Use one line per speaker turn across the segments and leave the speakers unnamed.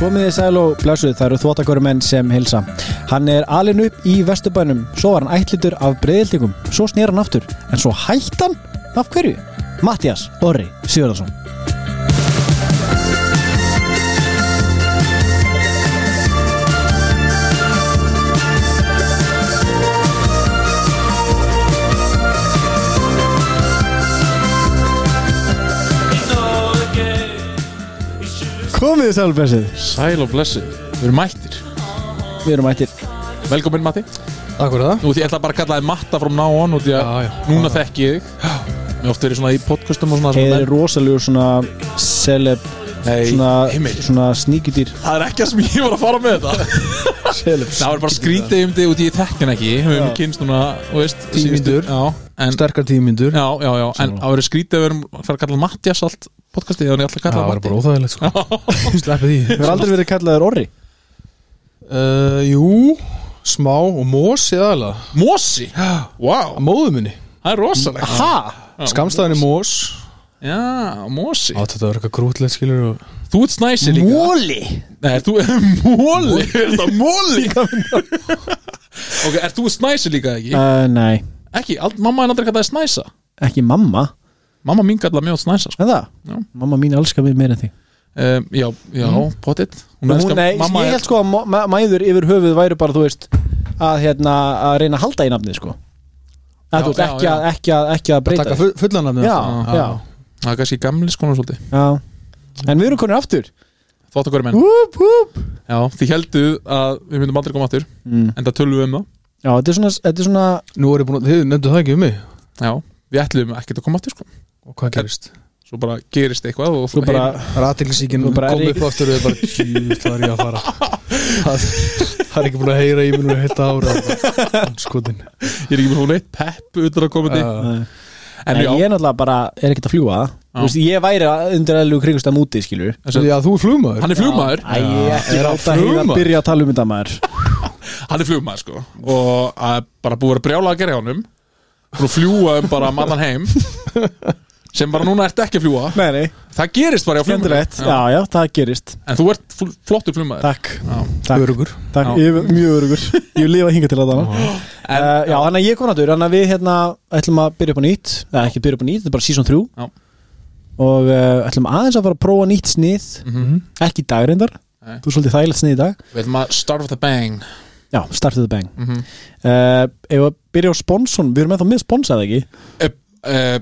Komið í sæl og blessuð, það eru þvóttakori menn sem hilsa. Hann er alin upp í vesturbænum, svo var hann ætlitur af breyðildingum, svo snýr hann aftur, en svo hætt hann? Af hverju? Mattias Orri Sigurðarsson. Komið í sæl og blessuð,
Sæl og blessuð, við erum mættir
við erum ættir.
Velkomin Matti
Takk fyrir það
Nú því ég ætla bara að kalla þig Matta frá ná on Því að
Já, já.
núna þekki ég þig Mér oft verið svona í podcastum og svona
Þeir
svona
eru rosalegur svona celeb,
Nei,
svona,
heimil.
svona sníkudýr.
Það er ekki að sem ég var að fara með þetta
Celeb.
Það var bara skrítið um þig út í ég þekki hann ekki Við
Já.
erum kynst núna, þú veist
Tíu
síðustu-
mínútur.
Já, en
Sterkar tímyndur
Já, já, já, en það verið skrítið að við erum að fara að kalla hann Mattias allt podcastið Þannig að ég ætla að
Það
kalla
var
hann
bara óþægilegt sko
Matti
Sleppi því
Við erum aldrei verið kallaður Orri.
uh, Jú, smá og mosi aðalega
Mosi, wow,
Að móðu minni
það er
Ah.
rosalegt
Ha?
Skamstæðin er mós
Já, Mosi
Á, þetta var eitthvað grútlegt skilur og...
Þú ert snæsi líka
Móli?
Nei, er þú móli? Er þetta móli? ok, er þú snæsi líka ekki?
Uh, nei,
Ekki, all, mamma er aldrei kallaði snæsa
ekki mamma.
Mamma mín kallaði mjög snæsa sko.
En það?
Já.
Mamma mín elskar mig meira en þig.
um, Já, já, mm. pottit Hún
Hún,
elskar
nei,
mamma
ég
er-
held sko að ma- ma- mæður yfir höfuð væri bara, þú veist, að, hérna, að reyna að halda í nafnið, sko.
Já,
Að, þú veist,
já,
ekki,
já.
Að, ekki, að, ekki að breyta
Takka
því.
fu- fullan af mér
Já,
Já,
já,
Það er kannski gamli skona svolítið
já. En við erum konur aftur.
Þótt okkur menn
Húp, húp.
Já, þið heldu að við myndum aldrei koma aftur
Mm.
En það tölum við um það
Já, þetta er svona, þetta er svona,
Nú er ég búin að, þið nefndu það ekki um mig
Já, við ætlum ekkert að koma aftur sko
Og hvað gerist?
Svo bara gerist eitthvað og
þú bara,
Ratilsíkin
Nú
kom
bara er ég-
upp aftur og þið bara Júst, það er ég að fara Það það er ekki búin að heyra í minnu heilt ára Skotin
Ég er ekki búin að fá neitt pepp utan að koma
Já.
uh,
Nei.
En
en
já,
ég er náttúrulega bara, er ekkert að fljúa það. Þú veist, ég væri að undir aðlug kringustam úti, skilur.
Já, þú er flugmaður
hann er flugmaður
Æ, ég ekki
er að
láta hér að
fljúga?
byrja að tala um þetta maður.
hann er flugmaður sko og það er bara búið að vera brjála að gera hjá honum búið að fljúa um bara mannan heim sem bara núna ert ekki að fljúa
Nei, nei.
það gerist bara hjá flugmaður
Skemmtilegt. Já, já, það gerist.
en þú ert fl- flottur flugmaður
Takk.
Já.
Takk.
Örugur
Takk,
Já.
ég er mjög örugur Ég lifa hinga til að þarna uh, Já, þannig að ég kom náttúr Þannig að við hérna ætlum að byrja upp á nýtt Nei, ekki byrja upp á nýtt, þetta er bara season 3
Já.
Og uh, ætlum aðeins að fara að prófa nýtt snið Ekki í dag reyndar
Mhm. Nei.
Þú er svolítið þægilegt snið í dag
við ætlum að start with a bang
Já, start with the bang
mm -hmm.
uh, Ef við byrja á sponsorn, við erum ennþá með sponsað ekki
uh, uh,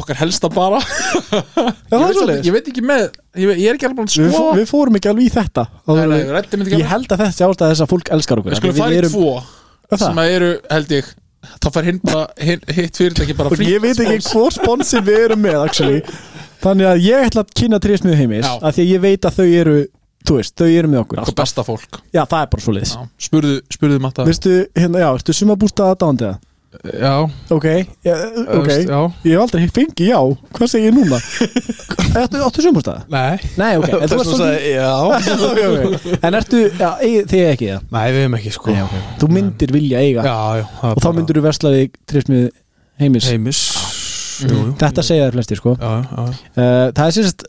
okkar helsta bara
Er
ég,
það
veit, samt-
svolítið?
ég veit ekki með ég, veit- ég er ekki alveg búin að
Við,
sko
fó- við fórum ekki alveg í þetta
Nei, nei, við ræddum þetta ekki
Ég held að þetta sé ástæða þess að fólk elskar okkur
við skulum
Við-
fara
við
í
erum-
tvo
Er það?
sem að eru held ég þá fær hinn bara hinn, hitt fyrirtæki bara
og ég veit ekki hvor sponsin við erum með actually. þannig að ég ætla að kynna trísmið heimis
Já.
af því að ég veit að þau eru þú veist, þau eru með okkur
Okkar besta fólk
já, það er bara svo leiðis
Já, spurðu, spurðu Matta
veistu, hérna, já, veistu sumabústa að dándiða
Já,
ok, ja, ok
veist, já.
ég hef aldrei fengið já, hvað segir ég núna ertu, áttu sumabústa?
nei
nei, ok, en þú
Það
ert
sem
svolítið
sagði, já
okay, okay. en ertu, já, eigi- þið ekki það
Nei, við hefum ekki sko
Nei, ok. þú myndir vilja eiga
Já, já það er
og þá
bara-
myndir þú verslaði trísmið heimis
Heimis Jú, jú
þetta segja þær flestir sko
Já, já
Uh, það er sérst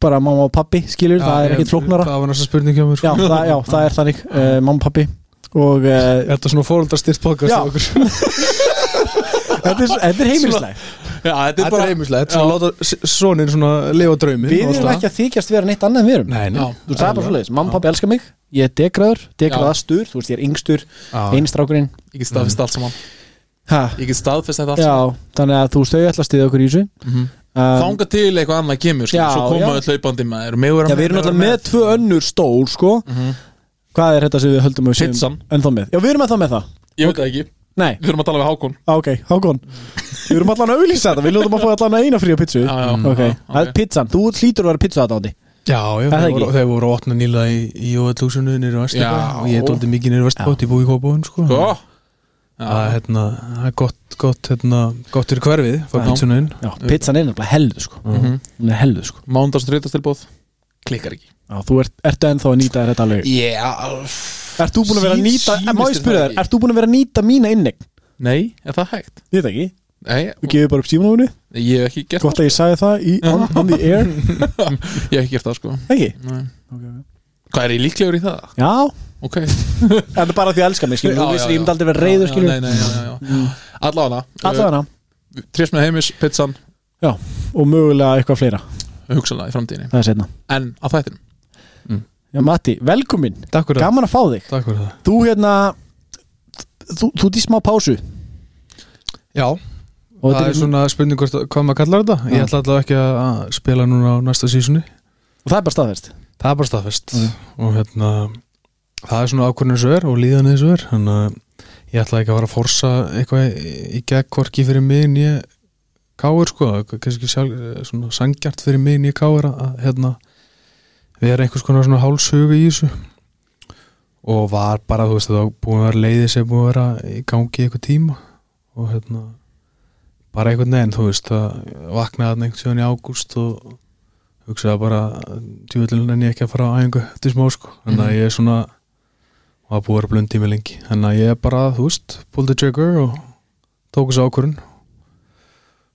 bara mamma og pappi skilur, það er
Já,
ekkert
ég-
flóknara
Það var næsta spurning hjá mér
já, það, já, það er þannig, uh, mamma og pappi og uh,
Þetta er svona fóröldarstyrt podcast
Já.
hjá okkur.
þetta er, þetta er heimilisleg
Já, þetta
Þetta er heimislegt Svona láta s- soninn svona lifa draumi
við erum ekki að þykjast vera neitt annað en við erum
Nei, nei
Já.
þú veist, það er bara svoleiðis, mamma og pappi elskar mig ég er degraður, degraðastur, þú veist, ég er yngstur
Já.
einstrákurinn
Ég get staðfest allt saman
ha,
Ég get staðfest þetta allt
já,
saman
þannig að þú veist, þau ætla að stiða okkur í þessu
Mhm.
um,
Þanga til eitthvað annað kemur sko,
Já,
Svo koma
já.
öll hlaupandi maður Mig vera
já, við erum
mig vera
alltaf með tvö önnur stól sko.
Mhm.
hvað er þetta sem við höldum að við séum
Pitsan.
ennþá með, já, við erum ennþá með Mm. það
Ég veit það ekki
nei,
Við þurfum að tala við Hákon
Á, Ah, Ok, Hákon Við erum allan að auðlýsa þetta, við ljóðum að fá allan að eina fría pítsu
Já, já,
Ok,
já,
það er
ok.
pizzan, þú hlýtur að vera pizza aðdándi
Já, já,
það
þeir
ekki?
voru, þeir voru að opna nýla í, í Jóðalúsinu nýri
Já.
Vestibæ og ég er doldið mikið nýri Vestibæ ég búið í Kópavón sko
Sko
Það er hérna, það er gott, gott, hérna, gott fyrir hverfið fá
Já.
pítsuna inn
Já, pizzan er nefnilega helðu sko
Mhm.
Hún er helðu sko
Mándags reytastilbóð Klikkar ekki
Já, þú ert, ertu ennþá að nýta þér þetta alveg
Yeah
Ert þú búin að vera að
Sýn-
nýta,
sýnist
má ég
þér
spyrja
það
þér
ekki?
Ert þú búin að vera að nýta mína innegn?
Nei, er það hægt?
Ég veit ekki
Nei,
Þú gefur bara upp símanúinu
ég hef ekki gert
Gott að ég sagði það í, on, on the air
það Ég hef ekki gert það sko
Ekki?
Nei.
Okay.
Hvað er ég líklegur í það?
Já,
Ok
en það er bara því að elska mig skilur
Já,
Þú
já,
vissir, ég
já.
myndi aldrei vera Mm. reyður
Já,
skilur
Nei, nei, já, já, já Allána
Alla hana
Trés með heimis, pizzan,
Og mögulega eitthvað fleira
hugsanlega í framtíðinni
Það er setna
En að þættinum
Já, Matti, velkomin
Takk fyrir það
Gaman að fá þig
Takk fyrir það
Þú hérna Þú, þú ert í smá pásu
Já,
Og
það
þetta
er svona spurning hvort- hvað maður kallar þetta Ég
Já.
ætla allavega ekki að að spila núna á næsta sísunni
Og það er bara staðfest
Það er bara staðfest og hérna það er svona ákvörðin þessu er og líðan þessu er þannig að ég ætla ekki að fara að forsa eitthvað í- í gegn hvorki fyrir mig en ég káur sko, kannski sjálf eh, svona sangjart fyrir mig en ég káur að, að hérna vera einhvers konar svona hálshuga í þessu og var bara, þú veist, það var búin að vera leiði sem búin að vera í gangi í eitthvað tíma og hérna bara einhvern veginn, þú veist, að vaknaði þarna einhvern sjöðan í ágúst og hugsaði bara djúvillin en ég ekki að fara á æfingu eftir smá sko þannig að ég er svona og að búið að vera blund tími lengi þannig að ég er bara, þú veist, pull the trigger og tók þessu ákvörun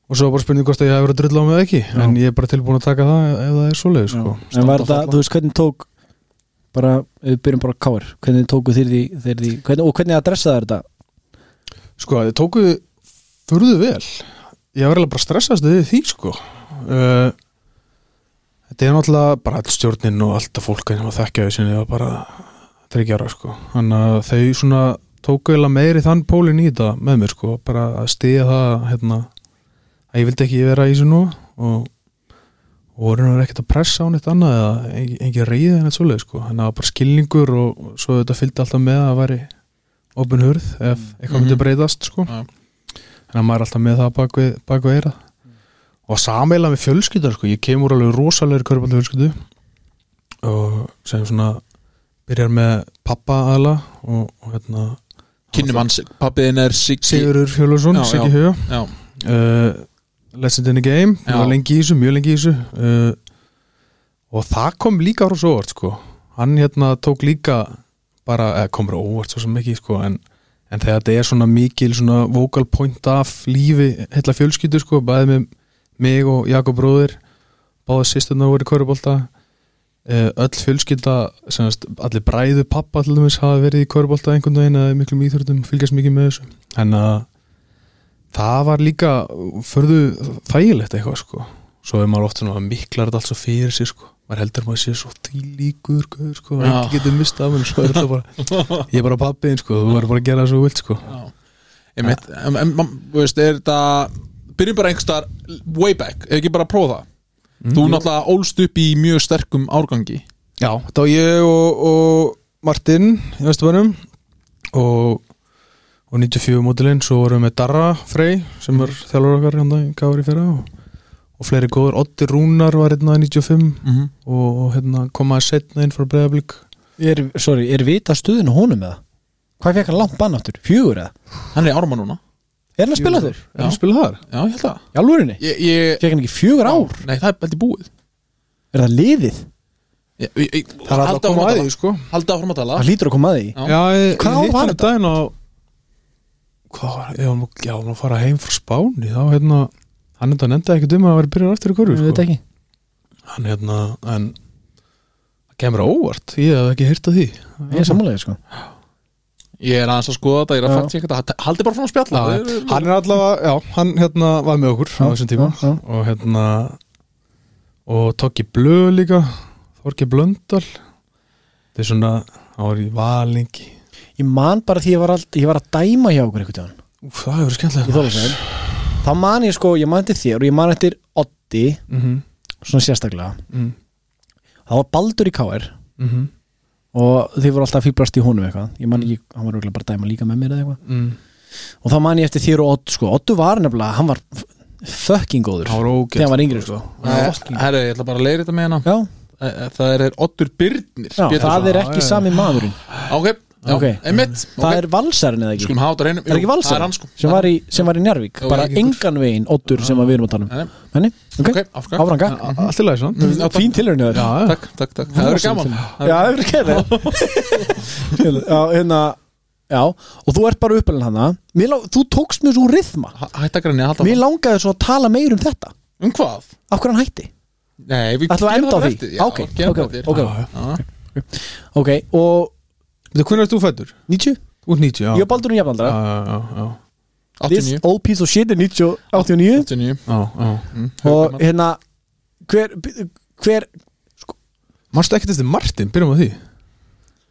og svo er bara spurning hvort að ég hef verið að drulla á mig eða ekki
Já.
en ég er bara tilbúin að taka það ef ef það er svoleiðis sko
En var
Standa
þetta,
falla.
þú veist, hvernig tók Bara, við byrjum bara á káir Hvernig tóku þér því, þeir því hvernig, Og hvernig adressa þær þetta
Sko, þið tóku furðu vel Ég var eiginlega bara stressast við því, sko uh, Þetta er náttúrulega bara all stjórnin og alltaf fólk sem að þekkja því sinni var bara þryggjara, sko Þannig að þau svona tóku eiginlega meiri þann pólin í þetta með mér, sko bara að stiga það, hérna að ég vildi ekki vera í þessu nú og og voru náttúrulega ekkert að pressa á neitt annað eða engin, engin reyði en eitt svoleið sko þannig að það var bara skilningur og svo þetta fylgdi alltaf með að það væri opin hurð ef eitthvað myndi
Mhm.
breytast sko
Já.
þannig að maður er alltaf með það bak við, bak við eira og sameiginlega með fjölskyldar sko. ég kemur alveg rosalegri körbandi fjölskyldu og sem svona byrjar með pappa aðla og, og hérna
Kynnum hans, pappiðin er Siggi
Sigurur Fjölusson,
Já,
Siggi
já.
Huga
Já,
uh, Legend in the Game
Já.
það var lengi í þessu, mjög lengi í þessu uh, og það kom líka á svo óvart sko, hann hérna tók líka bara, eh, eða komur óvart svo sem ekki sko, en, en þegar þetta er svona mikil svona vocal point af lífi heilla fjölskyldu sko, bæði með mig og Jakob bróðir báða sýsturna voru í körubólta uh, öll fjölskylda semast, allir bræðu pappa allir þess hafa verið í körubólta einhvern veginn eða í miklum íþjórtum fylgjast mikið með þessu en að það var líka förðu þægilegt eitthvað sko svo er maður oft svona að miklar þetta allt svo fyrir sér sko maður heldur að maður sé svo tílíkur guður, sko,
Já.
ekki getur mistað af henni svo er þetta bara, ég er bara pappiðin sko þú verður bara að gera það svo þú vilt sko
já Ég mitt, en, en, man, þú veist, er þetta Byrjum bara einhverstaðar way back Ef ekki bara að prófa það
Mhm.
Þú náttúrulega ólst upp í mjög sterkum árgangi
Já, þá ég og, og Martin í Vestabænum og, og 94 mótilinn, svo vorum við með Darra Frey sem er
Mhm.
þjálfur okkar hann í Kári fyrra og, og fleiri góður, Otti Rúnar var hérna í 95
Mhm.
mm -hmm.
og, og hérna komaði setna inn frá Breiðablík
Er, sorry, er vita stuðinu honum eða? Hvað fekk hann langt bann aftur? Fjögur eða?
Hann er í árma núna
Er hann að spila þurr?
Er hann að spila þar?
Já, ég held það
Í alvörinni?
Ég, ég
Fekk hann ekki fjögur ár?
Nei, það er held ég búið
Er það liðið?
ég, ég, ég,
Það er alltaf að koma að því sko
Halda áfram að tala
Það lítur að koma að því
Já.
Já, ég,
Hvað
ég hitt
var
hann um
þetta?
daginn á Hvað var, ég var nú, já, hann var að fara heim frá Spáni þá hérna, hann enda nefndi ekkert um að vera byrjar aftur í
Ég
korfu
veit
sko.
ekki
hann hérna en það kemur á óvart, ég hef ekki heyrt að því
Ég er sammálega sko
Ég er aðeins að skoða þetta Ég er að
Já.
fatta ekki þetta Haldi bara frá að spjalla
hann er allavega, já, hann hérna var með okkur á
Já,
þessum tíma
já, já.
og hérna og Toggi Blöð líka Þorki Blöndal þetta er svona, hann var í valingi
Ég man bara því ég var, all, ég var að dæma hjá okkur einhvern tíðan
Úf, það hefur
Ég
skemmtilegt
þóla þess að Þá man ég sko, ég man eftir þér og ég man eftir Oddi
mm -hmm.
Svona sérstaklega
mm
Það var Baldur í KR
-hmm.
Og þið voru alltaf að fýbrast í honum eitthvað Ég man
Mm.
ekki, hann var örugglega bara að dæma líka með mér eða eitthvað
mm.
Og þá man ég eftir þér og Odd sko Oddu var nefnilega, hann var f- fucking góður
hann var
Þegar hann
ógætt
var yngri sko Fucking-
Herru, ég ætla bara að leira þetta með hana
Já,
Það er, er Oddur Byrnir
já
Pétursson.
það er ekki
já, já.
sami maðurinn
Ok, já,
Ok.
einmitt
Það
ok.
er valsarinn eða ekki
Skulum hafa þetta reynum
Er ekki
Það er
valsarinn
hann sko
sem var í, sem var í Njárvík
Já,
Bara
ekki einhver.
engan veginn Oddur sem að við erum að tala um
Nei, nei.
Henni, ok,
Ok, áfram
áfram gang
allt í lagi svona
Mm, já, takk.
Fín Ah, tilhörinu þér
já,
Takk, takk, takk Það er gaman
Já, það er ekki það Já, hérna Já, og þú ert bara uppalinn hana Mér lá- Þú tókst mjög svo rithma
Hættakarinn er að halda
Mér langaði svo að tala meir um þetta
Um hvað?
Af hverju hann hætti?
Nei, við
Ætlum við að
gerum
enda á
það
því?
eftir.
Ok,
gerum
ok,
það eftir.
ok.
Já.
Ok, og
Þetta, hvernig ertu fættur?
90?
Út 90, já
Ég og Baldur er
Já,
jafnaldra
já, já,
This
89
old piece of shit er 90 og 89
89
já, já.
Og hérna Hver, hver
Manstu ekkert eftir Martin, byrjum á því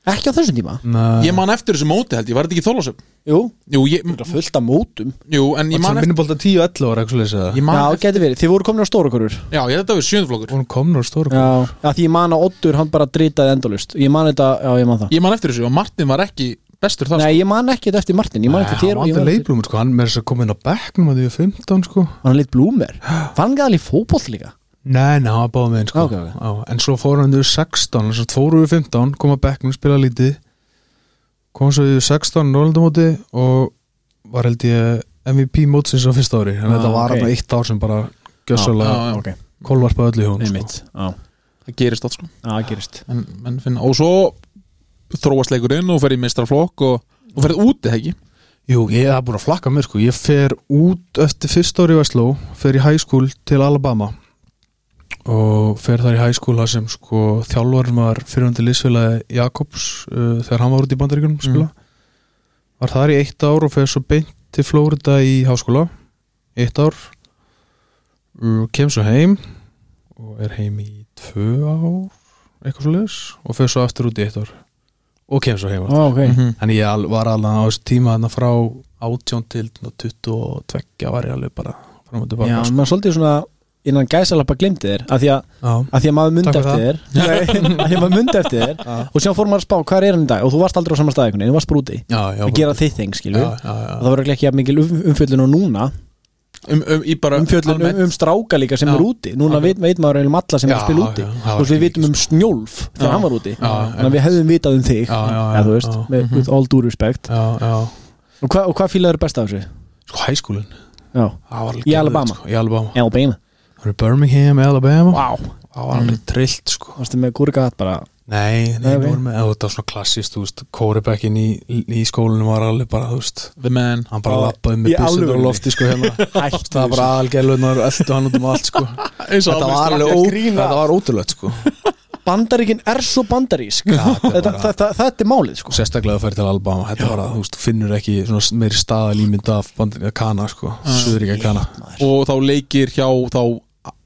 Ekki á þessum tíma?
Nei.
Ég man eftir þessu móti held ég, var þetta ekki þólasöp?
Jú,
Jú, ég,
þetta er fullt af mótum
jú, en ég
Ég
man
man
eftir
minnubólta 10 og 11 ára eitthvað leysið það
Ég man
Já,
eftir
geti verið, þið voru komin á stóra korur
Já, ég þetta verið sjöndflokkur
Hún komnur stóra
Já, já því ég man að Oddur hann bara dritaði endalust Ég man þetta, já ég man það
Ég man eftir þessu og Martin var ekki bestur þar sko.
Nei, ég man ekki þetta eftir Martin, ég man eftir þér og
Hann var
ég man eftir
aldrei leifblúmur sko Hann með þess að koma inn á bekknum að því við 15 sko
Hann lit blúmer, var hann gæðal í fótboll líka
Nei, nei, hann var báð með einn sko
Ok, ok.
Já, En svo fór hann yfir 16 Svo fóru við 15, kom að bekknum, spila lítið Kom svo yfir 16 Norlandamóti og var held ég MVP mótsins á fyrsta ári En
Ah,
þetta
ok.
var hann okay. eitt ár sem bara
Já,
Gjössalega
já.
Ok,
kolvarpa öllu hjón sko.
einmitt, já,
Það gerist allt sko
já, gerist
en, en finna, Og svo þróast leikurinn og ferði í meistarflokk og, og ferði úti, ekki?
Jú, ég hef búin að flakka mér sko Ég fer út eftir fyrsta ári í Vestló Fer í high school til Alabama Og fer þar í high school Það sem sko þjálfarinn var Fyrirhundi liðsfélagi Jakobs uh, Þegar hann var út í bandaríkunum að spila Var þar í eitt ár og fer svo beint til Flórida í háskóla Eitt ár uh, Kem svo heim Og er heim í tvö ár Eitthvað svo leis Og fer svo aftur út í eitt ár Og kem svo heim
Ó,
aftur
ok,
-hmm.
Þannig ég al- var alveg á þessu tíma þannig frá 18 til 22 var ég alveg bara fram og tilbaka
já,
sko.
maður svolítið svona innan gæsalappa glimti þér af því að,
já.
af því að maður mundi
Takk
eftir
fyrir
þér Nei, af því að maður mundi eftir þér
Já.
og sér fór maður að spá, hvað er hann í dag og þú varst aldrei á sama staði, einhvern veginn, þú varst bara úti
Já, já,
að gera þitt þing,
já,
skilju og
já, já.
það var ekki ekki jafn mikil um- umfjöllun og núna
um, um, Í bara
umfjöllun um,
almennt-
um stráka líka sem
Já.
er úti núna veit,
Alveg.
veit maður eiginlega um alla sem er
Já,
að spila úti
já, það
og
var
svo við
ekki
vitum um Snjólf þegar
Já.
hann var úti
Já,
þannig að við hefðum vitað um þig
Já, já,
eða þú veist,
já.
með, with all due respect
já, já.
og, hva, og hvað fílaður best af þessu?
Sko hæskúlin
Já, Í Alabama.
sko, Í Alabama
Alabama
Það eru Birmingham, Alabama
Vá,
Það var alveg trillt sko
varstu með gúrka hatt bara
Nei,
Nei,
nei, nei
ok.
voru með, eða þetta var svona klassist, þú veist Kórebekkin í, í skólinu var alveg bara, þú veist
The man
Hann bara
Já,
lappaði
í
með byssunar á
alvörunni.
lofti sko hérna
hætt
Það var bara aðalgælunar, eldu hann út um allt sko Þetta var alveg ó, þetta var ótrúlegt sko
Bandaríkin er svo bandarísk
Já, þetta er
þetta,
bara-
þetta, þetta er málið sko
og sérstaklega að færi til Alabama þetta var að þú veist, þú finnur ekki svona meiri staðalímynd af bandinni Kana sko, Suðuríka Kana
Og þá leikir hjá þá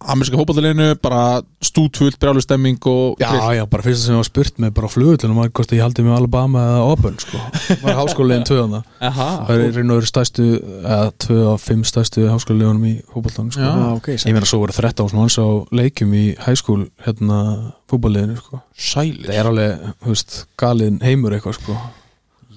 amerska hópaðaleginu bara stútfullt brjálu stemming og
Já, já, bara fyrst sem ég var spurt með bara á flugutlunum var hvort að ég haldið með Alabama eða Auburn sko, var háskóliðin tvöðan það er í raun og veru stæstu eða tvö af fimm stæstu háskóliðunum í fótballtanum sko,
Já.
ok,
ég meina svo voru 13 manns á leikjum í hæskúl hérna fótballliðinu sko,
Sælir
það er alveg, þú veist, galin heimur eitthvað sko,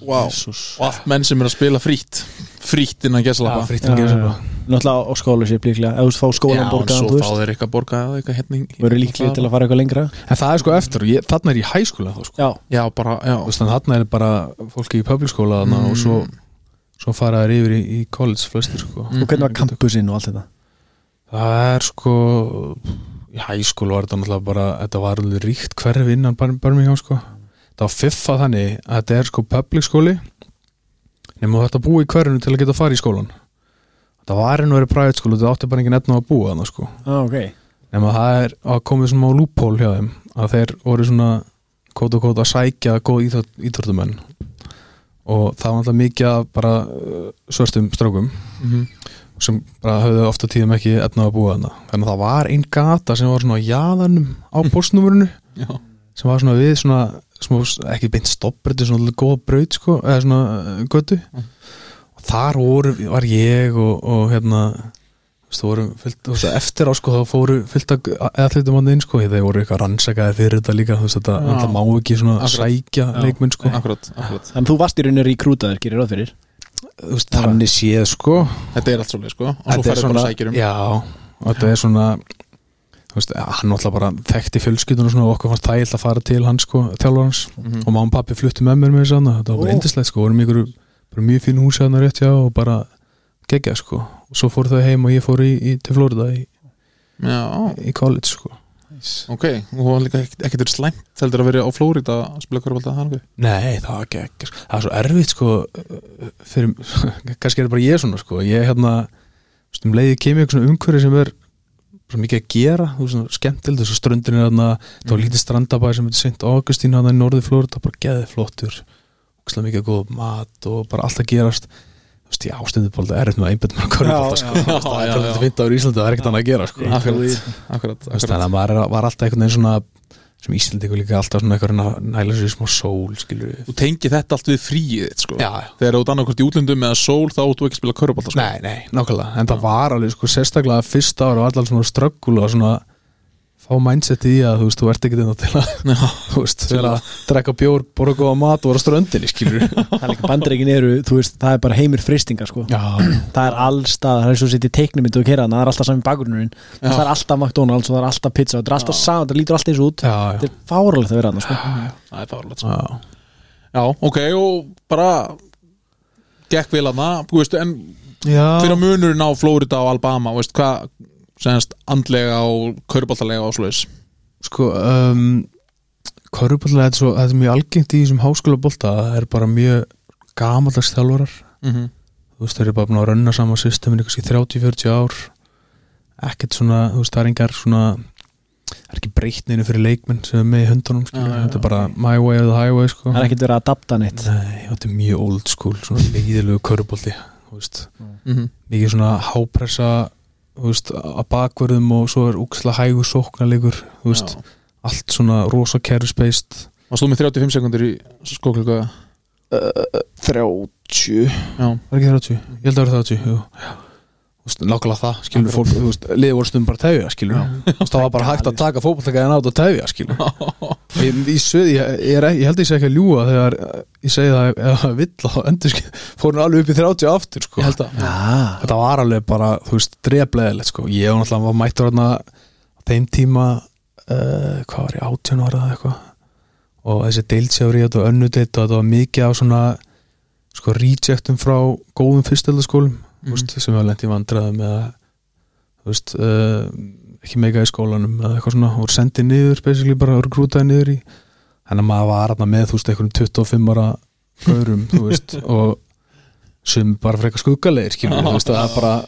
wow.
Jesus.
Og allt menn sem er að spila frítt Frítt innan
Já,
gesalapa
frítt að gera
Já,
sér
já.
bara
náttúrulega á skóla sér líklega eða þú veist, fá skólan borgaðan, þú
svo fá
veist
þeir eitthvað borgað eða eitthvað hérna í-
verður líklega til að fara eitthvað lengra
en það er sko eftir, og ég, þarna er ég hæskúla þá sko
já,
Já, bara, já
Þú veist, þannig þarna er bara fólki í public skóla mm. og svo, svo fara þær yfir í, í college flestir sko.
og hvernig var kampusinn og allt þetta
það er sko í hæskólu var þetta náttúrulega bara þetta var alveg ríkt hverfi innan Bar- Birmingham sko. það var fiffa þannig að þetta er sko public skóli nema þetta búa í hverfinu til að geta að fara í skólan þetta var enn og verið private skóla þetta átti bara engin efna á að búa þannig sko.
ah, ok,
nema það er að komið svona á loophole hjá þeim að þeir voru svona kóta kóta að sækja góð íþrótt, íþróttumenn og það var alltaf mikið af bara uh, svörstum strákum
Mhm.
sem bara höfðu ofta tíðum ekki efna á að búa þarna þannig að það var einn gata sem var svona á jaðanum á postnúmurinu
Já.
sem var svona við svona, smá, ekki beint stoppbreytu, svona alveg góða braut sko, eða svona uh, götu og þar voru, var ég og, og hérna þú veist, það voru fyllt, þú veist, eftir á sko þá fóru fyllt að aðlutum hann inn sko þeir voru eitthvað rannsakaði fyrir þetta líka þú veist þetta
Já.
alltaf má ekki svona
Akkurat.
sækja
Já.
leikmenn sko
Akkurat, akkurat
þannig þú varst í rauninni rekrútaður, gerir ráð fyrir
Þú veist, þannig séð sko
Þetta er allt svolítið, sko Og svo ferði bara sækjur um
já, og þetta er svona þú veist, hann alltaf bara þekkti fjölskyldun og svona og okkur fannst þægilt að fara til hans sko, þjálfur hans
Mhm.
og mamma og pappi fluttu með mér með þess aðna þetta var bara
Ó.
indislegt sko, vorum í ykkur bara mjög fín húsi aðna rétt hjá og bara gegja sko, og svo fór þau heim og ég fór í, í til Florida í,
Já,
í college sko
Ok, og það var líka ekkert ekkert verið slæmt heldur að vera á Flórída að spila korfbalta hann við.
Nei, það var ekki, ekki sko. það var svo erfitt sko uh, fyrir, kannski er það bara ég svona sko ég hérna, þú veist, um leiði kemur eitthvað svona umhverfi sem er svo mikið að gera, þú veist, svona skemmtild þess að ströndin er hérna, það
Mhm.
var lítið strandabæði sem heitir St. Augustín hérna í norði flóru það bara geði flottur, ógæslega mikið góð mat og bara allt að gerast þú veist, ég ástundu bara alltaf erfitt með einbætt með körfubólta sko,
já,
það
já,
er
já.
alltaf fint ára í Íslandi það er ekkert annað að gera sko
Akkurat, akkurat,
Þú veist,
akkurat.
þannig að maður er- var alltaf einhvern veginn svona sem Íslandingur líka alltaf svona eitthvað að reyna að næla sér í smá sól skilur
Þú tengi þetta allt við fríið þitt, sko.
Já, já.
Þegar þú ert annarkvort í útlöndum eða sól þá áttu ekki að spila korfbalta sko.
Nei, nei, nákvæmlega, en það var alveg sko, sérstaklega fyrsta ára var allar svona ströggul og svona fá mindset í að þú veist, þú ert ekki þetta til að
Já.
þú veist, til að drekka bjór, borða góða mat og vera á ströndinni, skilur
það er líka bandaríkin eru, þú veist, það er bara heimir fristinga sko.
Já,
það er allstað, það er svo sitt í teiknumyndu og kera það er alltaf sami bakgrunnurinn, það er alltaf McDonalds og það er alltaf pizza, það er alltaf saman, það lítur alltaf eins og út
já, já,
þetta er fáralegt að vera hann sko.
Það er fárlega, sko.
já.
Já, ok, og bara gekk vel að það, þú veist, en
já.
fyrir munurinn á Flórída og Alabama, veist, hvað semst andlega og körbaltalega og svoleiðis
Sko, um, körfubolta, þetta er svo, þetta er mjög algengt í þessum háskóla bolta, það er bara mjög gamaldags þjálfarar
mm -hmm.
þú veist, þeir eru bara búin að rönna saman systeminu kannski 30-40 ár ekkert svona, þú veist, það er engar svona það er ekki breytninu fyrir leikmenn sem er með í höndunum, skilur,
Já, já,
þetta er bara my way or the highway, sko
það er ekkert verið að adapta neitt
Nei, þetta er mjög old school, svona leiðilegu körubólti, þú veist
Mm -hmm.
mikið svona hápressa þú veist, að bakverðum og svo er úksla hægu sóknarleikur, þú veist allt svona rosa kerfisbeist
Varst þú með 35 sekundir í skóklöku?
30
Já,
var ekki 30, ég held að það var 30 jú. Þú veist, nákvæmlega það, skilur fólk, þú veist, liðið voru stundum bara að tefja, skilur þú veist, það var bara hægt að taka fótballtakaðin át og tefja, skilur ég, ég, sögði, ég, ég, er ekki- ég held að ég sé ekki að ljúga þegar eh, ég segi það eða það vill á endur, skilur, fór hún alveg upp í 30 aftur, sko,
ég held að
ah,
þetta var alveg bara, þú veist, drefleðilegt, sko, ég var náttúrulega var mættur hérna á þeim tíma uh, hvað var ég, 18 ára eða eitthvað og þessi deildsjári og önnu deild og þetta var mikið á svona sko rejectum frá góðum fyrsteldaskólum mm. veist, sem var lent í vandræðum eða þú veist, uh, ekki mega í skólanum eða eitthvað svona, voru sendið niður basically bara örgrútaði niður í þannig að maður var hérna með, þú veist, einhverjum 25 ára gaurum, þú veist og sem bara frekar skuggalegir skilur, þú veist, það er bara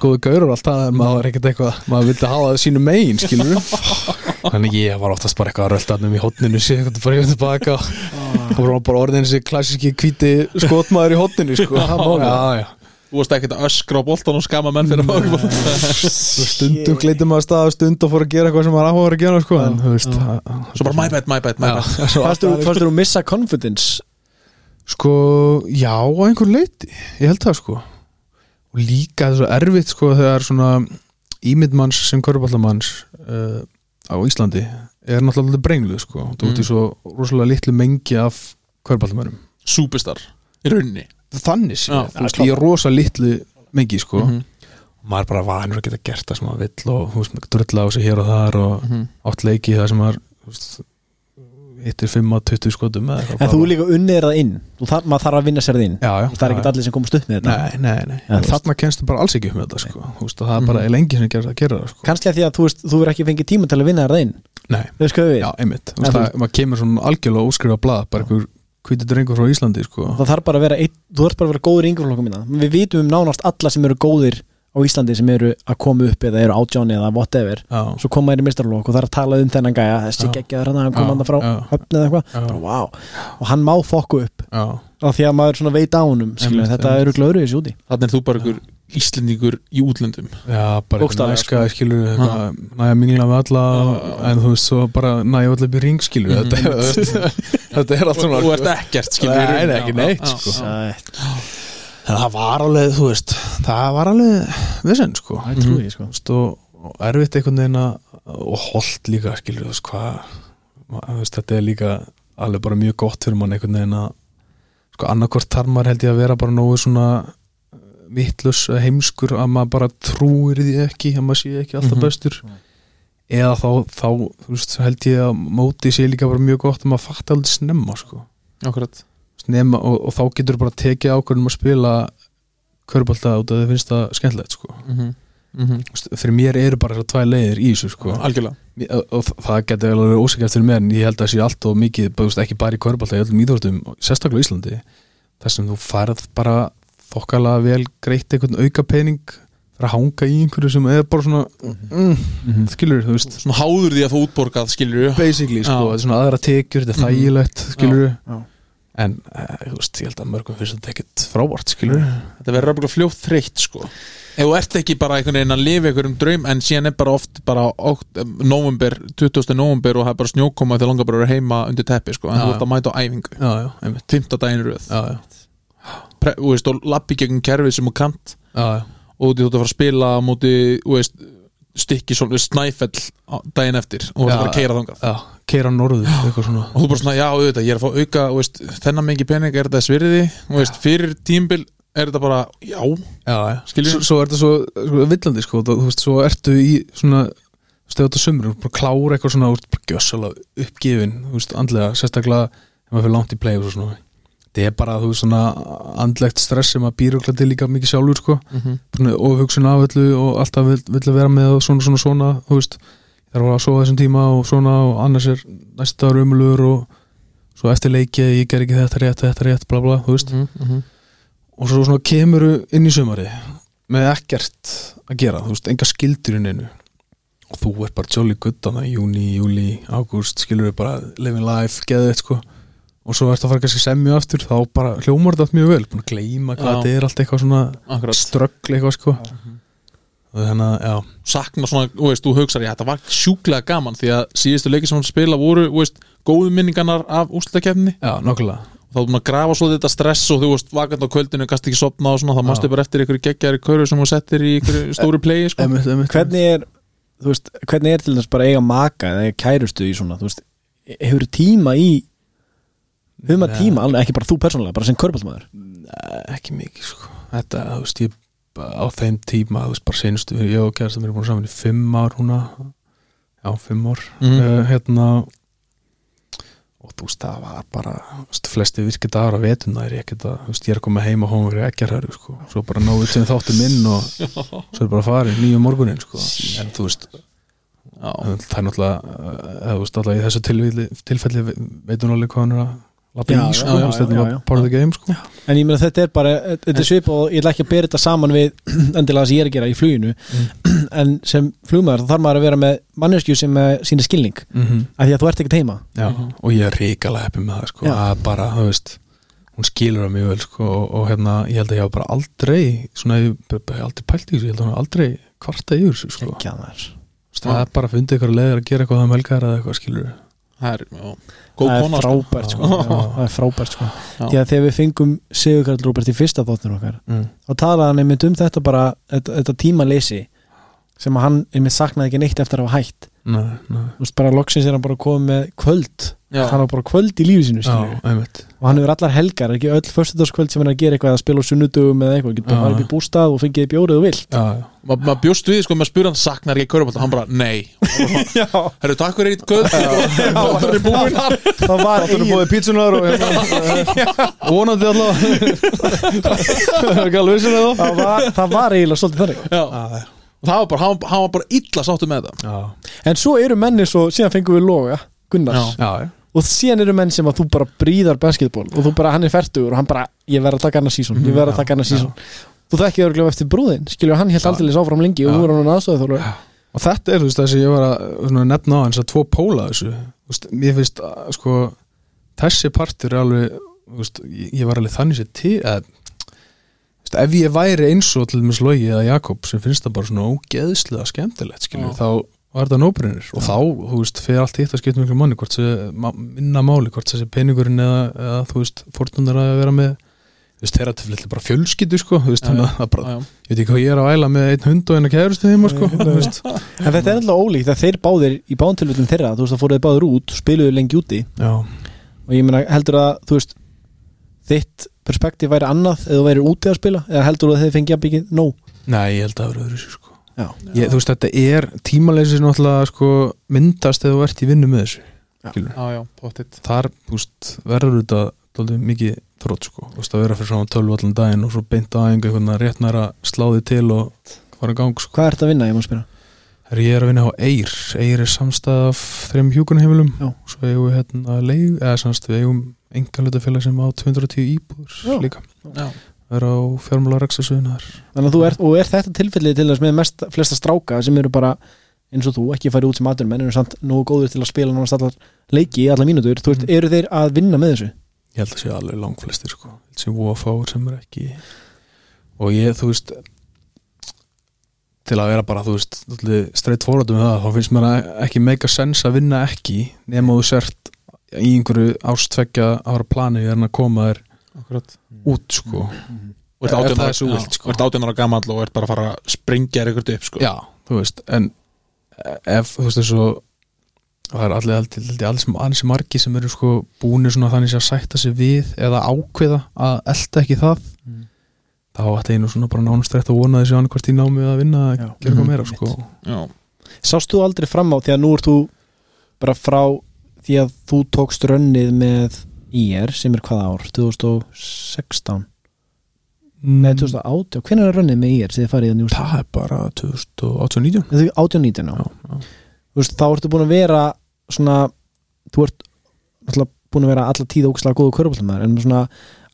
góði gaurur alltaf, en maður er ekkert eitthvað maður vildi hafa það sínu megin, skilur þannig að ég var oftast bara eitthvað að rölda hann um í hotninu, sé eitthvað bara yfir tilbaka og það var bara orðin þessi klassíski hvíti skotmaður í hotninu, sko það má, já, já
Þú varst ekkert að öskra á boltan og skama menn fyrir að
Þú veist, stundum gleitum maður af stað og stund og fór að gera eitthvað sem maður áhugaður að gera sko, en þú veist það-
Svo bara my bad, my bad, my bad
Já, svo
fannst þú
alltaf-
fannst þú missa confidence
sko, já, á einhver leiti ég held það sko og líka það er svo erfitt sko þegar svona ímyndmanns sem köruballamanns uh, á Íslandi er náttúrulega alltaf brengluð sko þú ert í svo rosalega litlu mengi af köruballamannum
Superstar, í rauninni
þannig sé,
Já,
þú veist, ég er rosa litlu mengi sko maður er bara vanur að geta gert það sem maður vill og þú veist, drulla á sig hér og þar og átt leiki það sem maður þú veist, hittir 5 að 20 skotum eða eitthvað.
en þú líka unnið það inn Þú þarf- maður þarf að vinna sér það inn
já, já,
það er ekkert allir sem komast upp með þetta
Nei, nei, nei,
En
hérna? en þarna kennstu bara alls ekki upp með þetta sko. Þú veist, og það er bara lengi sem gerst að gera það sko.
kannski að því að þú veist, þú verður ekki fengið tíma til að vinna það inn
Nei,
við skoðum við
já, einmitt Þú
En
veist,
þú-
það, maður kemur svona algjörlega óskrifa blað bara einhver hvítið drengur frá Íslandi sko.
það þarf bara að vera eitt, þú þarf bara að vera góður í yngurflokkum minna við vitum um nánast alla sem eru góðir á Íslandi sem eru að koma upp eða eru átjáni eða whatever
Já,
svo koma þér í mistarlokk og það er að tala um þennan gæja þessi
Já.
geggjaður hann, hann kom
Já,
hann frá
já.
höfn eða eitthvað,
Já.
bara wow og hann má fokku upp
já,
af því að maður svona veit á honum skilur,
Einmitt,
þetta
einmitt.
eru glöður í þessu úti
Þannig er þú bara ykkur Íslendingur í útlöndum
já, bara
Bókstaflega,
næska skilur, eitthvað, næja mingla með alla en þú veist, svo bara næja allir byrjir ring skilur, þetta er þú veist, þetta er allt svona sko.
Þú Mhm. ert ekkert, skilur í
Nei,
rauninni.
nei, ekki neitt
Já, já,
sko.
já.
það
En það var alveg, þú veist það var alveg vissinn sko.
er trúið sko
Þú veist, og, og erfitt einhvern veginn að og holdt líka, skilur þú veist hvað ma- þú veist, þetta er líka alveg bara mjög gott fyrir mann einhvern veginn að sko annarkvort þarf maður held ég að vera bara nógu svona vittlus heimskur að maður bara trúir því ekki að maður sé ekki alltaf bestur eða þá, þá þú veist, held ég að móti sé líka bara mjög gott að maður fatta aldrei snemma sko
Akkurat
nema, og, og þá um getur bara tekið ákvörðum að spila körbólta út að þið finnst það skemmtilegt sko
Mhm.
Þú veist, fyrir mér eru bara þessar tvær leiðir í þessu sko.
algjörlega
Mér- og- og það getur alveg verið ósækjast fyrir mér en ég held að það sé allt og mikið bara, þú veist, ekki bara í körbálta, í öllum íþórtum sérstaklega á Íslandi, þar sem þú færð bara þokkalega vel greitt einhvern auka pening fyrir að hanga í einhverju sem er bara svona mm, skilur, þú veist,
svona háður því að fá útborgað skilur
basically
Já.
sko, þetta er svona aðra tekjur, þetta er þægilegt skilur,
Já, já.
en eh, þú veist, ég held að mörgum finnst þetta ekkert frábært skilur,
þetta verður röfnilega fljótt þreytt sko ef þú ert ekki bara einhvern veginn að lifa einhverjum draum en síðan er bara oft bara okt, november, 20. november og það er bara snjókoma þegar langar bara að vera heima undir teppi sko en
Já,
þú
já.
ert að mæta á æfingu,
já, já, einmitt
5. daginn í röð
já, já,
Pre- þú veist, og lappi gegn kerfið sem þú kant
já, já,
og þú ert að fara að spila á móti, þú veist, stikki svona snæfell á- daginn eftir og þú ert
Já,
að fara að keira þangað
já keira norður, eitthvað svona
og þú bara svona, já, auðvitað, ég er að fá auka þú veist, þennan mikið pening, er þetta svirði þú veist, fyrir tímbil er þetta bara já,
já, já.
Skilurðu?
S- svo er þetta svo, svo villandi sko, þú þú veist, svo ertu í svona stöðu þetta sömur, þú ert bara að klára eitthvað svona þú ert bara gjössalega uppgefin þú veist, andlega, sérstaklega ef maður fyrir langt í play og svo svona þetta er bara, þú veist, svona andlegt stress sem að býra okkur til líka mikið sjálfur sko svona ofhugsun af öllu og alltaf vill, vill að vera með og svona, svona, svona þú veist, ég þarf að fara að sofa þessum tíma og svona og annars er næsta dagur umlur og svo eftir leiki ég ger ekki þetta rétt, þetta rétt, bla bla, þú veist og svo svona kemur inn í sömari með ekkert að gera þú veist, enga skildur inn einu og þú er bara jolly good hana júni, júli, ágúst, skilur við bara living life, geðu eitt sko og svo ertu að fara kannski að semja aftur þá bara hljómar þetta allt mjög vel, búin að gleyma hvað
Já.
þetta er allt eitthvað svona
akkurat
ströggl eitthvað sko og þannig að, já,
sakna svona, þú veist, þú hugsar ég, þetta var sjúklega gaman því að síðustu leiki sem hann spila voru, þú veist, góðu minningarnar af úrslutakefni
já, nokkulega
og þá er búin að grafa svo þetta stress og þú veist, vakant á kvöldinu, gast ekki sopna og svona þá mástu bara eftir ykkur geggjari körur sem þú settir í ykkur stóru playi, sko
einmitt, einmitt.
Hvernig er, þú veist, hvernig er til þess bara að eiga maka eða eiga kærustu í svona, þú veist hefur tíma í hefur maður
Nei.
tíma, alveg, ekki bara þú persónulega, bara sem körbáltmaður
ekki mikið sko þetta, þú veist, ég bara á þeim tíma þú veist, bara senstu, ég og kærast að mér er búin saman í fimm ár húna já, fimm ár,
Mhm.
uh, hérna og þú veist, það var bara þú veist, flesti virkið dagar að vetuna er ég ekkert að, þú veist, ég er að koma heim og hóma fyrir ekkjarhæru, sko, svo bara náðu til þáttum inn og svo er bara farin nýju morgunin, sko, en þú veist
Já.
það er náttúrulega eh, eða, þú veist, alltaf í þessu tilfelli, tilfelli veitum alveg hvað hann er að lappa
Já,
í,
já,
sko, þú veist,
já,
þetta
já,
var
já.
part of the game, sko
En ég meina þetta er bara, eh, þetta er svip og ég ætla ekki að bera þetta saman við endilega það sem ég er að gera í fluginu en sem flugmaður þá þarf maður að vera með manneskju sem eh, sýnir skilning
mm -hmm.
af því að þú ert ekkert heima
Já, og ég er ríkalega heppið með það sko,
Já.
að bara, þú veist hún skilur það mjög vel sko, og, og hérna, ég held að ég hafa bara aldrei svona, ég bara- bara aldrei pælt í þessu, ég held að hún hafi aldrei kvarta yfir þessu sko,
Ekki að maður
Þú veist, það er bara að funda ykkur leiðir að gera eitthvað það melgar eða eitthvað skilur
það er, já, góð
Það er
kona, sko
frábært sko Já, Það er frábært sko
Já.
Því að þegar við fengum Sigurkarl Róbert í fyrsta þóttin okkar
mm.
þá talaði hann einmitt um þetta bara þetta, þetta tímaleysi sem að hann einmitt saknaði ekki neitt eftir að hafa hætt
Nei, nei,
Þú veist bara loksins er hann bara komið með kvöld
Já.
hann var bara kvöld í lífi sínu
já,
skilur
einmitt
og hann hefur allar helgar, ekki öll föstudagskvöld sem hann er að gera eitthvað að spila á sunnudugum eða eitthvað, getur
Já.
bara farið upp í bústað og fengið bjórið og vilt
Já, já,
Ma- maður bjóst við, sko, maður spyr hann saknar ekki körubalt og hann bara, nei,
Já,
herru, takk fyrir eitt göð þáttur er búin
það var
Þú
eigin
búið pítsunar og vonandi allavega ekki alveg um vissum við
það var, það var eiginlega svolítið þannig
Já. og það var bara, hann, hann var bara illa sáttu með það
Já,
en svo eru menni svo, síðan fengum við loga Gunnars,
já, já
og síðan eru menn sem að þú bara bríðar basketball og þú bara, hann er færtugur og hann bara, ég verð að taka annað sísón ég verð að taka annað sísón þú þekkið örglega eftir brúðin, skilju, hann hélt aldrei áfram lengi og
Mhm.
þú
Já.
er hann aðstöðið þólu
og þetta er þú veist það sem ég var að svona, nefna á hans að tvo póla af þessu Þú veist, mér finnst að sko þessi partur er alveg þú veist, ég ég var alveg þannig sér til að þú veist, ef ég væri eins og til mis logi eða Jakob sem finnst það bara svona ógeðslega skemmtilegt skilur, þá var þetta nóbrinir og þá, þú veist, fer allt hitt að skipta miklu manni hvort sem ma- minna máli, hvort þessi peningurinn eða, eða þú veist, fórtunar að vera með þú veist, þeirra til fyrir bara fjölskyldu sko, þú veist, þannig að það bara
Já, já.
ég veit ekki hvað ég er að æla með einn hund og eina kærustu heima sko, þú veist
en þetta er alltaf ólíkt að þeir báðir í bántilvöldum þeirra, þú veist, það fóruðu báðir út spiluðu lengi úti
já,
og ég meina, heldur að, þú veist þitt perspektíf væri annað eða þú væri úti að spila, eða heldur að þeir fengið að byggja nóg
nei, ég held að það eru öðru sko.
Já.
ég, þú veist, þetta er tímaleysi sem náttúrulega sko, myndast eða þú ert í vinnu með þessu skilur.
já, já, pottitt
þar, þú veist, verður þetta dálítið mikið þrótt, sko, þú veist, að vera fyrir svona tölvu allan daginn og svo beint aðeins einhvern veginn rétt næra sláði til og bara gang sko.
Hvað ert að vinna, ég má spyrja?
Herru, Ég er að vinna á Eir Eir er samstæð af þreim hjúkunarheimilum
Já.
Svo eigum við hérna leig eða samst við eigum engalutafélag sem á 210
Já.
íbúður líka
Já.
Það er á fjármálaraksasunnar
Þannig að þú ert, og er þetta tilfellið til þess með mest flesta stráka sem eru bara eins og þú, ekki farið út sem aðurum en eru samt nógu góður til að spila nánast allar leiki í allar mínútur, þú veist,
Mm.
eru þeir að vinna með þessu?
Ég held að sé alveg langflestir sko Ég held að sé voða fáir sem er ekki Og ég, þú veist Til að vera bara, þú veist Streitt fóratum með um það Þá finnst mér að ekki meika sens að vinna ekki Nefn að þú sért í einhverju ástvekja ára plani Er hann að koma þér
Akkurat
út sko
Og ert
Ef
18
það
ára-
er svo
já,
vilt, sko.
og ert 18 ára gamall og ert bara að fara að springja þér ykkur upp sko.
Já, þú veist En eh, ef, þú veist, þessu Það er allir, allir, allir, allir, allir margi sem eru sko búinir svona þannig að sætta sig við eða ákveða að elta ekki það þá ætti einu svona bara nánast rétt að vona þessu annað hvort í námi að vinna að
Já.
gera
Mhm,
eitthvað meira sko.
Já.
Sást þú aldrei fram á því að nú ert þú bara frá því að þú tókst rönnið með IR sem er hvaða ár, 2016
Mm.
Nei, 2018, hvernig er rönnið með IR sem þið farið í þannig úr?
það er bara 2018-19
Þetta er 18-19 á
Já, já.
Þú veist, þá ertu búin að vera svona, þú ert náttúrulega búin að vera alla tíð ógislega góðu körubóltamæður en svona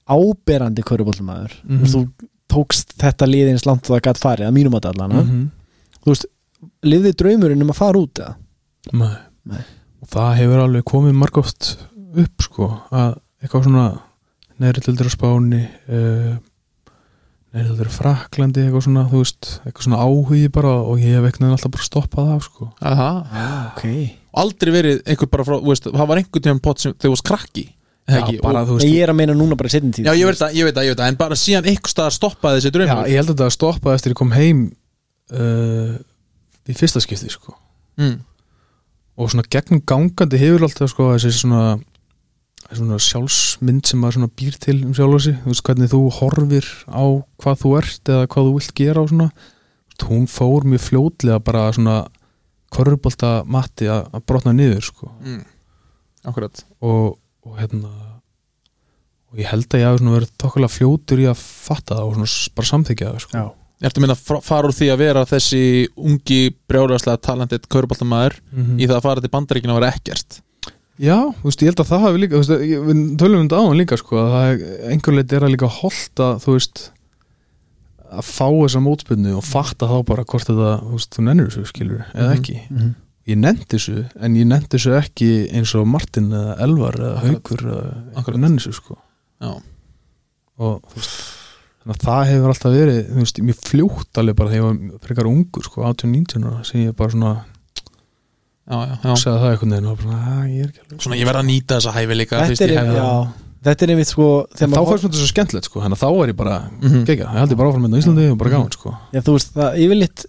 áberandi körubóltamæður
Mhm.
mm -hmm. þú tókst þetta lið eins langt og það gætt farið, að mínum að allana
Mhm.
mm -hmm. lifði draumurinn um að fara út eða?
Nei.
Nei.
og það hefur alveg komið margóft upp sko að eitthvað svona neðrildur á Spáni uh, neðrildur á Fraklandi eitthvað svona, þú veist, eitthvað svona áhugi bara og ég hef einhvern veginn alltaf bara stoppað af sko
Aha.
ok
Aldrei verið einhver bara frá þú veist, Það var einhvern tímann pott sem þegar þú varst krakki eða ekki?
bara,
Og-
þú veist,
ég er að meina núna bara setjum tíð
Já, ég veit það, ég veit það, ég veit það En bara síðan einhver staðar stoppaði þessi
já,
draumur
ég held að það stoppaði eftir ég kom heim uh, í fyrsta skipti sko
mm.
og svona gegnum gangandi hefur alltaf sko, þessi svona, þessi svona sjálfsmynd sem maður svona býr til um sjálfa sig þú veist hvernig þú horfir á hvað þú ert eða hvað þú vilt gera og svona Þú veist, hún fór mjög fljótlega bara svona korfubolta matti að að brotna niður sko
Mm. Akkurat
og, og hérna og ég held að ég hafi svona verið tokkulega fljótur í að fatta það og svona s- bara samþykja það sko
Já.
Ertu minna að fara úr því að vera þessi ungi brjálagslega talented kauruboltamæður
Mhm.
í það að fara til bandaríkina og vera ekkert
Já, þú veist, ég held að það hafi líka þú veist, ég- við tölum um þetta áðan líka sko, að það er einhverlega er að líka holdt að þú veist að fá þessa mótspyrnu og fatta þá bara hvort þetta, þú veist, þú nennir þessu skilur eða
Mhm.
ekki,
mm -hmm.
ég nennt þessu en ég nennt þessu ekki eins og Martin eða Elvar eða Haukur eða
Akkurat.
nenni þessu sko
Já,
og þú veist, þannig að það hefur alltaf verið, þú veist, mér fljótt alveg bara þegar ég var frekar ungur sko 18-19 ára, sem ég bara svona
já, já, já.
sagði það einhvern veginn og bara, að ég er ekki alveg
Svona ég verð að nýta þessa hæfileika
þetta, er,
hefði
já, þetta er einmitt sko
En þá
maður
fannst mér þetta svo skemmtilegt sko, þannig að þá er ég bara
Mhm.
gegja, ég held ég bara áfram með Íslandi og bara gaman sko
Já, þú veist, það yfirleitt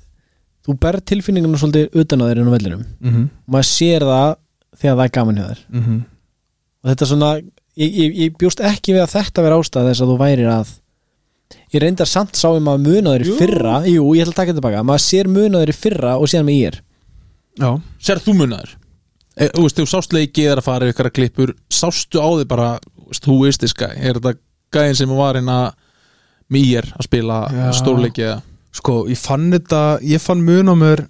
þú berð tilfinninguna svolítið utan að þeir inn á vellinum
mm -hmm.
maður sér það þegar það er gaman hjá þér
Mm -hmm.
og þetta er svona, ég, ég, ég bjóst ekki við að þetta vera ástæð þess að þú værir að ég reyndar samt sá um að muna þeir í
Jú.
fyrra, jú, ég ætla að taka þetta baka maður sér muna þeir í fyrra og síðan með ír
Já,
Sér þú munaður? E, þú veist, þú sást leikið er að fara ykkar klippur Sástu á þig bara, þú veist, who is this guy? Er þetta gæðin sem var hérna inn að Mýjar að spila
Já.
stórleikið eða-
sko, ég fann þetta ég fann mun á mér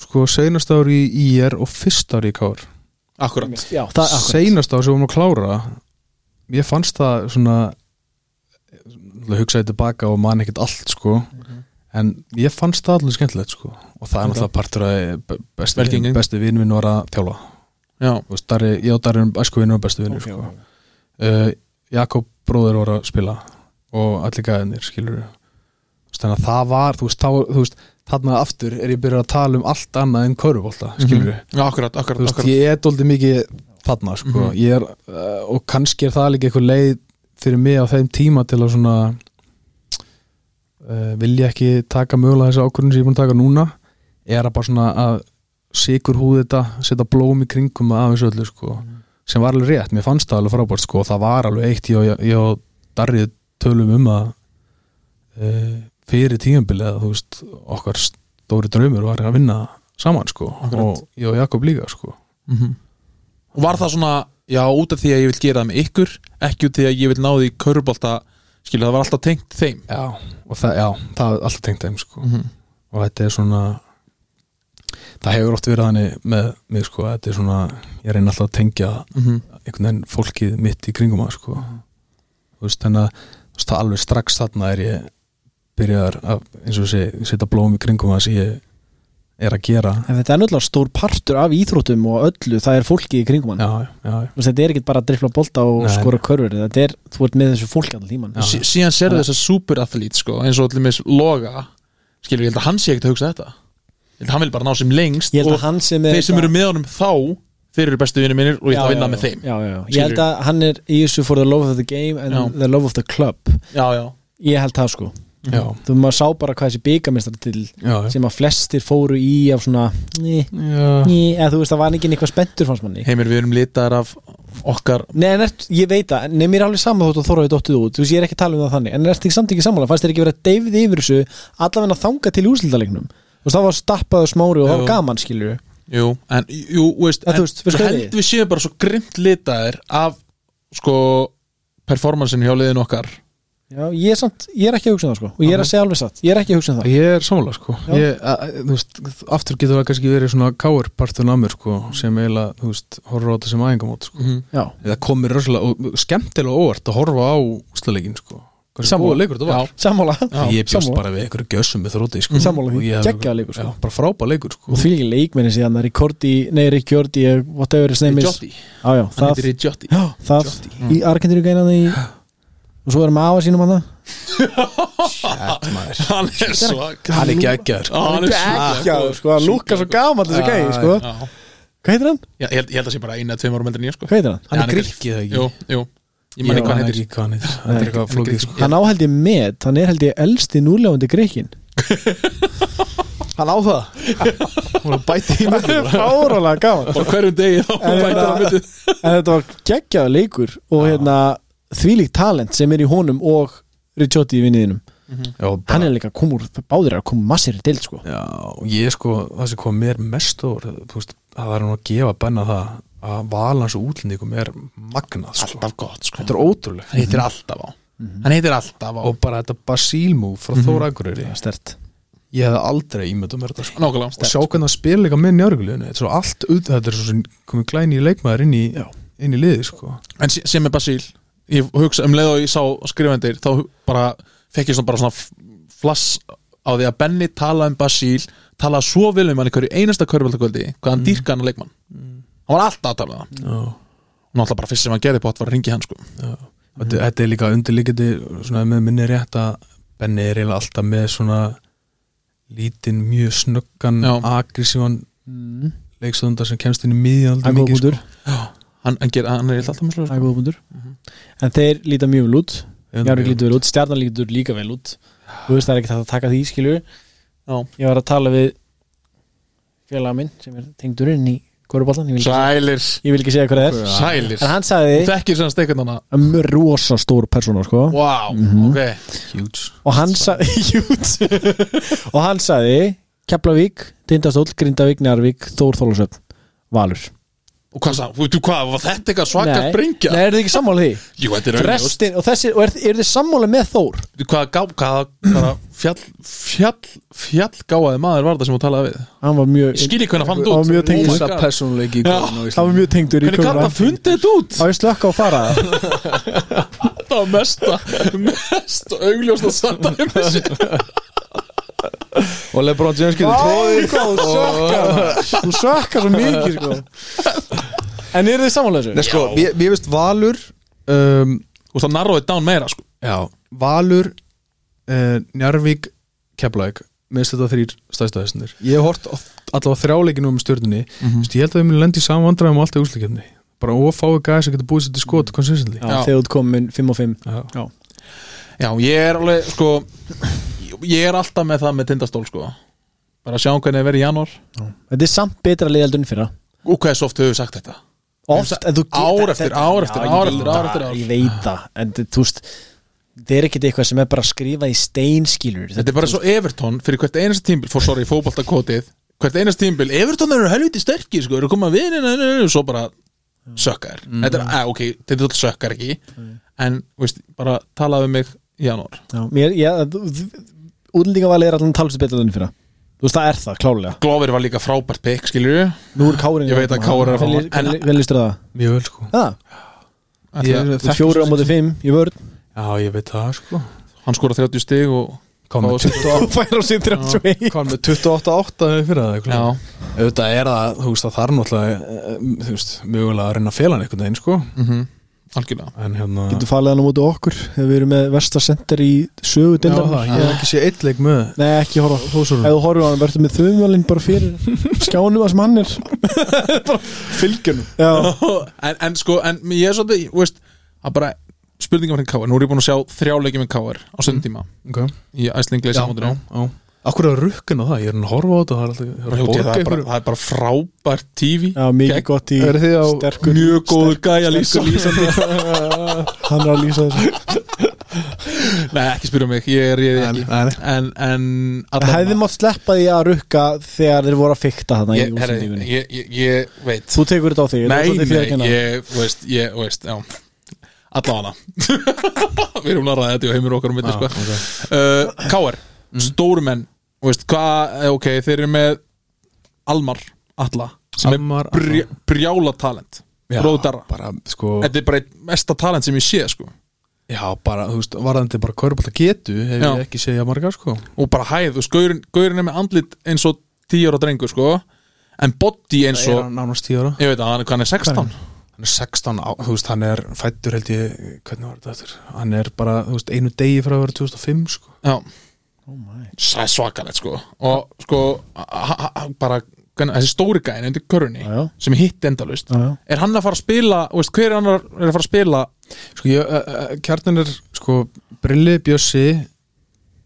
sko, seinast ári í IR og fyrst ári í KR
Akkurat
já, það er akkurat
seinast ári sem við vorum að klára ég fannst það svona náttúrulega hugsaði tilbaka og man ekkert allt sko en ég fannst það allir skemmtilegt sko og það er
Ok.
náttúrulega partur að besti,
Velgengni.
besti vinvinn var að þjálfa
Já,
Þú veist, Darri, ég og Darri erum æsku vinnur og bestu vinnur
Ok,
sko. uh, Jakob bróður voru að spila og allir gæðinir skilur þannig að það var þú veist, þá, þú veist, þarna aftur er ég byrjað að tala um allt annað en körubólta
Mhm.
skilur
já akkurat, akkurat,
þú veist,
akkurat.
ég er doldið mikið þarna sko.
Mhm.
ég er, uh, og kannski er það líka eitthvað leið fyrir mig á þeim tíma til að svona uh, vilja ekki taka mögulega þessi ákvörðin sem ég er búin að taka núna er að bara svona að sigur húð þetta, setja blóm í kringum af þessu öllu sko sem var alveg rétt, mér fannst það alveg frábært sko og það var alveg eitt, ég og- ég og Darrið tölum um að e, fyrir tímabilið að þú veist, okkar stóri draumur var að vinna saman sko
Akkurat.
og ég og Jakob líka sko
Mhm. Og var það svona, já, út af því að ég vil gera það með ykkur Ekki út af því að ég vil ná því körubólta Skilja, það var alltaf tengt þeim
já. og það, já, það er alltaf tengt þeim sko
Mhm.
og þetta er svona það hefur oft verið þannig með mig sko, að þetta er svona ég reyna alltaf að tengja
mm
mhm.
einhvern veginn fólkið mitt í kringum að sko þú veist þannig að þú veist, það alveg strax þarna er ég byrjaðar að eins og sé, setja blóm í kringum að sem ég er að gera
En þetta er náttúrulega stór partur af íþróttum og öllu, það er fólki í kringum hann
já, já, já,
Þú veist, Þetta er ekkert bara að drifla bolta og
Nei.
skora körfur Þetta er, þú ert með þessu fólki allan tíman
Já.
sí, síðan sérðu þess að superathlít sko, eins og allir með loga skilur, ég held að hann sé ekkert að hugsa þetta ég held að hann vil bara ná sem lengst
Ég held
og
að hann sem er
þeir sem eru með honum þá þeir eru bestu vinni mínir og ég ætla að vinna með þeim
já, já, já. Ég
Skilurðu?
held að hann er í þessu for the love of the game and
Já.
the love of the club
já, já,
Ég held það sko
já,
Þú maður sá bara hvað þessi byggamistrar til
já,
sem að flestir fóru í af svona ný,
já.
ný, eða þú veist það var ekki eitthvað spenntur fannst manni
heimir við erum litaðar af okkar
Nei, en ert, ég veit það, en mér er alveg saman þótt að þóra við dóttið út, þú veist, ég er ekki að tala um það þannig en ert ekki samt ekki sammála, fannst þér ekki verið að deyfið yfir þessu allavega að þanga til úrslitalegnum og það var stappaðu smári og það var
Jú.
gaman, skilur
jú, en, jú, veist,
Ja,
en
þú veist, við
ég
skoðum
held við séum bara svo grimt litaðir af sko performancein hjá liðin okkar
Já, ég er samt, ég er ekki að hugsa um það, sko og ég er að segja alveg satt, ég er ekki að hugsa um það
ég er sammála sko
Já.
ég, að, að- þú veist, aftur getur það kannski verið svona káur partun af mér sko sem eiginlega, þú veist, horfður á þetta sem æfingamót sko.
Já,
það komir rosalega, og skemmtilega óvart að horfa á úsleikin sko hversu
Sammála.
góður leikur þetta var
já,
sammála
ég bjóst
sammála.
bara við einhverju gjössum með þróti sko.
Sammála því.
Og ég hef-
Geggjaður leikur, sko.
já, bara frábæð leikur sko.
og því ekki leikminni síðan, það er Ricordi, nei, Ricordi whatever his name is
Jotti,
Já, já,
hann
það,
heitir Jotti
já, það í Argentínu gænaði í og svo erum við afa sínum hann
Þetta maður.
hann er svag
hann er geggjar
Já, hann er svag
sko, hann lúkar svo gaman þessi gæi, sko
Já.
Hvað heitir hann?
Já, ég, held, ég held að sé bara eina eða tveim árum eldri en ég sko
Hvað heitir hann?
hann
Já,
er grikki það
Jú,
ekki
jú, ég man ekki
Ég
hvað hann
man
heitir
ekki hvað hann heitir þetta er eitthvað
hann er
flókið
grikki.
sko.
hann á held ég met, hann er held ég elsti núlefandi greikin
hann á það hún er bætið í mig
fárálega gaman
Bara hverjum degi þá
En
bætir
hérna-
hann myndið
en þetta var geggjaða leikur og hérna þvílíkt talent sem er í honum og Ricciotti í vinniðinum hann er líka að koma úr, báðir er að koma massir í deild sko
já, og ég sko það sem kom mér mest og það er nú að gefa benna það að valans og útlendingum er magnað sko.
Alltaf gott sko
þetta er ótrúlegt
Hann heitir alltaf á Hann heitir alltaf á
og bara þetta basílmú frá Þóra Akureyri
það er stert
ég hefði aldrei ímyndað mér þetta sko. og
Nákvæmlega
sjá hvernig það spila líka með njárguleginu þetta er svo allt auð, þetta er svo sem komið glæni í leikmaður inn í, inn í liði sko.
En sé- sem er Basíl Ég hugsa um leið og ég sá skrifendir Þá hu- bara fekk ég svona bara svona f- flass á því að Benni tala um Basíl Tala svo vel um hann í hverju einasta körfaldakvöldi
Mm.
Hvað hann dýrka hann að leikmann Hann var alltaf að tala um það Og náttúrulega bara fyrst sem hann gerði bótt var að ringi hann sko
þetta, þetta er líka undirlíkandi svona, með minni rétt að Benni er eiginlega alltaf með svona lítinn, mjög snöggan
Já.
agressívan
mm.
leikstöndar sem kemst inn í miðjan sko.
hann er sko. góð búndur,
Hann, hann, ger, hann er alltaf með slöður
hann er góð búndur en þeir líta Mhm. mjög vel út Járik
sko.
lítur vel út, Stjarnan lítur líka vel út Þú veist það er ekkert hægt að taka því skilju
Já.
Ég var að tala við félaga minn sem er tengdurinn í Koruballan ég, vil ekki-
Sælir
ég vil ekki segja hvað það er
Sælir
En hann sagði
Þekkir sem stekkinn hann
um rosa stór persóna sko
Vá, ok
Huge.
og hann sagði Jút. og hann sagði Keflavík, Tindastóll, Grindavík, Njarvík Þór Þólasöfn, Valur
Og hvað sá, veitu hvað, var þetta eitthvað svaka
Nei.
springja?
Nei, eru þið ekki sammála því?
Jú, þetta er auðvitað
Restin, og þessi, og er, er þið sammála með Þór?
Hvað gá, hvað, bara fjall, fjall, fjallgáaði maður var það sem hún talaði við
Hann var mjög
Ég skil ekki hvernig hann fann þetta
Hann
út Oh
var mjög tengdur.
my god.
persónuleiki
Já.
Hann var mjög tengdur í
Hvernig kann
Kóruballan
það fundið þetta út?
Á ég slökka og fara það?
Það var mesta, mesta augljósta sandæmi sér
og Lebron James getur
Góð, sökkar Þú sökkar svo mikið sko En eru þið samanlega
Nei,
þessu?
sko, mér mér finnst Valur um,
Og það narróið dán meira, sko
Já, Valur uh, Njarvík, Keflæk minnst þetta þrýr stæðstæðisnir ég hef hort allavega þrjáleikinu um stjörnunni mm -hmm. ég held að við munum lendi saman vandræðum alltaf úsleikefni bara ófáið gæði sem getur búið sér til skot konsistently
Já, þegar þú komin 5 og 5
Já.
Já.
Já, ég er alveg, sko Ég er alltaf með það með tindastól, sko Bara að sjá hvernig það verið í janúar
Þetta er samt betra liðeld unn fyrra
Og hvað er svo oft höfum við sagt þetta?
Oft, en þú
Ár eftir,
þetta-
ár eftir,
Já,
ár
ég
eftir,
veit það,
ár eftir, ár.
Ég veit það, en þú- þú veist Það er ekkert eitthvað sem er bara skrifað í steinskilur
Þetta er bara svo Everton fyrir hvert einasta tímbil fór sorry, fótboltakotið hvert einasta tímbil, Everton eru helviti sterkir sko, eru koma við, neina, neina, neina, svo bara sökkar,
Mhm.
þetta er, að, ok, þetta er sökkar ekki, en veist, bara talaðu um mig í janúar
Já, mér, já, þú- þú- Útlendingavalið er allan talsið betra liðin fyrra þú veist það er það klálega
Glover var líka frábært pick, skilur við
Nú er Kárin
Ég veit að KR er að fá hann. En-
Vel listur það
mjög vel sko
Já,
Ég-
Ætli-
þú fjóru á móti fimm í vörð
Já, ég veit það sko
Hann skora 30 stig og
Kom með
og-
28
og fær á sér 31
Hvað með 28-8 fyrir það eitthvað?
Já,
Auðvitað er það, þú veist, það þarf náttúrulega, eh, þú veist, mögulega að reyna að fela hann einhvern veginn, sko.
mhm, algjörlega
En hérna...
Getur falið hann á móti okkur ef við erum með vestasenter í sögu
Já,
deildar
það, ég hef ekki séð eitt leik með
Nei, ekki horfa Ef
Þósurum.
þú horfum á hann, verður með þauðvalinn bara fyrir skjánum það sem hann er
Fylgjunum.
Já,
en, en sko, en ég er svolítið, þú veist að bara spurningum fyrir KR, nú er ég búin að sjá þrjáleikjum með KR á söndum tíma
Ok.
í æslingleisa mótinu
Mhm. já. Akkur er að rukkan á það, ég er að horfa á þetta, það er alltaf...
Bara hljótið, það, er bara- það er bara frábært TV
já mikið
Gegn-
gott í
Er þið á...
sterkur
mjög góður gæja lýsa
Hann er að lýsa þessu
Nei, ekki spyrja mig, ég er ég er ekki
Nei, nei.
En, en
Það hefði
allavega-
mátt sleppa því að rukka þegar þeir voru að fikta þarna í
ég, herri,
úsendingunni
ég, ég, ég veit
Þú tekur þetta á því
Nei, nei,
hérna.
ég veist, ég veist, já Allavega Við erum að ræða þetta og heimur okkar um mitt sko.
ok.
uh, K.R. Mm. Stórmenn þú veist, hvað, eh, ok, þeir eru með Almar, Alla sem
Almar
er brj brjála talent
Já,
Róðara
Bara, sko...
Þetta er bara eitt mesta talent sem ég sé sko.
Já, bara, þú veist, varðandi bara körbólta getu, hef
Já.
ég ekki segja marga, sko.
og bara hæð, þú veist, gaurin, gaurin er með andlit eins og 10 ára drengur sko. en body eins
Svo... Er
og
hann nánast 10 ára?
ég veit að hann er- hann er 16
hann er 16 á, þú veist, hann er fættur held ég, hvernig var þetta eftir hann er bara, þú veist, einu degi frá að vera 2005 sko.
Já,
Oh my.
það er svakalegt sko og sko ha- ha- ha- bara hvernig- þessi stóri gæðin undir körunni
Já, já.
sem er hitt endalust
Já, já.
er hann að fara að spila, þú veist, hver er hann að er að fara að spila
sko, ég, uh, kjarnin er sko, Brilli, Bjössi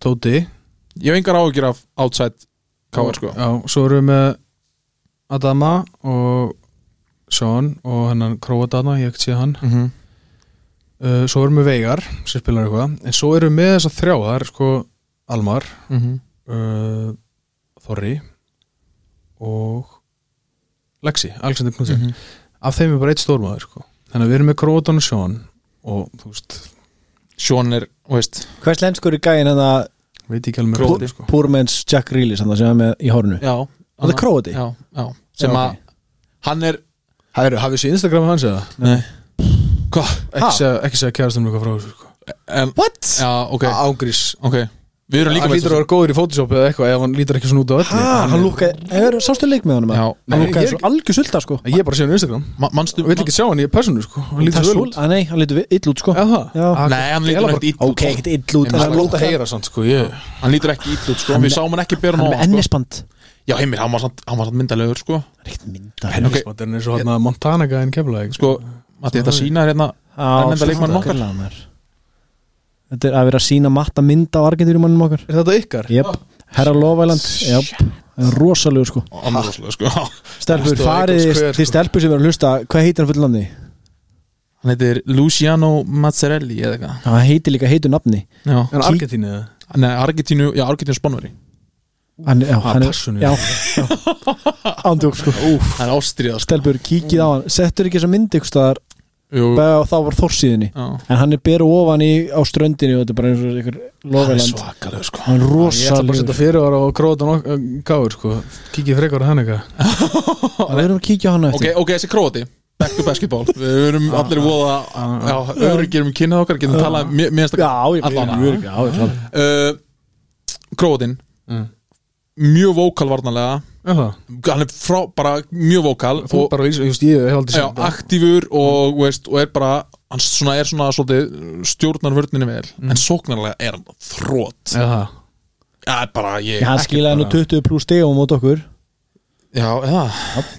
Tóti
ég hef engar áhyggjur af outside káar sko
já, svo erum við með Adama og Sean og hennan Króadana, ég hef ekki sé hann
mm -hmm.
uh, svo erum við Veigar, sem spilar eitthvað en svo erum við með þessa þrjá, það er sko Almar, uh, Þorri og Lexi, Alexander
Mhm.
Knudsen af þeim er bara eitt stórmaður sko. þannig að við erum með Króton og Sjón og þú veist,
Sjón er, þú veist
Hvers lenskur er hérna gæin hann að
veit ekki alveg með
Króati.
Króton sko.
Púrmenns Jack Reilly sem það sem er með í hórnu
já,
Hann er króati
já, já, sem
Já,
að
ok.
hann er
Hæru, hafið þessi Instagram hans eða?
nei, hvað,
Ekki segja, ekki segja kærastum eitthvað frá þessu sko.
en
What?
já, ok,
Ágrís
ok við erum líka
Hann lítur að vera góður í Photoshop eða eitthvað ef hann lítur ekki svona út á öllu
Ha, hann lúkaði, er, sástu leik með honum
Já.
eða?
Nei,
hann lúkaði
ég er
svo algjör sulta sko
Ég er bara að segja hann á Instagram
Ma- manstu,
Ég vil ekki sjá hann í personu sko Hann lítur
Það
svo
er
vel
svo-
út
Ah, nei, hann lítur við- ill út sko
Já það
Já.
Ah,
nei, hann lítur
eiginlega
ekki ill út
ok, ekkert ill út en
Ég man
bara-
hann
Hann lóta
lúkaði-
heyra sann sko ég
hann lítur ekki ill út sko við sáum hann ekki bera
hann er með
nóg sko.
ennisband
já, heimir, hann var samt- hann var samt myndalegur sko
Það er ekkert myndar
Henni okay. er eins og hann að Montana gæðin kemla
sko, Matti, þetta sína hérna
Á,
Erlenda leikmann okkar.
nákvæmlega, maður. Þetta er að vera að sína matta mynd á Argentínumannum okkar
Er þetta ykkar?
Jep, herra Lofæland Jep, rosalegu sko
Annaroslega, sko
Stelpur,
Stóð
farið
Eagles
þið-
Square,
þið
sko.
stelpur sem eru að hlusta Hvað heitir hann fullu nafni?
Hann heitir Luciano Mazzarelli eða eitthvað
Hann heitir líka heitu nafni
Já,
En Argentínu eða?
nei, Argentínu, já, Argentínu spánveri
Hann, já,
Ah,
hann er,
passunni.
já, já. Ándjók sko Úf.
Hann er sko. ástriðast
Stelpur, kíkið á hann Settur ekki þessa mynd ykkur staðar
Jú,
Bæði á þá var þórsíðinni
já
En hann er beru ofan í, á ströndinni og þetta er bara eins og ykkur lofæland
svakalega, sko
Hann er
Ég ætla bara að
rosalegu
setja fyrirvara á Króatan Gáur sko. Kikið frekar á hann eitthvað
Það verðum að kíkja á hann
Ok,
eftir
ok, þessi króti Back to basketball Við erum allir voða Já,
ah,
öryggir um kynnað okkar Getum talað, mér mér finnst
Já,
það
ég
Allan að-
verður ekki
Uh, Krótin
Mm.
Mjög vókal varnarlega
Er það?
Hann er frá, bara mjög vókal
Þú
og-
bara, vísa- just, ég hef aldrei
já,
séð þetta.
aktífur og, veist, og er bara hann svona, er svona svolítið stjórnar vörninni vel en sóknarlega er hann þrótt
Er það?
ja, bara ég
Já, hann skilaði nú 20 pluss stiga á mót okkur
já, ja.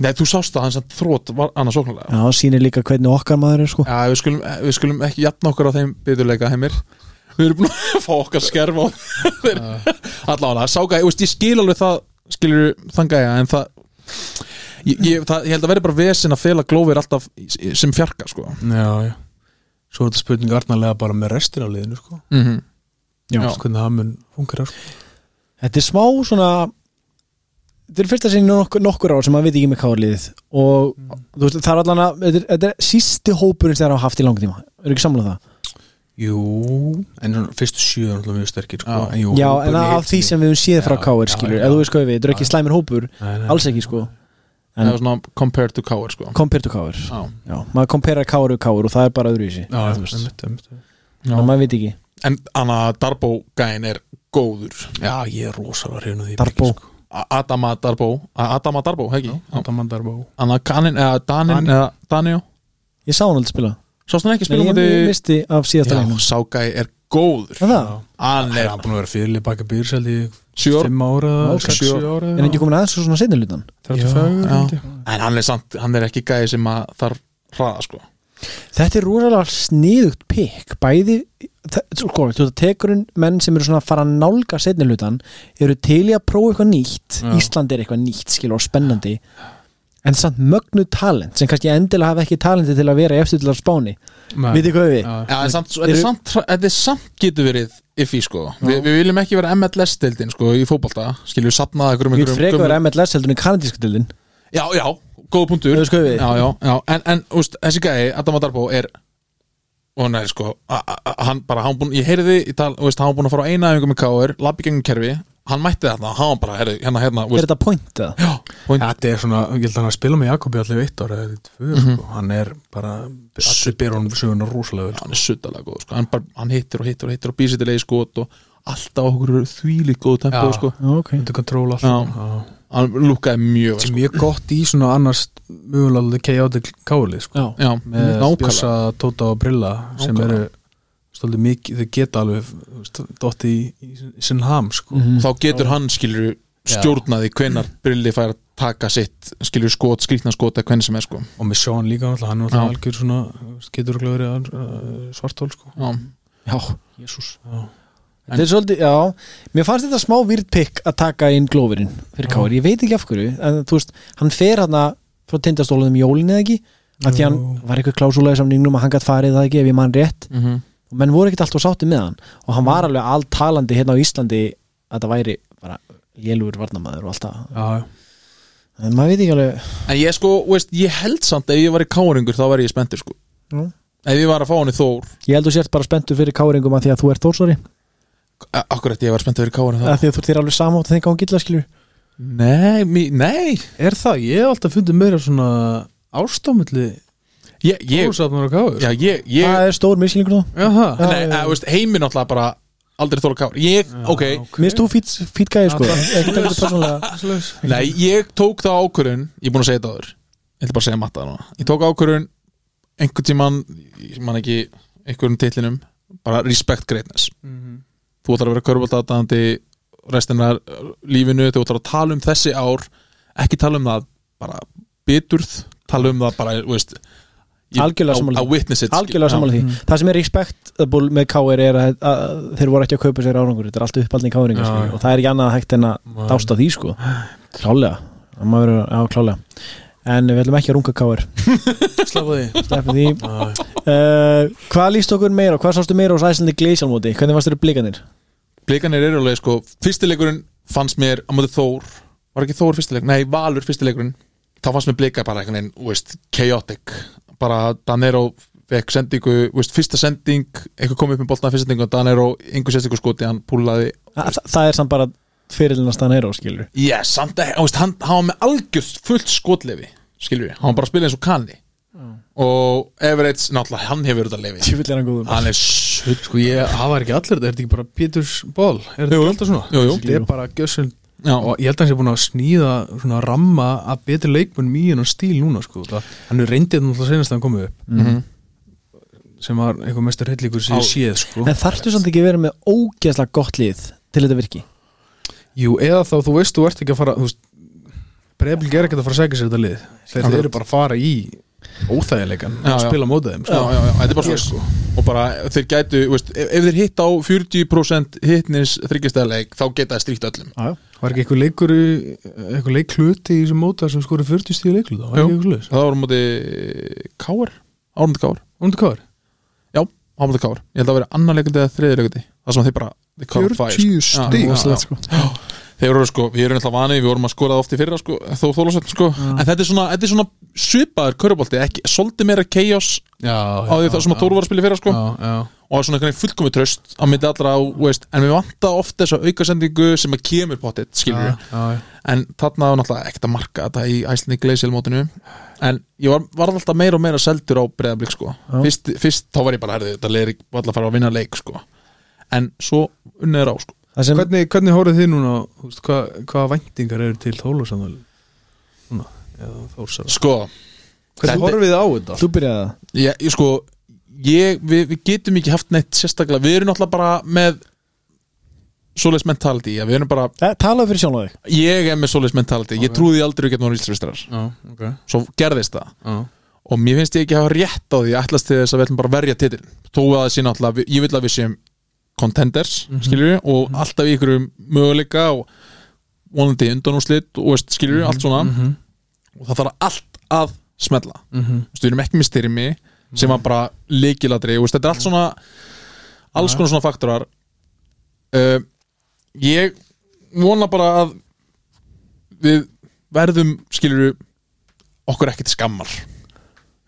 Nei, þú sást að hann sem þrótt var annars sóknarlega
Já, það sýnir líka hvernig okkar maður er sko
já, við skulum, við skulum ekki jafna okkur á þeim byggðuleika heimir við erum búin að fá okkar skerf á þeir allavega, sáka, ég, veist, ég skil alveg það skilur þangæja en það Ég, ég, það, ég held að verði bara vesinn að fela glófir alltaf í- sem fjarka sko.
Já, já Svo er þetta spurning arnarlega bara með restin af liðinu sko.
mm -hmm.
Já.
Þú veist, Hvernig það mun funkar sko.
Þetta er smá svona Þetta er fyrsta sinni nokkur, nokkur ár sem maður veit ekki með kárliðið og þú veist, um það er allan að þetta er, þetta er sísti hópurinn sem það er að hafa haft í langt tíma eru ekki samlega það?
Jú, en svona fyrstu sjö er náttúrulega mjög sterkir sko.
Já.
en jú,
Já,
hópurinn
en
í
af
heild
því
sinni-
sem við höfum séð frá
Já,
KR
já,
skilur,
já.
eða þú veist hvað við, þetta er ekki
Já.
slæmir hópur
Nei, nei.
alls ekki sko, En-
eða svona compared to káar sko
compare to KR
Já.
Já, maður kompera KR og KR og það er bara öðru í sig
Já,
þú veist,
einmitt, einmitt.
en maður veit ekki
en Anna Darbo gæin er góður
já, ég er rosalega hrifin af því
Darbo.
byggi, sko.
A- Adama Darbo A- Adama Darbo, hegi
Adaman Darbo
Anna Kanin, eða Danin,
Dan-
eða Danio
Ég sá hann aldrei spila
sástu hann ekki
Nei,
spila
ég, ég
um þetta
misti af síðasta leiknum
Ságæi er góður
Er það?
Já.
hann
Nei,
er
hann er búin að vera fyrirlið baka býrseld í
sjö ára
5 ára,
Já, ok.
6 ára
Er hann ekki komin aðeins og svona seinni hlutan?
Já,
35
já.
held ég.
en hann er, samt, hann er ekki gæi sem að þarf hraða sko
Þetta er rosalega sniðugt pikk bæði, þa- sko, þú veist, tekurinn menn sem eru svona að fara að nálga setni hlutan eru til í að prófa eitthvað nýtt
Já.
Ísland er eitthvað nýtt, skilur, og spennandi en samt mögnu talent sem kannski endilega hafa ekki talenti til að vera í eftir til að spáni,
Nei.
vitið hvað við
Já.
Já, en samt, þetta er
Eru-
samt, þetta er samt getur verið if í sko, Vi, við viljum ekki vera MLS-deildin sko í fótbolta, skiljum við sapnaða einhverjum,
Við
einhverjum-
frekar MLS heldur en kanadíska dildin
já, já, góð punktur
Þú veist hvað við?
já, já, já, en, en úst, þessi gæði, Adam Adarbo er og hann er sko a- a- a- hann bara, hann búin, ég heyrði í tal, þú veist, hann var búin að fara á eina æfingu með KR, labbi gegnum kerfi hann mætti þarna, hann var bara, heyrði, hérna, hérna þú
Er
veist,
þetta point eða?
point,
Þetta er svona, ég held að hann að spila með Jakobi allir eitt ára eða tvö,
Mhm.
sko, hann er bara allir byrja honum söguna rosalega vel sko.
hann er suttalega góð, sko, hann, bara, hann hittir og hittir og hittir og býsir til leið skot og alltaf okkur þvílík góð tempo,
Já.
sko
Ok
Þetta kontról allt
Já.
sko. Já.
hann lúkkaði mjög, vel, sko.
sem ég er gott í svona annars mögulega chaotic kálið sko.
Já,
sko já,
með
nákvæmlega
Bjössa, Tóta og Brilla sem
Nákvæmlega.
eru stoltið mikið, þau geta alveg þú veist, dotti í, í sinn ham sko.
Mhm.
þá getur hann skilur stjórnaði hvenar Brilli fær að taka sitt skilur skot, skrýtna skot eða hvernig sem er sko
og með Sean líka, náttúrulega, hann er náttúrulega
Já.
algjör svona, þú veist, getur örugglega verið uh, svartól sko.
já,
já, jésús
Já.
Þetta er svolítið, já, mér fannst þetta smá výrt pikk að taka inn glófurinn fyrir Kári, ég veit ekki af hverju, en þú veist hann fer hann frá tindastólaðum jólin eða ekki, að því hann
Jú.
var eitthvað klásúlega í samningnum að hann gætt farið það ekki ef ég mann rétt
mm -hmm.
og menn voru ekkert alltaf sátti með hann og hann var alveg alltalandi hérna á Íslandi að það væri bara lélugur varnamaður og alltaf,
Já, já.
en maður veit ekki alveg
en ég sko, veist, ég held samt ef ég var í káringur þá væri ég spenntur sko
Já.
ef ég var að fá hann í Þór
ég held þú sért bara spenntur fyrir Káringum að því að þú ert þórsari,
a- akkurat ég var spenntur fyrir káringur þá
að því að þú þér alveg samátt þegar hann gilla skilur
nei, mi, nei
Er það, ég hef alltaf fundið meira svona ástámiðli
ég, ég,
Þórsafnar og Káur
já, ég, ég
það er stór miskilningur þá
Já, það
nei, að, veist, heiminn alltaf bara aldrei þóra káringur ég, ok,
Mist þú fýtt fít gæði sko
Já,
Ekki takk þetta persónulega
Svoleiðis.
nei, ég tók það ákvörun ég er búin að segja þetta áður ég ætla bara að segja matta núna ég tók ákvörun einhvern tíman, ég man ekki einhverjum titlinum, bara respect greatness
Mhm.
þú ætlar að vera körbóltaðandi restina af lífinu, þú ætlar að tala um þessi ár ekki tala um það bara biturð, tala um það bara, þú veist ég-
Algjörlega
á-
sammála.
á witness it,
Algjörlega
skil-
sammála því Það sem er respectable með KR er að, að þeir voru ekki að kaupa sér árangur Þetta er allt uppaldning
Já,
KR-ingar
já.
og það er ekki annað hægt en að
Nei.
dásta því sko Klálega Það maður verið á klálega En við ætlum ekki að runga KR
Slappa því
Sleppu því uh, Hvað líst okkur meira? Hvað sástu meira hos æslandi gleisjálmóti? Hvernig varst þér blikanir?
blikanir eru alveg sko, fyrstileikurinn fannst mér á móti Þór, var ekki Þór fyrstileikurinn nei, Valur fyrstileikurinn þá fannst mér blika bara einhvern veginn, þú veist, chaotic bara Danero fekk sendingu, þú veist, fyrsta sending einhver kom upp með boltan fyrsta sendingu og Danero einhver sérstingu skoti, hann púlaði
Þa, það- það er samt bara fyrirlinna stann heyra skilur
yes, samt ekki, þú veist, hann, hann var með algjörst fullt skotlefi, skilur við hann var bara að spila eins og kanni og Everett, náttúrulega, hann hefur þetta lefi
Tjúfill er hann góður
hann er sutt
Sko ég, það var ekki allir þetta, er þetta ekki bara Péturs ból Er
Jú,
þetta ekki
jú.
alltaf svona?
Jú, jú.
Þetta er bara gjössin
já,
Og ég held að hann sé búin að sníða svona ramma að betri leikmenn mjög en stíl núna sko það, Hann er reyndið náttúrulega senast að hann komið upp
mhm.
sem var eitthvað mestur hellíkur
Á.
sem ég séð sko
En þarftu samt ekki að vera með ógeðslega gott lið til þetta virki
Jú, eða þá þú veist, þú ert ekki að fara þú veist, Breiðblik er ekkert að fara að segja sér þetta lið Þeir
Akkurat.
eru bara að fara í óþægileikan
Já,
og
já.
spila mótið þeim
já,
sko.
já, já, þetta er bara
Ég
svo og bara þeir gætu, þú veist, ef, ef þeir hitt á 40% hittnis þryggjastæðleik þá geta það stríkt öllum
Já, já
Var ekki eitthvað leikur í- eitthvað leikluti í þessum móta sem skorið 40 stíð leiklut þá? Var
Jú.
ekki eitthvað leis?
það voru á móti Káar, Ármundi Káar
Undir hvað var?
já, Ármundi Káar, ég held að vera annar leikundi eða þriði leikundi, það sem þeir bara they caught fire,
40
sko. Já, já,
stig.
já.
Rosalegt, sko.
þeir eru sko, við erum alltaf vanið við vorum að skora það oft í fyrra sko, þó þólasöfn sko en þetta er svona, þetta er svona svipaður körubolti, ekki, svolítið meira chaos
Já,
á því það sem að Þóru var að spila í fyrra sko
já, já.
og og er svona einhvern veginn fullkomi tröst á myndi allra á, þú veist, en við vanta ofta þessa aukasendingu sem að kemur potið, skilur við
já,
en þarna var náttúrulega ekkert að marka þetta í Æslandi Gleisjálmótinu en ég var, var alltaf meira og meira seldur á breyðablík sko, fyrst, fyrst þá var ég bara herðið, þetta leir alltaf að fara að vinna leik sko en svo unnið er á sko
Það sem,
Hvernig, hvernig hórið þið núna á, þú veist, hvað, hvaða væntingar eru til Þólusamvæl núna, eða Þórsara
sko,
Hvernig
Þetta-
horfið þið á þetta?
þú byrjaði það
ég, ég sko ég, við, við getum ekki haft neitt sérstaklega, við erum náttúrulega bara með svoleiðs mentality, að við erum bara
Eh, Talaðu fyrir sjálf á þig
ég er með svoleiðs mentality, ég
Ok.
trúði því aldrei við getum að vísristrar,
Já, ok
svo gerðist það
Já,
og mér finnst ég ekki hafa rétt á því að ætlast til þess að við ætlum bara að verja titil þó að það sé náttúrulega, ég vil að við séum contenders, mm við, og alltaf í ykkurum möguleika og vonandi undanúslit og veist, skilur allt svona, og það þarf allt að smetla,
mhm,
Þú veist, við erum ekki með styrmi sem var bara leikiladri veist, þetta er allt svona alls konar svona faktorar uh, ég vona bara að við verðum skilur okkur ekki til skammar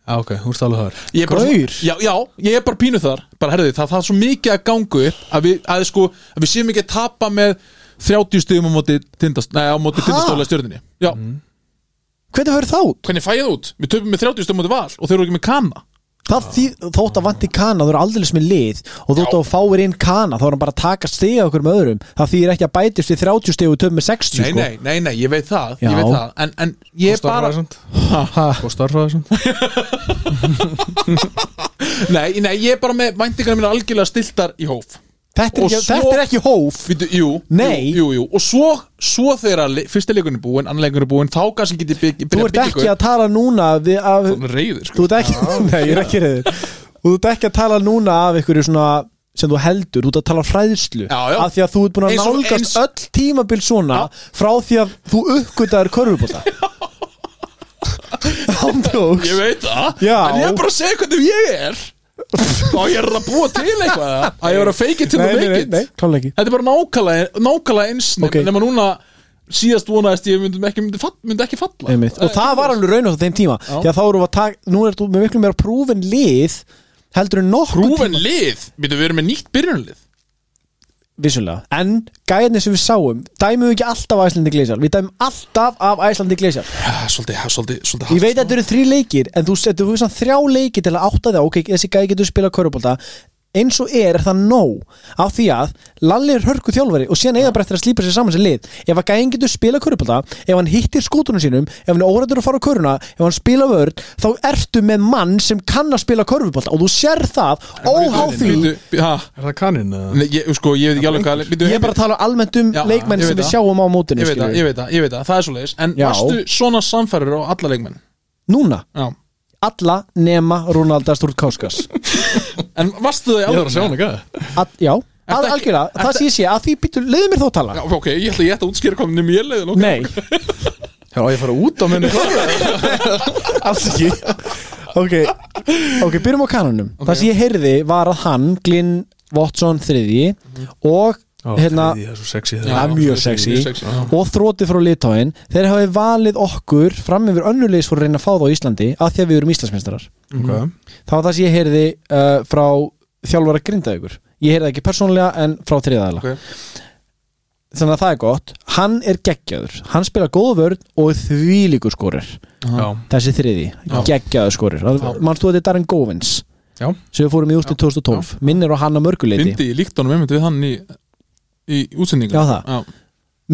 Já, ok, þú ert alveg þar
Ég er bara
Gaur.
svona- Já, já, ég er bara pínu þar bara herði, það, það er svo mikið að gangu að við, að, sko, að við séum ekki að tapa með 30 stigum á móti tindast, nei, á móti
Ha? Mhm.
tindastóla stjörninni Já,
Hvernig fyrir það út?
hvernig fæ ég það út? Við töpum með 30 stigum á móti val og þeir eru ekki með kanna
Það því, þótt að vanti kana, þú eru aldrei með lið og þótt að þú fáir inn kana þá er hann bara að taka stiga okkur með öðrum það þýðir ekki að bætist við 30 stiga og töfum með 60
Nei,
sko.
nei, nei, nei, ég veit það,
Já.
ég veit það. En, en ég bara
Starfræðisand Og starfræðisand
nei, nei, ég er bara með væntingarna mínu algjörlega stiltar í hóf
Þetta, er
Og
ekki,
svo-
þetta er ekki hóf
Fytu, jú,
Nei.
jú, jú, jú, og svo, svo þegar le- fyrsti leikunni búin, annar leikunni búin þá kannski getið byrja
Þú ert ekki að tala núna við, af,
reyður, sko.
Þú ert ekki, nei, ég er ekki reyður Og þú ert ekki að tala núna af einhverju svona sem þú heldur, þú ert að tala fræðslu
Já, já.
af því að þú ert búin að
Eins og-
nálgast
eins-
öll tímabil svona frá því að þú uppgötaðir körfubóta Ándjóks
Ég veit það,
Já.
en ég er bara að segja hvernig ég er og ég er að búa til eitthvað að ég er að feika til
Nei,
að
nei,
make
nei, nei,
it
klálega ekki
Þetta er bara nákvæmlega, nákvæmlega eins
Ok.
nema núna síðast vonaðist ég myndi ekki, myndi, fall, myndi ekki falla
Einmitt. og það var alveg raun á þeim tíma
Já.
því að þá eru að taka, nú er þú með miklu meira prúfin lið heldur en nokkuð
Prúven lið, myndum við erum með nýtt byrjunlið
vissulega, en gæðinni sem við sáum dæmum við ekki alltaf af Æslandi Gleisjar við dæmum alltaf af Æslandi Gleisjar
Já, Svolítið, já, svolítið, svolítið
ég veit að þetta eru þrjí leikir en þú setur þú samt þrjá leikir til að átta það ok, þessi gæði getur spilað körubólta eins og er, er það nóg af því að Lalli er hörku þjálfari og síðan eigða bara eftir að slípa sér saman sér lið ef að gæðin getur spilað körubólta ef hann hittir skútunum sínum, ef hann er órættur að fara á köruna ef hann spila vörd, þá ertu með mann sem kann að spila körubólta og þú sér það, óhá því
Nei,
Er það kaninn? eða?
ég, sko, ég veit ekki alveg hvað býtu,
ég er bara að tala almennt um
Já,
leikmenn
ég
sem
veit
við
það.
sjáum á mótinu
Ég veit það,
skilurðu.
ég veit það, ég veit það, það er svo leiðis En
Já.
varstu svona samfærir á alla leikmenn?
núna,
Já
alla nema Ronaldas Turkauskas
En varstu það í
Ég
alveg?
þarf að sjá hann ekki
Að, já,
Ertu
að,
ekki-
algjörlega, það
ertu-
sé ég sé að því býtu, leiðu mér þó að tala
Já, ok, ég ætla ég ætla að útskýra hvað minn ég leiðin
Nei,
Já, ég fara út á minni
alls ekki Ok, ok, byrjum á kananum Það sem ég heyrði var að hann, Glyn Watson þriðji og hérna,
Það er svo sexy
það
þegar
er mjög sexy og þrótið frá litáin þeir hafi valið okkur fram yfir önnulegis fyrir að reyna að fá það á Íslandi að því að við erum Íslandsmeistarar
Ok.
Það var það sem ég heyrði uh, frá þjálfara grindaðugur Ég heyrði það ekki persónulega en frá þriðaðala
Ok.
Þannig að það er gott Hann er geggjaður, hann spila góða vörn og þvílíkur skorir
Já,
Þessi þriði, geggjaður skorir Manstu að þetta er Darren Govins
Já.
sem við fórum í úrslit 2012 minnir á hann á mörguleiti
Fyndi, ég líkt honum einmitt við hann í, í útsendingu
Já, það.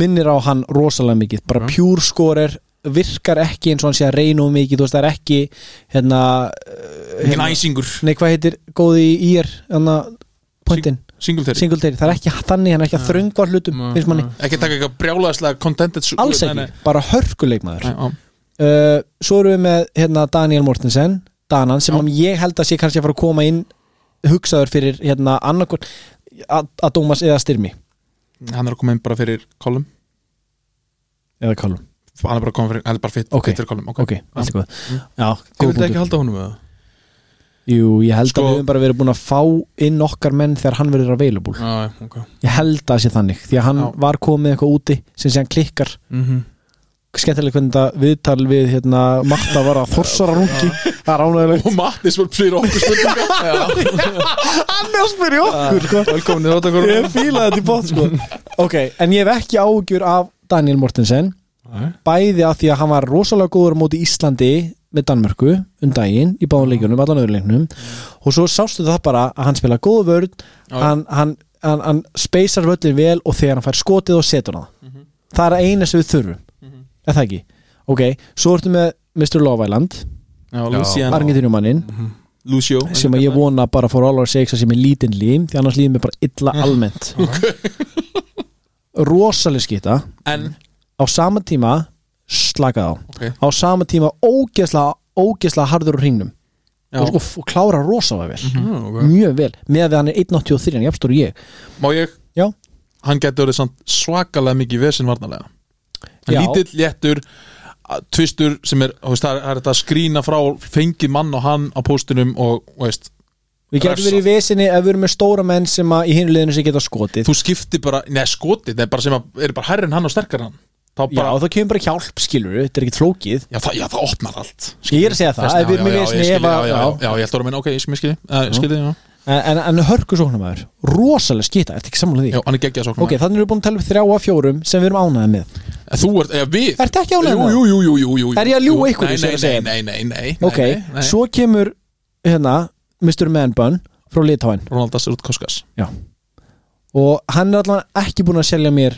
minnir á hann rosalega mikið bara
Já.
pjúr skorir virkar ekki eins og hann sé að reyna um mikið þú veist það er ekki hérna, eh,
Engin
hérna
æsingur
nei hvað heitir góði í er hérna pointin
Singletary
Singletary, það er ekki þannig, hann er ekki að þröngu á hlutum
Nei,
finnst manni,
nei.
Ekki taka eitthvað brjálaðislega contented
alls ekki, bara hörkuleikmaður
Nei, á.
uh, Svo erum við með hérna, Daniel Mortensen Danan, sem ég held að sé kannski að fara að koma inn hugsaður fyrir hérna, annarkvort að Dómas eða Styrmi
Hann er að koma inn bara fyrir kolum
eða Kallum,
Hann er bara að koma fyrir, hann er bara fit,
Ok.
fit fyrir kolum
ok, Mm. allt í góð Já,
ég
góð
vildi ekki
punktur
halda honum með það
Jú, ég held
Sko-
að við höfum bara verið búin að fá inn okkar menn þegar hann verður available
Já, ok
Ég held að sé þannig, því að hann
Já.
var komið eitthvað úti sem sé hann klikkar
Mhm.
skemmtileg hvernig þetta viðtal við hérna, Marta var að þorsara rungi það er ánægilegt
og Mattis var fyrir okkur stundum
hann er að spyrja okkur sko.
Velkomin í Rótakur
ég fílaði þetta í bótt sko. ok, en ég hef ekki áhugjur af Daniel Mortensen bæði að því að hann var rosalega góður á móti Íslandi með Danmörku um daginn í báðum leikjunum, allan öðru leiknum og svo sástu það bara að hann spila góð vörð hann, hann, hann, hann speysar völlin vel og þegar hann fær skotið og setur hann mm það er að eina sem við þurfum er það ekki? Ok, svo ertu með Mr. Love Island,
Já, Luciano
Argentinumanninn
Lucio
sem að ég vona bara for all our sakes að sem er lítinn lím því annars líðum mér bara illa almennt rosalega skýta
En,
á sama tíma slakað á
ok
á sama tíma ógeðslega ógeðslega harður úr hringnum
já. Mhm.
og, og, og klára rosalega vel
Rótakur
mjög vel, með að hann er 1.83 en jafnstóri ég
Má ég,
já,
hann getur orðið samt svakalega mikið vesinn varnalega Hann
Já.
lítill, léttur að- Tvistur sem er, þú veist, það er, það er þetta að skrína frá Fengið mann og hann á póstunum Og, og veist,
við getum verið í vesinni ef við erum með stóra menn sem að í hinu liðinu sem geta skotið
þú skiptir bara Nei, skotið, það er bara sem að, er bara hærri en hann og sterkar hann Þá
já,
bara,
þá kemur bara hjálp, skilur þetta er ekkit flókið
já, það, já, það opnar allt
ég er að segja það,
Þess-
ef við erum
já,
með
já, já, ég
vesinni
skil-
ef að-
já, já,
já.
já, ég ætla að meina, ok, ég sem ég skilji uh, Skilji, já,
en, en hörku sóknumæður, rosalega skita ertu ekki samlega því
já, hann er geggjað sóknar
ok, þannig erum við búin að tala um þrjá af fjórum sem við erum ánæðið með
Þú ert, eða við
Ertu ekki ánægður
Jú,
með það?
jú, jú, jú, jú, jú
Er ég að ljúga
jú.
ykkur,
Nei,
sem ég
Nei,
segi?
nei, nei, nei, nei
ok,
nei, nei.
svo kemur hérna, Mr. Man Bun frá Litáin
Ronaldas út koskas
Já. og hann er allan ekki búin að selja mér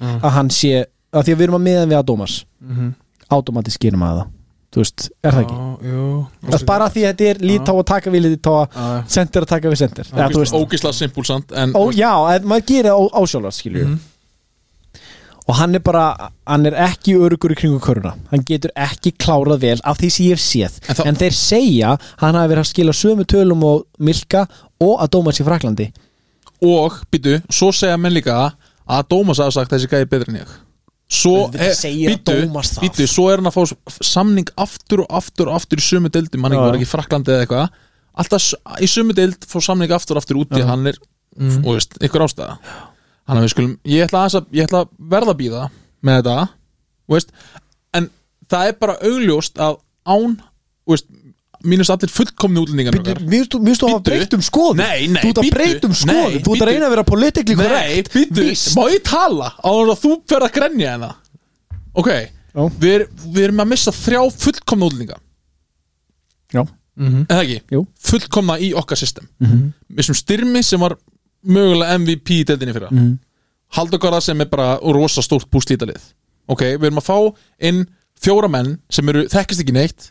að hann sé að því að við erum að miðan við Adomas
Mhm.
automatisk gerum að það þú veist, er það ekki? Það er bara því að þetta er Litá að taka við Litá
Já.
sendir að taka við sendir ja, þú veist,
Ógisla simpulsamt En
ó, já, en maður gerir það á- ásjálfast skilju
Mhm.
og hann er bara, hann er ekki örugur í kringu köruna, hann getur ekki klárað vel af því sem ég hef séð
En
en,
þá-
þeir segja hann hafi verið að skila sömu tölum og Milka og að dóma sér Fraklandi
og býtu, svo segja menn líka að Dómas hafa sagt þessi gæði betri en ég svo,
Auðvitað segir að Dómas það.
býtu, svo er hann að fá s- samning aftur og aftur og aftur í sömu deildum, hann
Já.
var ekki í Fraklandi eða eitthvað alltaf s- í sömu deild fá samning aftur og aftur úti, hann er mm. og veist, ykkur ástæða hann að við skulum, ég ætla, aðeins að, ég ætla að verða að býða með þetta þú veist, en það er bara augljóst að án þú veist, mínus allir fullkomni útlendingar okkar.
Mér finnst þú að hafa
Bíddu.
breytt um skoðun
Nei, nei,
Þú ert að
bíddu.
breytt um skoðun
Nei,
Þú ert að
bíddu.
reyna að vera politikli
Nei,
korrekt
býttu,
Víst.
má ég tala á þannig að þú fer að grenja hérna Ok,
Já.
við, er, við erum að missa þrjá fullkomna útlendinga
Já,
Mhm.
En það ekki,
Jú.
fullkomna í okkar system mm
Mhm.
-hmm. Vissum styrmi sem var mögulega MVP í deildinni fyrra mm -hmm.
Mhm.
Haldogarða sem er bara rosa stórt búst í þetta lið Ok, við erum að fá inn fjóra menn sem eru þekkist ekki neitt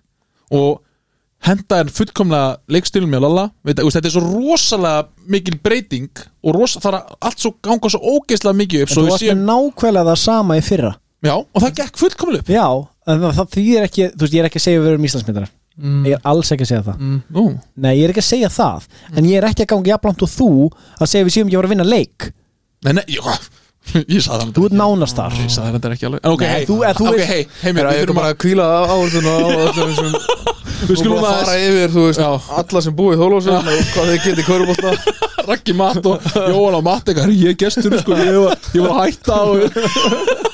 og henda er fullkomlega leikstilum með Lalla Veit- þú veist, þetta er svo rosalega mikil breyting og rosa, það er að allt svo ganga svo ógeðslega mikið upp
en
svo
þú
við
varst með
séum
nákvæmlega það sama í fyrra
Já, og það gekk fullkomlega upp
Já, en það, það þýðir ekki Þú veist, ég er ekki að segja við erum Íslandsmyndarar
Mm.
Ég er alls ekki að segja það
Nú,
Nei, ég er ekki að segja það En ég er ekki að ganga jafnlangt og þú Að segja við séum ekki að vera að vinna leik
nei, nei, ég, ég sagði það
Þú ert nánast þar
Ég sagði þetta ekki alveg En ok,
Nei,
hey,
þú- eh, þú
ok,
veist-
hey, heimir,
Ég
við
er
þurfum
bara
að
að kvíla áhalduna á öllum þessum
Við
Þú
skulum
skulum að
aðeins-
fara yfir, þú veist,
Já.
alla sem búið í Þólósum og hvað þeir getið körubólta
Raggi Matt og Jóhann og Matt eitthvað, ég er gestur sko, ég var, ég var að hætta og...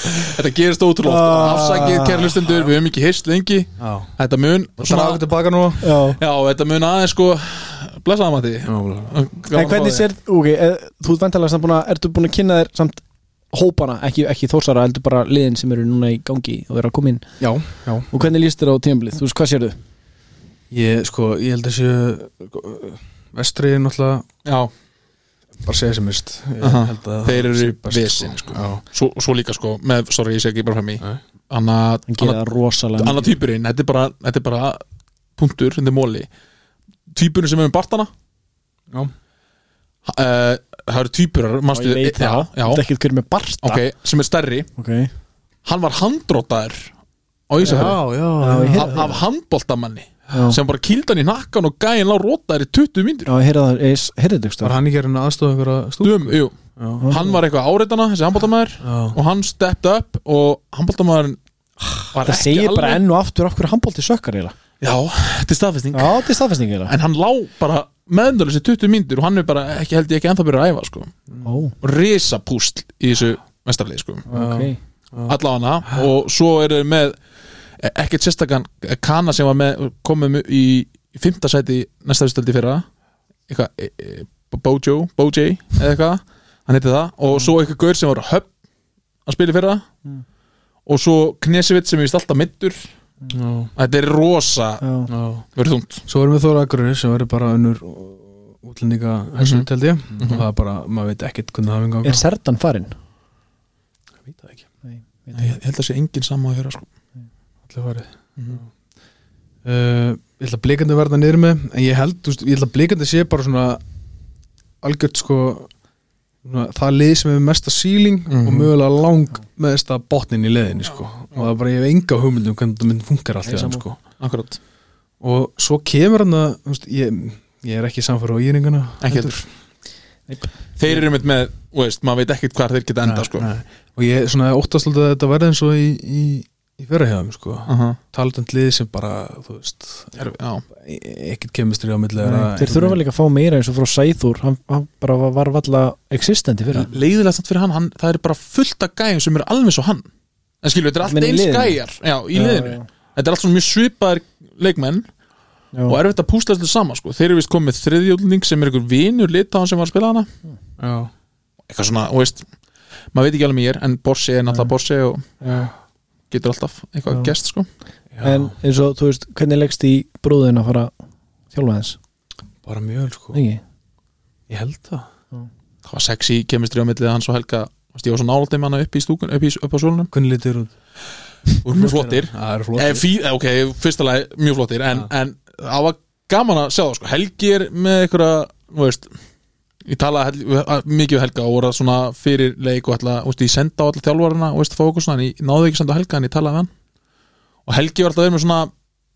Þetta gerist ótrúlega ofta
Ah.
Afsakið, kæra hlustendur, við höfum ekki hist lengi
Það
Þetta mun
er ákveð tilbaka nú
Já
Já, þetta mun aðeins sko Blessaða Matti
En hvernig sér, ok, eh, þú ert vantalega samt búin að, ertu búin að kynna þér samt hópana, ekki, ekki þósara, heldur bara liðin sem eru núna í gangi og eru að koma inn
Já, já
og hvernig líst þér á tímabilið, þú veist, hvað sérðu?
Ég, sko, ég held að séu Vestri er náttúrulega
Já,
bara að segja sem mist Ég
Aha.
held að
Þeir
það
eru
sé best,
vesin, sko.
Já,
svo, svo líka sko með, Sorry, ég sé ekki bara fram í
Nei.
Annað
Hann gera rosalega
annar týpurinn, þetta er bara, þetta er bara punktur, þetta er móli týpurinn sem er með bartana
Já.
Eh, það eru týpurar,
og
manstu
ég veit
já,
það,
já,
þetta er ekkert hver með barta
ok, sem er stærri
ok,
hann var handrótaður á
já,
Ísafjörðu
já,
Já,
já,
ég
af, af handboltamanni
já,
sem bara kýldan í nakkan og gæin lá rótaður í 20 mínútur
já, heyrðu það, ég heyrðu þetta
Var
ekki
hann ekki að reyna aðstofa einhverja stúk?
Dum, jú,
Já,
hann var eitthvað áreitana, þessi handboltamæður
já
og hann stepped up og handboltamæðurinn var
það
ekki
segir bara
alveg-
enn og aftur okkur handbólti sökkar eiginlega,
Já, þetta er staðfesting
já, þetta er staðfæsning eiginlega
en hann lá bara meðendalins í 20 mínútur og hann er bara ekki held ég ekki ennþá byrjað að æfa sko
ó,
risapúsl í þessu mestarlið sko
ok,
allavega og svo eru þeir með e- ekkert sérstakann Kana sem var með komum í fymta sæti í næsta vistöldi fyrra eitthvað e, e, Bojo, Bojay eða eitthvað hann heiti það og svo eitthvað gaur sem var höpp að spila í fyrra
Mm.
og svo Knesevit sem er vist alltaf middur
Já,
þetta er rosa
já,
já
verið þungt
Svo erum við Þóra Akureyri sem verður bara unnur útlendinga hessu mm
Mhm.
held ég og það er bara, maður veit ekkert hvernig það vinga
er Serdan farinn?
Ég veit það ekki,
ég, ég held að sé enginn sama að fyrra sko.
allir farið
Mhm.
uh, Ég held að blikandi verða niður með en ég held, þú veist, ég held að blikandi sé bara svona algjört sko svona, það lið sem hefur mesta síling
Mhm.
og mögulega lang með þesta botnin í leðinni sko og það er bara, ég hef enga hugmyndum hvernig þetta mynd funkar allt
Nei,
í þann
sammála.
sko
akkurat
og svo kemur hann að þú veist, ég, ég er ekki samfæra á íringana
Ekki þeir eru einmitt með, þú veist, maður veit ekkert hvar þeir geta enda
Nei,
sko.
nei. og ég svona óttast alltaf að þetta verði eins og í, í, í fyrrahjáðum sko.
Uh
talandum lið sem bara þú veist,
já,
e- ekkert kemistri á milli þeirra.
Þeir þurfa líka að fá meira eins og frá Sæþúr hann, hann bara var- var valla existenti fyrir hann
leiðilegt samt fyrir hann, hann það er bara fullt af gæjum sem eru alveg svo hann en skilur, þetta
Meina
er allt
í
eins
liðinu?
gæjar já, í liðinu,
já,
þetta er allt svona mjög svipaðir leikmenn
já.
og erfitt að púsla þessu saman sko. þeir eru vist komið þriðjólning sem er einhver vinur litáðan sem var að spila hana
já,
eitthvað svona, þú veist, maður veit ekki alveg mér en Borsi er náttúrulega Borsi og
Já.
getur alltaf eitthvað
Já.
gest sko.
já,
En eins og, þú veist, hvernig leggst í bróðin að fara að þjálfa þess?
bara mjög vel, sko.
Ekki?
ég held það
það var sexy kemistri á millið hans og Helga Þú veist, ég var svo nálægt þeim hana upp í stúkun upp, í, upp á svölunum
hvernig litur út?
og mjög flottir
það eru
Eh,
flottir
fí, eh, ok, fyrsta lagi mjög flottir en, en það var gaman að sjá það sko. Helgi er með einhverja þú veist, ég talaði hel- við- að- mikið við Helga og voru svona fyrir leik og ætla, þú veist, ég senda á alla þjálfarina og veist, fá okkur svona, en ég náði ekki að senda á Helga en ég talaði við hann og Helgi var alltaf verið með svona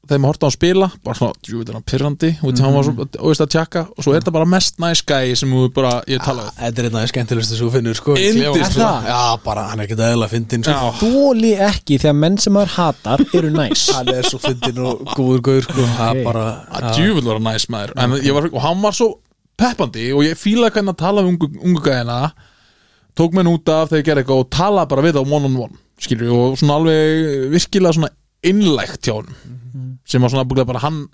þegar maður horta á hann spila, bara svona djúvilega pyrrandi, mm -hmm. hann var svo, og veist að tjekka og svo er þetta bara mest næs gæi sem þú bara ég talaði við
Ah, Þetta er einn af skemmtilegstu svo finnur sko í
Yndislegt.
klefanum, sko.
Er það?
Já, bara hann er ekkert eðla fyndin sko.
Já.
Þóli ekki þegar menn sem maður hatar eru næs
Hann er svo fyndin og góður góður sko. Það er
Ok.
bara
að djúvill var hann næs maður en ég var, og hann var svo peppandi og ég fílaði hvernig að tala við ungu, ungu gæðina tók mér út af þegar ég gerði eitthvað og talaði bara við það one on one skilur og svona alveg virkilega svona innlægt hjá hann sem var svona búinlega bara hann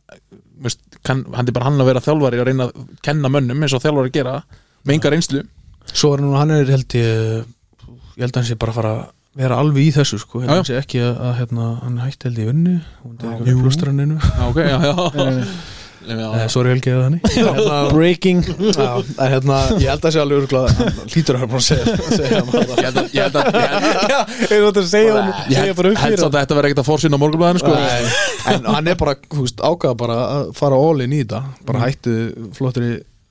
veist, kann, hann er bara hann að vera þjálfari og reyna að kenna mönnum eins og þjálfari gera með enga reynslu
Svo er hann, hann er held ég ég held að hann sé bara að fara að vera alveg í þessu sko, held
Já,
að
já.
hann sé ekki að, að hérna, hann hætti held ég vinnu hún er eitthvað með blústraninu
já, ok, já, já,
eh,
já.
sorry Helgi eða þannig hérna,
Breaking
já, en hérna, ég held að sé alveg örglað hlýtur að hann bara segja, segja hann
Ég held að, ég held að, ég
Ég
held að
er þetta að segja honum, segja
ég
bara
held,
upp
held
fyrir
samt að þetta verði ekkert að fórsýna á morgunblæðinu sko.
Nei, en hann er bara þú veist, ákvað bara að fara all in í þetta bara hættu flottri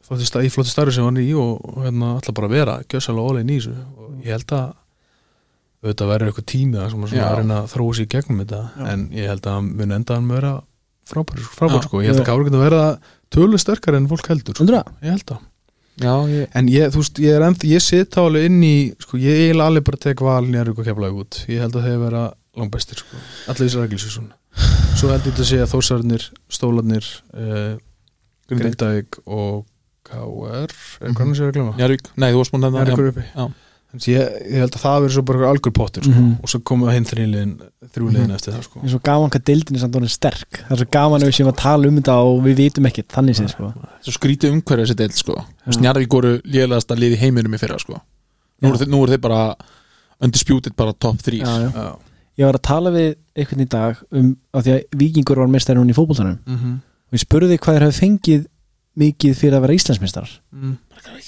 flottri sta- í flottri starfi sem hann er í og, og hérna alltaf bara að vera, gjössalega all in í þessu og ég held að auðvitað verður eitthvað tími það sem hann svona
Já.
að reyna að þróa sér í gegnum þetta en ég held að hann mun enda hann vera frábær, frábær
Já.
sko, ég held að Kári getur verið að tölu sterkar en fólk heldur, sko.
Heldur það?
ég held að
já, ég,
en ég, þú veist, ég er ennþ, ég sit þá alveg inn í, sko, ég er alveg bara tek val nýjar ykkur keflaug út, ég held að þeir vera langbæstir, sko, allir þessi rækilsu svona svo held ég þetta að segja þórsarnir stólarnir, uh,
Grindavík.
Grindavík og KR, er hvað hann sé að glema?
Njarvík, nei, þú varst múin að um
það er
nefna
ykkur uppi
já.
Þannig að ég, ég held að það verður svo bara ykkur algjör pottur, sko,
Mhm.
og svo komið hinn þrjúliðin, þrjúliðin eftir það, sko
Ég er svo gaman hvað deildin er samt orðin sterk Það er svo gaman ef við séum að tala um þetta og við vitum ekkert Þannig séð sko
svo skrítið umhverfið þessi deild sko. Njarðvík voru lélegasta lið í heiminum í fyrra sko. nú, eru þeir, nú eru þeir bara undisputed bara top 3
já, já.
Já.
Ég var að tala við einhvern í dag um, af því að vikingur var meistar hún í fótboltanum
Mhm.
og ég spurði hvað þeir hafi fengið mikið fyrir að vera Íslandsmeistar
Mm.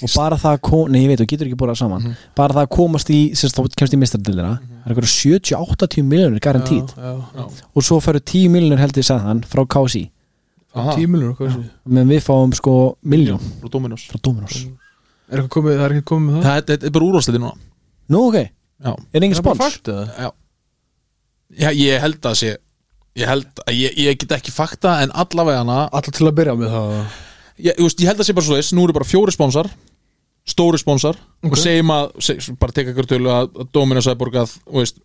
og bara það að kom, nei ég veit, þú getur ekki búið saman
Mhm.
bara það að komast í, sérst þá kemst í mistardildina það er eitthvað 70-80 miljonur garantít
Já, já.
og svo færu 10 miljonur heldur sagði hann frá KSI
Aha,
Tímilur, hvað sé
meðan við fáum sko miljón
frá Dominos
frá Dominos
Mm.
Er eitthvað komið, það er ekki komið með það?
það er- þetta er bara úrvarsleiti núna
Nú ok,
já.
er engin
Það er bara
spons?
fakt, eða?
Já, ég held að sé ég, held, að- ég, ég get ekki fakta en allavega hana
Alltaf til að byrja með það
ég, þú veist, ég held að sé bara svo þess, nú eru bara fjóri sponsar stóri sponsar og segjum að seg, bara teka ykkur tölu að að Dominos hafi borgað þú veist,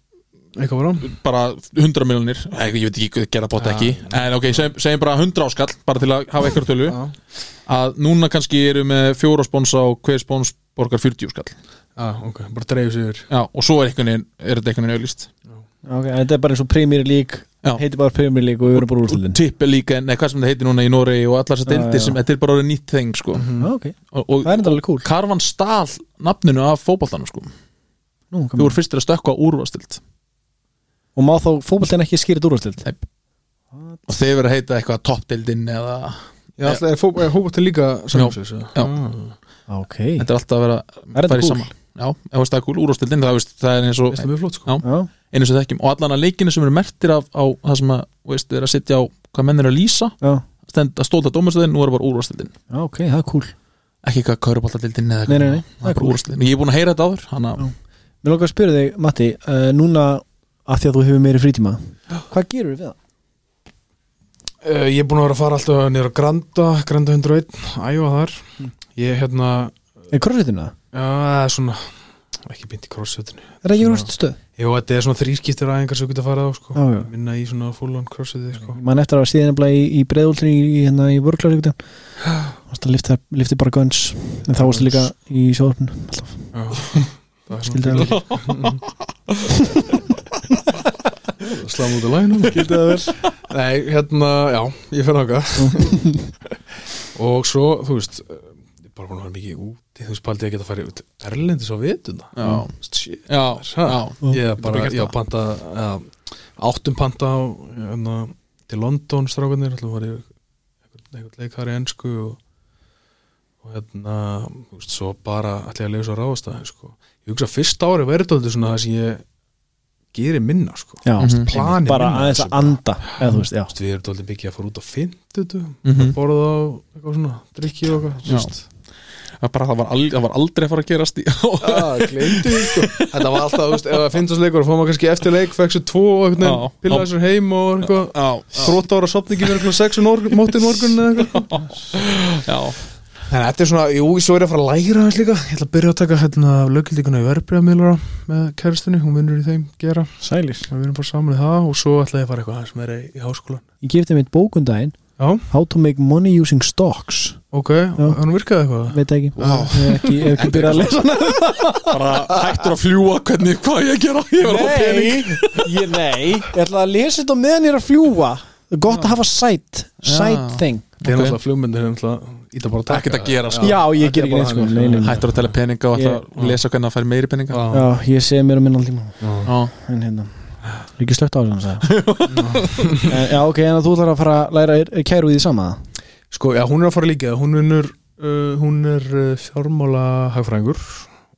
Eitthvað var á
bara 100 miljonir ég veit ekki hvað þið gera bótt
Já.
ekki en ok, segjum, segjum bara 100 áskall bara til að hafa ykkur tölu
Já.
að núna kannski eru með fjóra spónsa og hver spóns borgar 40 skall
ah, ok, bara dreifir sigur
já, og svo er, einhvern veginn, er þetta einhvern veginn auðlýst
Ok, en þetta er bara eins og Premier League
Já.
Heitir bara Premier League og við erum bara
og
úrslundin
tipp er líka, nei hvað sem þetta heitir núna í Noregi og allar þessar
Já, já.
deildir
Mhm.
sem, þetta er bara orðið nýtt þeng sko.
Ok,
og, og,
það er enda alveg cool
og Karvan stál nafninu af fótboltanum sko.
Nú,
þú
gaman.
voru fyrstir að stökkva úrvastild
Og má þá fótboltin ekki skýrit úrvarslild
Nei. og þeir verið að heita eitthvað toppdeildin eða
Já, alltaf er fótboll fótbol líka Ah, samsins
Já.
Ok
þetta er alltaf að vera
þetta
fara í
cool?
saman já, ef það er gúl úrvastild það, veist, það er eins og
Veist það mjög flott sko
Já.
Já,
einu sem þekkjum og allan að leikinu sem eru mertir af á það sem að, þú veist, er að sitja á hvað menn eru að lýsa,
já,
stend að stóla dómarstöðin, nú er bara úrvastildin,
já, ok, það er cool
ekki hvað kaurubaldaldildin eða
Nei, nei, nei,
það er bara úrvastildin, ég er búin að heyra þetta áður hann að,
Já. Mér langar að spyrja þig, Matti, uh, núna að því að þú hefur meiri frítíma Hvað gerur við það?
Uh, ég er búin að vera að fara alltaf niður á Granda Granda 101, æfa þar Ég hérna,
Er crossfitinu það?
já, það er svona ekki beint í crossfitinu
Er það ekki
Svona-
úrstu stöð?
Jú, þetta er svona þrískiptir aðingar sem þú getur að fara á sko.
Já, já.
minna í svona full on crossfiti sko.
Man eftir að var síðan nefnilega í, í breiðúltri í, í, hérna, í vörklar ykkur Varst að lifta, lifti bara guns En þá varstu líka í sjóðarpinu Alltaf,
Já. Það er
skildi
svona
það vel
sláum út af læginu
Skildi það vel
Nei, hérna, já, ég fer náka Og svo, þú veist eh, Ég er bara búin að vera mikið úti Þú veist, paldi ég að geta að fara út Erlendis á vituna
Já.
Shit
já,
Ha.
já,
Ég er
Getur
bara,
bara gert
já,
það.
panta ja, Áttum panta á hérna, Til London strákanir Það var einhvern leikari ennsku og, og hérna þú veist, Svo bara ætla ég að lega svo ráðast að sko. Ég hugsa að fyrsta ári verið þetta svona það sem ég gerir minna sko.
Já,
Mhm.
Planið
bara
minna
aðeins
þessu
að anda eða þú veist, já
Þú veist, við erum dálítið mikið að fara út á fimmtudum
Mhm.
að borða á eitthvað svona, drikki og eitthvað
Já. Það bara það var, al, það var aldrei að fara að gerast í já,
Já, gleymdi því sko Þetta var alltaf, þú veist, ef það finnst leikur og fóðum maður kannski eftir leik, fekk sér tvo og einhvern
Já.
veginn, pillaði sér heim og eitthvað þrótt ára sopni ekki verið eitthvað sex um morgun, mótið morgun eða eitthvað
já,
Þannig að þetta er svona, jú, svo er ég að fara að læra hans líka Ég ætla að byrja að taka hérna lögildikuna í verbreyðamiðlara með kæristinni, hún vinnur í þeim gera
Sælir
Við vinnum bara saman í það og svo ætla ég að fara eitthvað aðeins meira í- í háskólan
Ég gefði mitt bókundaginn
Já,
um How to make money using stocks
ok, hann virkaði eitthvað
Veit það ekki Ég hef ekki, ég hef ekki byrjað að lesa hana
bara hættur að fljúa hvernig, hvað ég að gera ég var að fá pening
ég, nei Ég ætla að lesa þetta á meðan ég er að fljúa Gott að hafa sight Sight
Já.
thing
Það er
Ok.
náttúrulega flugmyndir er náttúrulega íta bara að taka
Ekkert að gera, sko.
Já, ég
þetta
ger
er
ekki
bara
neitt, sko.
þannig.
Nei, nei, nei.
hættur að tella peninga og
Ég-
ætla að lesa hvernig að fær meiri peninga
Já.
Já, ég segi mér um minna tíma
já,
En hérna Ég ekki slögt á þessu hann sagði En, Já, ok, en þú ætlar að fara að læra er- er kæru í því sama
Sko, já, hún er að fara líka Hún vinnur, uh, hún er uh, fjármála hagfræðingur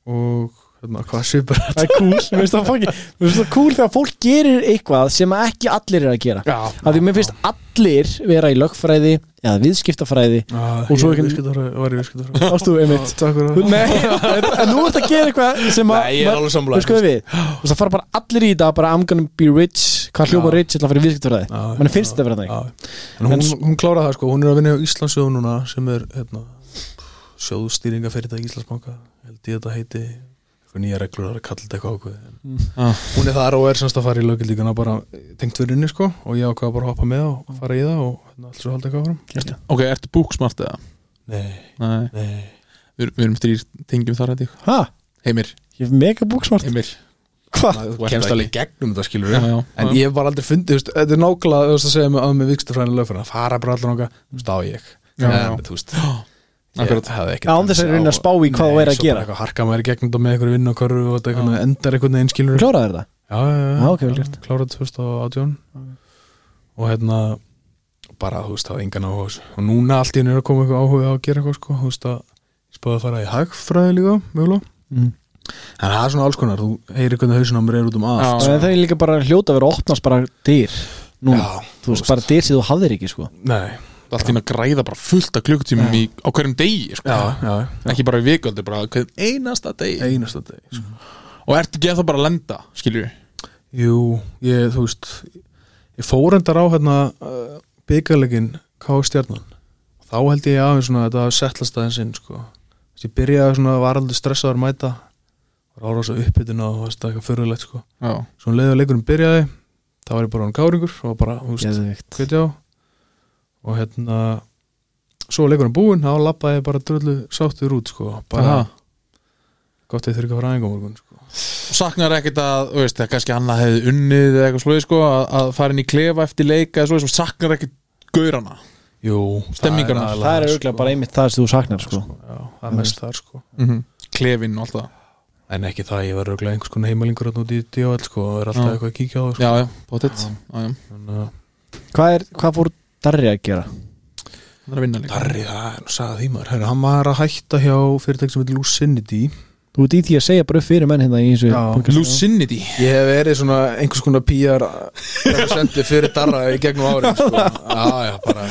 og hérna, hvað sé bara
Það er cool, mér finnst það fokki Mér finnst það cool þegar fólk gerir eitthvað sem ekki allir er að gera
Já,
Af því mér finnst allir vera í lögfræði eða viðskiptafræði
Og
Og svo
svo ekki
ekki-
Var ég viðskiptar
Ástu, einmitt
Takk fyrir það
Nei, en en nú ert að gera eitthvað sem að
Nei, ég er alveg sammála.
Þú skoðu við, þú veist það fara bara allir í þetta bara I'm gonna be rich, hvað hljópa
Já.
rich ætla að fara í viðskiptafræði
Já,
Manni finnst þetta vera þannig
Já. En hún, hún kláraði það sko, hún er að vinna á Íslandsjóð núna sem er hérna, sjóðstýringafyrirtæk Íslandsbanka held ég þetta heiti eitthvað nýja reglur það er að kalla þetta eitthvað ákveð
Ah.
mm. hún er þar og er semst að fara í lögildíkana bara eh, tengt fyrir inni sko og ég ákvaða bara að hoppa með og fara í það og hérna, allt svo halda eitthvað áfram
Gekkja.
ok, ertu búksmart eða?
Nei,
nei,
nei
við, erum- við erum þrýr tengjum þar hætti
Ha,
heimir,
ég er mega búksmart
heimir
Hvað?
þú ert
Ah, kemst
ekki
alveg í gegnum þetta skilur
Já, já.
en ég hef bara aldrei fundið, þú veist, þetta er nákvæmlega þú veist að segja mig að með vikstafræðinu lögfræðinu að fara bara allan okkar, þú veist, á ég
Já, já.
en þú veist
Akkurat.
Án þess að reyna að spá í hvað þú er að gera.
eitthvað harka maður í gegnum þetta með einhverju vinn og körfu og þetta einhvern veginn endar einhvern veginn skilur
Kláraði þér það?
já, já, já,
Já, ok, vel gert.
kláraði 2018 og hérna bara, þú veist, það var engan áhuga á þessu. og núna allt í henni er að koma eitthvað áhuga á að gera eitthvað sko, þú veist að ég spáði að fara í hagfræði líka, mögulega
Mm.
en það er svona alls konar, þú heyrir hvernig hausin á mér er út um allt
Já.
Það er líka bara hljóta að vera að opnast bara dyr Núna,
Já,
þú veist bara dyr sem þú hafðir ekki sko
nei,
allt í einu að græða bara fullt af klukkutímum í, á hverjum degi sko.
já, já,
ekki bara í viköldu, bara á hverjum einasta degi
einasta deg sko.
og ertu ekki að það bara að lenda, skilju
Jú, ég, þú veist ég fór endar á hérna uh, byggarlegin K.O. Stjarnan þá held ég aðeins svona að þetta hafi settlast aðeins inn sko. Þú veist, ég byrjaði svona var aldrei stressaður að mæta var ára á svo uppbytun og þú veist, eitthvað fyrirlegt sko.
já,
svo leiðið að leikurinn byrjaði þá var ég bara hann káringur og bara, þú veist,
Geðvikt
hvetja á og hérna svo var leikurinn búinn, þá lappaði ég bara drullu sáttur út sko, bara
bara
gott að þið þurfi ekki að fara aðeins á morgun sko.
saknar ekkert að, þú veist, að kannski annað hefði unnið eða eitthvað slóið sko að, að fara inn í klefa eftir leika eða slóið sem saknar ekkert gaurana
Jú,
Stemninguna.
aðalega,
það er auðvitað bara einmitt það sem þú saknar sko.
sko. Já, það er mest þar sko
klefinn og allt það
En ekki það, ég var auðvitað einhvers konar heimalingur út í DHL sko, og er alltaf
Já.
eitthvað að kíkja á það sko.
já, já, bóttið, já, já,
En, uh,
hvað, er, hvað fór Darri að gera?
það er að vinna líka
Darri, það er nú sagði því maður Herra, Hann var að hætta hjá fyrirtæk sem heitir Lucinity
Þú ert í því að segja bara upp fyrir menn hérna í þessu
Já.
podcasti.
Lucinity
Ég hef verið svona einhvers konar PR representið fyrir Darra í gegnum árin sko. Já, já, bara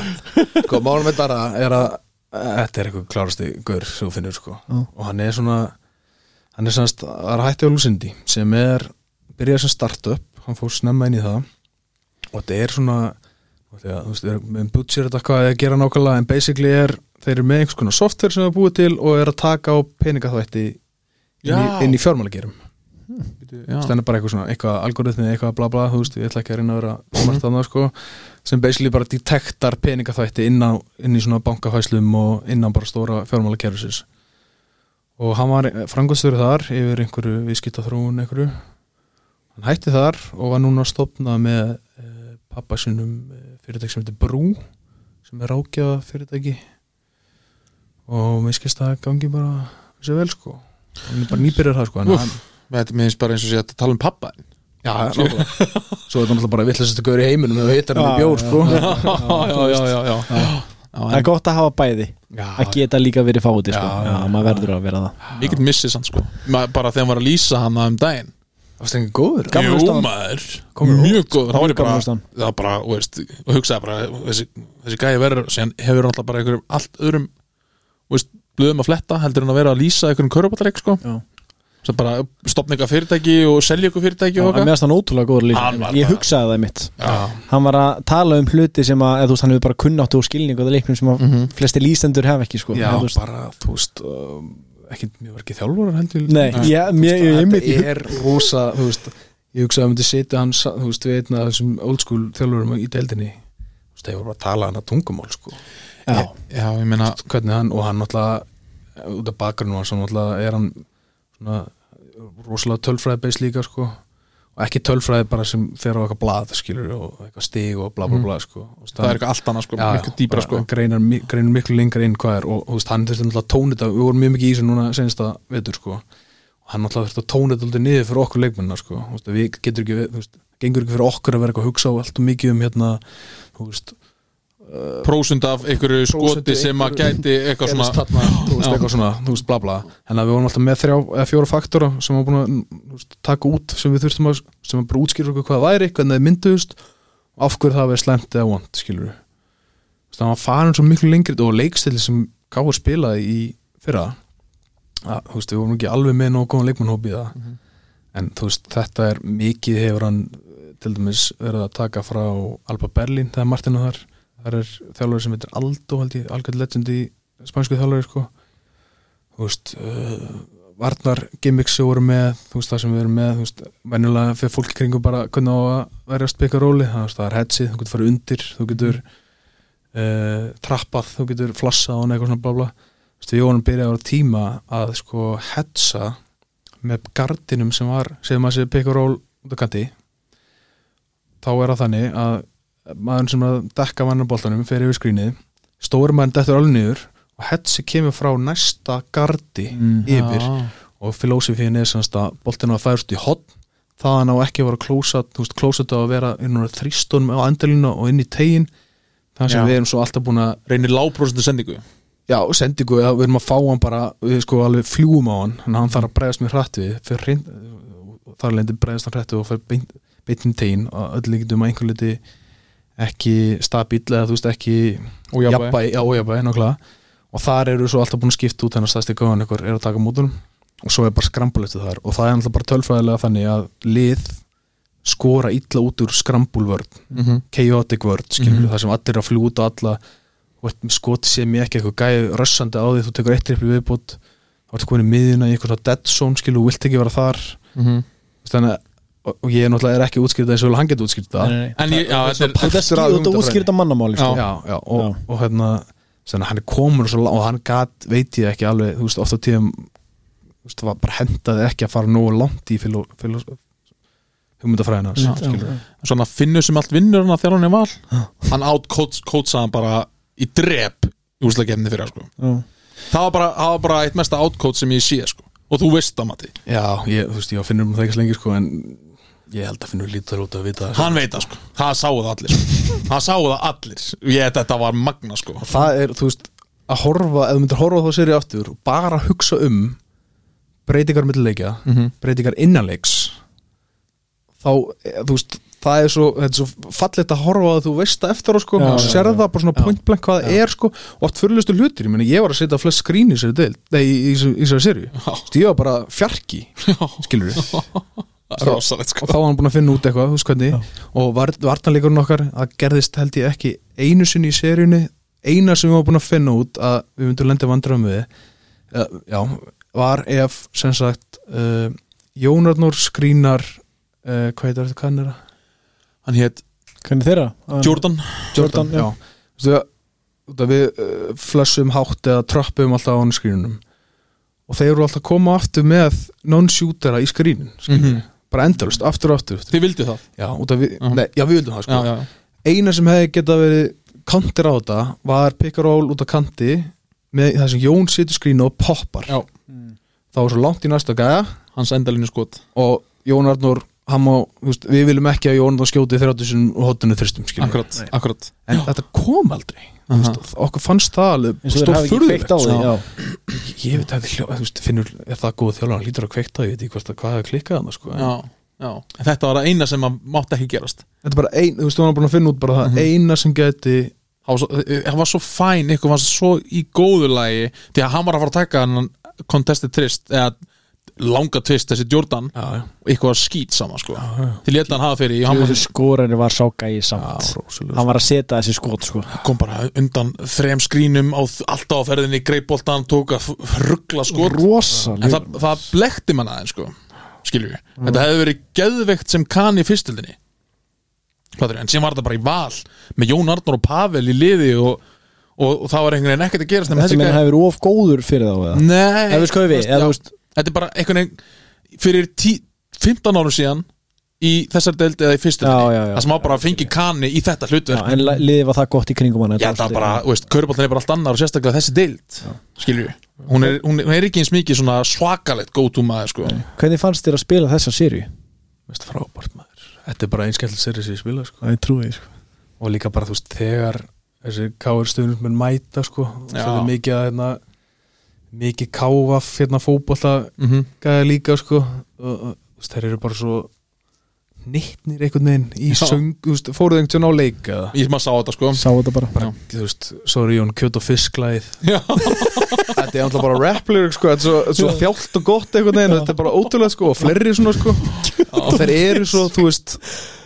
sko, Mál með Darra er að þetta er eitthvað klárasti gaur sem þú finnur sko.
Já.
og hann er svona hann er sannst að er að hætti á Lucindi sem er, byrjaði sem startup hann fór snemma inn í það og þetta er svona þegar, þú veist, er, með budget þetta hvað er að gera nákvæmlega en basically er, þeir eru með einhvers konar software sem það er búið til og er að taka á peningaþvætti inn í,
Já.
inn í fjármálagerum
já,
stendur bara eitthvað svona, eitthvað algoritmi eitthvað bla bla, þú veist, ég ætla ekki að reyna að vera komast þannig sko, sem basically bara detektar peningaþvætti inn, á, inn í svona bankafæslum og innan bara stóra fjármála kerfisins og hann var frangostur þar yfir einhverju viðskipta þróun einhverju hann hætti þar og var núna að stopna með e, pappa sinum fyrirtæk eh, sem heitir Brú sem er rákjaða fyrirtæki og mér skilst að það gangi bara sér vel sko hann er bara nýbyrjar það sko en
Úff.
hann,
þetta minnst bara eins og sé að tala um pappa þinn.
Já, nákvæmlega Svo er það náttúrulega bara villastu gaur í heiminum og heitar hann
Já,
í bjór,
já,
sko
já, já, já, já, já
það er
en
gott að hafa bæði að geta líka verið fáti sko.
Já,
já, maður verður að vera það
mikill missið sann sko Ma- bara þegar hann var að lýsa hann um daginn
Það stengi góður
Gaman
Jú
að staðan.
maður,
Komur á
mjög góð það var ég
Gaman
bara,
að staðan.
það var bara, þú veist og hugsaði bara, þessi, þessi gæði verður síðan hefur hann alltaf bara einhverjum allt öðrum þú veist, blöðum að fletta, heldur hann að vera að lýsa einhverjum körubáttareik, sko
Já.
sem bara stopna ykkar fyrirtæki og selja ykkur fyrirtæki og
að
okkar
meðast hann ótrúlega góður
Hann
líka
var
ég
bara-
hugsaði það mitt
Já,
hann var að tala um hluti sem að eða, þú veist, hann hefur bara kunnáttu og skilning og það leiknum sem að flesti lístendur hef ekki sko.
Mhm. Já,
Eða, þú veist,
bara, þú veist um, ekki, Mér var ekki þjálfórar heldur
nei,
Þú veist,
ég, mér, ég, ég,
Þetta
ég,
er rosa, þú veist Ég hugsaði að myndi setja hann, sa- þú veist, við einn af þessum old school þjálfurum í deildinni Þú veist, þeir voru bara að tala hann að tungumál, sko
já,
já, ég meina
Hvernig hann, og hann náttúrulega út af bakgrunum hans, hann náttúrulega er hann svona rosalega tölfræði beis líka, sko og ekki tölfræði bara sem fer á eitthvað blað skilur og eitthvað stig og bla bla
Mm.
bla sko. Og
það er eitthvað allt annað, sko, miklu dýbra, sko
bara greinar, mi- greinar miklu lengra inn hvað er og þú veist, hann þurfti náttúrulega að tóna þetta við vorum mjög mikið í þessu núna senast að vetur sko. og hann náttúrulega þurfti að tóna þetta alltaf niður fyrir okkur leikmennina sko. Þú veist, við getur ekki, við- þú veist, gengur ekki fyrir okkur að vera eitthvað að hugsa á allt og mikið um hérna þú veist,
prósund af einhverju skoti
Prósentu
sem að
einhverju-
gæti eitthvað
gerðist
svona
þarna, þú veist, eitthvað svona, þú veist, bla bla en að við vorum alltaf með þrjá eða fjóra faktora sem var búin að þú veist, taka út sem við þurftum að, sem að bara útskýra okkur hvað það væri, hvernig þið mynduðust af hverju það verið slæmt eða vond, skilur við þannig að hann var farin svo miklu lengri og leikstilli sem Káur spilaði í fyrra að, þú veist, við vorum ekki alveg með nógu góðan leikmannhóp í það
Mhm.
en þú veist, þetta er mikið hefur hann til dæmis verið að taka frá Alba Berlin, það er Martina þar þar er þjálfur sem heitir Aldo held ég, algjörð legend í spænsku þjálfur sko. þú veist uh, varnar gimmicks sem voru með þú veist það sem við erum með þú veist, venjulega fyrir fólk í kringum bara hvernig á að verja að spika róli, það, þú veist, það er headsið, þú getur farið undir þú getur uh, trappað, þú getur flassað og eitthvað svona bla bla Þú veist, við vorum byrjað á tíma að sko headsa með gardinum sem var, segðum að segja pikk og ról út af kanti þá er það þannig að maður sem er að dekka vannar boltanum fer yfir skrínið, stóri maður dettur alveg niður og hetsi kemur frá næsta gardi
Mm.
yfir og filósofíin er semst að boltin á að færast í hotn þaðan á ekki að vera klósa þú veist, klósa á að vera inn á þrýstunum á andalina og inn í tegin þannig sem
Já.
við erum svo alltaf búin að
reynir lágprósundu sendingu
Já, sendingu, eða við erum að fá hann bara við sko alveg fljúum á hann en hann þarf að bregðast mér hrætt við fyrir hreint- og þar lendi bregðast hann hrætt við og fyrir beint, beintin tegin og öll líkindum að einhver liti ekki stabíl eða þú veist ekki
Ójafnvægi.
jafnvægi, já, ójabæ, nákvæmlega og þar eru svo alltaf búin að skipta út þannig að stæsti góðan ykkur er að taka mútunum og svo er bara skrambulötu þar og það er alltaf bara tölfræðilega þannig að lið skora illa út úr skrambulvörn chaotic word,
Mhm.
skilur það sem allir er að fljú út á alla og ert með skot sem ég ekki eitthvað gæði rössandi á því, þú tekur eitt trippli viðbútt þá ertu komin í miðjuna í eitthvað svona dead zone skilur, þú vilt ekki vera þar
Mhm.
þannig að, og og ég náttúrulega er ekki útskýrð það eins og vel hann getur útskýrð það
Nei, nei, nei.
en ég, já, þetta er
þetta
partur af
skýr- þetta
hugmyndafræði.
útskýrt á mannamáli sko.
já, já, og,
Já.
og hérna þannig að hann er komin svo langt og hann gat, veit ég ekki alveg, þú veist, oft á tíðum þú þú veist, það var bara hendaði ekki að fara nógu langt í fíló, fíló, hugmyndafræðina
Já.
skilurðu.
svona finnur sem allt vinnur hann að þjálfa hann í val hann átt kótsaðan bara í drep í úslagefni fyrir sko.
Já.
það var bara, það var bara eitt mesta átkót sem ég sé sko. og þú veist það Matti,
já, ég, þú veist, ég finnur um það ekki svo lengi sko, en ég held að finnur lítur út að vita það,
hann veit það sko. það sáu það allir sko. það sáu það allir, ég, þetta var magna sko.
það er, þú veist, að horfa ef þú myndir horfa á þá séri aftur og bara hugsa um breytingar millileikja,
Mhm.
breytingar innanleiks þá, eh, þú veist það er svo, þetta er svo fallegt að horfa að þú veist það eftir á sko,
Já,
og
já,
sér
já.
það bara svona point blank hvað það er sko, og oft fyrirlustu hlutir, ég meni ég var að setja flest skrín í sér del, nei, í, í, í, í sér serju, ég var bara fjarki skilur við
rosalegt sko.
og þá var hann búin að finna út eitthvað, þú veist hvernig og var, vartanleikurinn okkar, það gerðist held ég ekki einu sinni í seríunni eina sem við varum búin að finna út að við myndum lenda vandræðum við uh, já, var ef sem sagt uh, Jónarnór skrínar uh, hvað heitir þetta, hvað er það?
hann hétt
Hvernig þeirra? Að-
Jordan
Jordan, já.
já. já. Það við uh, flössum hátt eða tröppum alltaf á hann skrínunum og þeir eru alltaf að koma aftur með non-shootera í skrínin mm
Mhm.
bara endalust, aftur og aftur
þið vildu það
já, út af við,
Mhm.
nei, já, við vildum það sko.
já, já.
eina sem hefði geta verið kantir á þetta var pickaról út af kanti með það sem Jón situr skrínu og poppar
Já.
Mm.
það var svo langt í næsta gæja
hans endalínu skot
og Jón Arnór hann má, þú veist, við viljum ekki að Jón Arnór skjóti 30 sinum og hotinu þristum skilur við.
akkurat, akkurat
en þetta kom aldrei uh
Aha.
veist, okkur fannst það alveg
Eins og þeir hafi ekki kveikt á því
stórfurðulegt, sko.
já.
ég veit að hljó, þú veist, finnur, er það góð þjálfur hann lítur að kveikta, ég veit ekki hvort að hvað hefði klikkað hann sko. en-
já, já. En þetta var það eina sem að mátt ekki gerast
þetta er bara ein, þú veist, hann er búin að finna út bara það
Mhm.
eina sem geti
það var svo, það var svo fæn ykkur var svo í góðu lagi því að hann var að fara að taka hann contested twist eða langa twist þessi Jordan
já, já,
og ykkur var skýt saman sko
já.
því leta hann hafa fyrir í, hann
Þessi
var-
skorinu var sá gæi samt
rósulega
Hann var að setja þessi skot sko.
kom bara undan þrem skrínum á, alltaf á ferðinni greiboltan tók að ruggla skot en
Rosalega
það, það blekti mann aðeins sko skilju, þetta hefði verið geðveikt sem kann í fyrstildinni Hvaður, en síðan var þetta bara í val með Jón Arnur og Pavel í liði og, og, og það var einhvern veginn ekkert að gerast nema
Þetta
þessi Mm.
meina
gæ-
hefur verið of góður fyrir þá eða?
Nei,
Ef við skoðum við,
þú veist,
eða
já,
þú veist-
Þetta er bara einhvern veginn fyrir tí, 15 árum síðan í þessar deild
Já,
eða í
já, já.
fyrstildinni það sem á bara að fengi kanni í þetta
Já,
hlutverk
En la- liðið var það gott í kringum hann
ég held að bara, þú veist, körbóltan er bara allt annar og sérstaklega þessi deild, skilju hún er, hún, hún er ekki eins mikið svona svakalegt gótu maður, sko
Hvernig fannst þér að spila þessa séri?
Mest frábært maður Þetta er bara einskjælt serið sem ég spila sko.
Það er trúið sko.
Og líka bara þú veist þegar þessi káur stöðnismenn mæta sko, og
Já.
Svo er mikið að hérna mikið kávaf hérna fótbolta
mm -hmm.
gæða líka sko og, og, þú veist, þeir eru bara svo nittnir einhvern veginn í
Já.
söng þú veist, fóruð einhvern veginn á leik eða
Ég maður sá þetta, sko
Sá þetta bara
Já.
þú veist, sorry Jón, kjöt og fisklæð
Já,
þetta er alltaf bara rapplyric sko, þetta er svo, svo þjált og gott einhvern veginn, þetta er bara ótrúlega sko og fleiri svona sko og þeir eru svo, þú veist,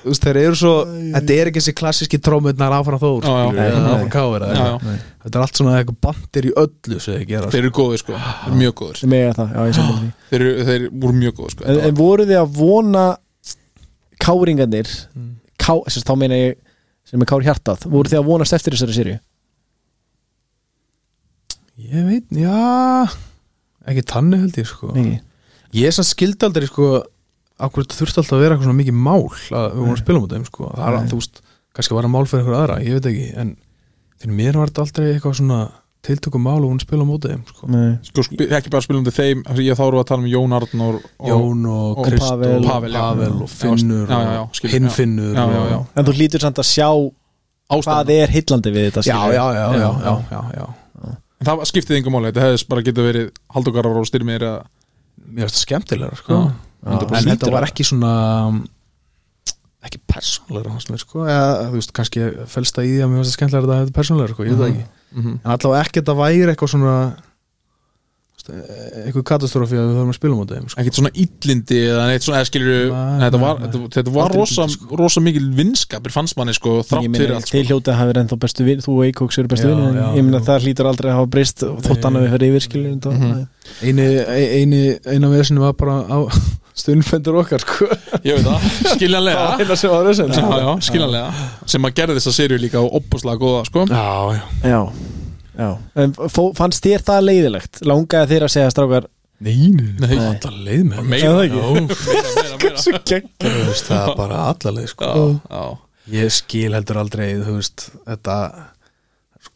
þú veist þeir eru svo, þetta er ekki þessi klassíski trómurnar áfram þór,
Já, já.
skilur,
Nei,
eða
nei.
áfram káir
já, já.
þetta er allt svona eitthvað bandir í öllu sem þeir gera,
þeir eru góðir sko, Þeir eru mjög góðir
Sem ég er það, já ég sammála því
Þeir, eru, þeir voru mjög góðir sko
en, en voru þið að vona káringarnir
Mm.
ká, þess, þá meina ég sem er kár hjartað voru þið að vonast eftir þessari séri
ég veit, já ekki tannu held ég sko
Nei,
ég er sann skildaldari sko akkur þetta þurfti alltaf að vera eitthvað svona mikið mál að við vorum að spila mútið þeim sko það er
Nei.
að þú veist, kannski var það mál fyrir eitthvað aðra ég veit ekki, en fyrir mér var þetta aldrei eitthvað svona tiltöku mál og hún spila mútið þeim sko
nei.
sko, sp- ekki bara spilum til þeim ég þá eru að tala um Jón Arnór og
Jón og
og
Krist
Pavel.
og
Pavel, já.
Pavel og Finnur
Já, já, já,
og
skil- já.
Hinnfinnur
Já, já, já.
og-
En þú lítur samt að sjá
ástæðan
hvað er hillandi við þetta
já,
skilurðu.
já, já, já, já, já, já.
En það skiptið yngur máli, þetta hefðis bara getið verið haldogarar og styrmir eða
mér finnst það skemmtilegra sko
Já.
en
Hlýtur
þetta var
að-
ekki svona um, ekki persónulegra hans með sko eða þú veist, kannski felst það í því að mér finnst það skemmtilegra að þetta hefði persónulegra sko, ég veit það ekki
mm -hmm.
en allavega ekki að þetta væri eitthvað svona þú veist, eh, eitthvað katastrófi að við þurfum að spila mútið þeim sko.
ekkert svona illindi eða neitt svona, eða skilur
Nei,
þetta
nei,
var,
nei.
þetta, þetta var
Aldrei
rosa,
illindi, sko.
rosa mikil vinskapir fannst manni sko,
Ég
þrátt
meina,
fyrir allt
Þeir
sko.
hljótið að hafa verið ennþá bestu vinn Þú og Eikóks eru bestu
Já,
vinn
já,
Ég meina
já.
það hlýtur aldrei að hafa breyst Þótt hann að við fyrir yfir skilur
Mhm.
eini, e, eini, eina vesinu var bara á stundfendur okkar sko.
ég veit það, skiljanlega
Það var eina sem var vesinu
já, já, skiljanlega, sem að gerði þessa serju líka og opposlega góða, sko
já, já.
Já, já En fó, fannst þér það leiðilegt? Langaði þér að segja strákar
Nei, nei,
Nei.
Alla leið með
meira,
það
já,
ekki?
meira, meira, meira.
Svo gegn
Þú veist, Það er bara alla leið sko.
Já, já.
Ég skil heldur aldrei þú veist, Þetta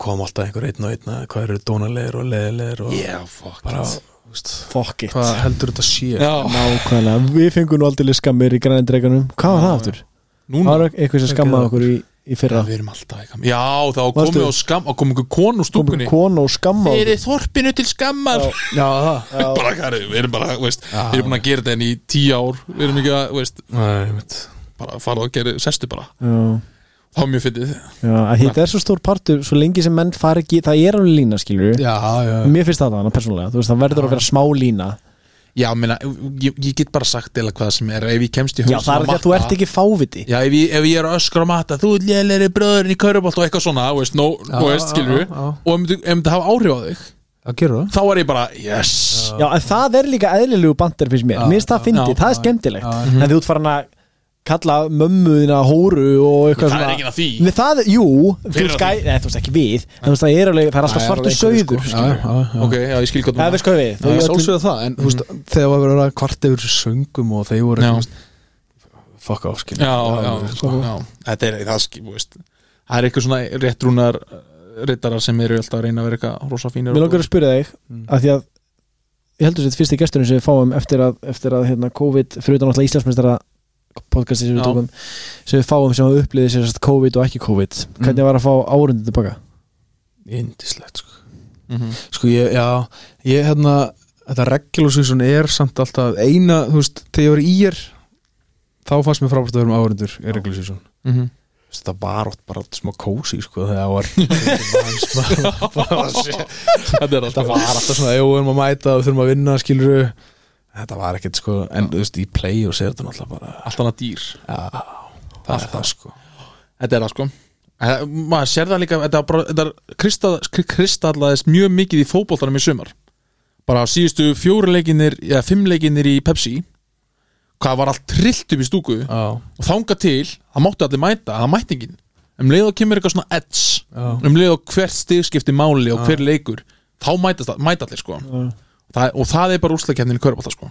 kom alltaf einhver einn og einn að Hvað eru dónalegir og leiðilegir og
Yeah, fuck
bara,
it.
þú veist,
Fuck it
Hvað heldur þetta sé
Já,
Nákvæmlega, við fengum nú aldrei skammir í grænindreikunum Hvað var það aftur? Það
núna
var eitthvað sem
Ekki
skammaði
það.
okkur í, í
Já,
fyrra
við erum alltaf ekki Já, þá komið
Varstu?
og skam og komið einhver konu úr
Komum
stúkunni
konu og skammaði okkur
Þeir eru þorpinu til skammar
Já, það
Bara kæri, við erum bara, veist
Já.
Við erum búin að gera þetta enn í tíu ár Við erum ekki að, veist,
Nei, mitt
bara fara og gera Sestu bara,
Já,
þá er mjög fyndið
já, að þetta er svo stór partur Svo lengi sem menn fari ekki, það er alveg lína skilur
Já, já
Mér finnst það þannig persónulega, þú veist það verður að vera smá lína
Já, meina, ég, ég get bara sagt eða hvað sem er Ef ég kemst í
Já,
hausinn
það
á
er því að
Matta-
þú ert ekki fáviti
Já, ef ég, ef ég er að öskra á matta Þú er lélegri bröðurinn í kaurubolt og eitthvað svona veist, no,
Já,
veist, skilur
já, já.
Og ef myndi- ef þetta hafa áhrif á þig
Það gerur það
Þá er ég bara, yes
Já, en það er líka eðlilegu bandir fyrst mér
Já,
Mér finnst það fyndi,
já,
það er
já,
skemmtilegt
já,
En þú ert farin að kalla mömmuðina hóru og eitthvað
Það er
svona
ekki að því
Nei, það, jú, þú
Fyrir
veist, gæ, nei, þú veist ekki við en þú veist, það er alveg, það er alltaf svartu söður
sko. Já, já, já
Ok, já, ég skil hvað
Það er sko við, þau
Það er
öllum
sjálfsögðu það, en þú veist, þegar var verið að kvart yfir þessu söngum og þeir voru
Mhm. Já.
þú veist, fuck off, skilja
já, já, sko.
sko.
já, þetta er það skil, veist það er eitthvað svona réttrúnar rittarar sem eru alltaf að reyna að vera eitthvað rosa fínir
Mér langar að spyrja þig,
Mm.
að því að ég heldur þetta fyrsti gesturinn sem við fáum eftir að, eftir að hérna, COVID, fyrir utan alltaf Íslandsmeistara podcasti sem við
Já.
tókum sem við fáum sem hafa upplýðið sér sagt COVID og ekki COVID hvernig var að fá árundin tilbaka?
Indislegt, sko
mm -hmm.
Sko, ég, já, ég, hérna þetta regular season er samt alltaf eina, þú veist, þegar ég var í er þá fannst mér frábært að vera um áhörindur í regular season
Mm -hmm.
Þú veist, þetta var oft bara smá kósi, sko þegar var þetta var þetta
þetta er sko. alltaf
var alltaf svona, jú, við erum að mæta og þurfum að vinna, skilur þetta var ekkert, sko, en þú veist, í play og sér þetta náttúrulega bara,
allt annað dýr
já, það er það, sko
þetta er það sko Eh, maður sér það líka, þetta, er bara, þetta er kristall- kri- kristallaðist mjög mikið í fótboltanum í sumar bara á síðustu fjóru leikinir eða fimm leikinir í Pepsi hvað var allt trillt upp í stúku
já,
og þanga til, það máttu allir mæta það mætti enginn, um leið og kemur eitthvað svona edge
já,
um leið og hvert stig skiptir máli og hver leikur þá mætast það, mæta allir sko það, og það er bara úrslagkefnin í körbólta sko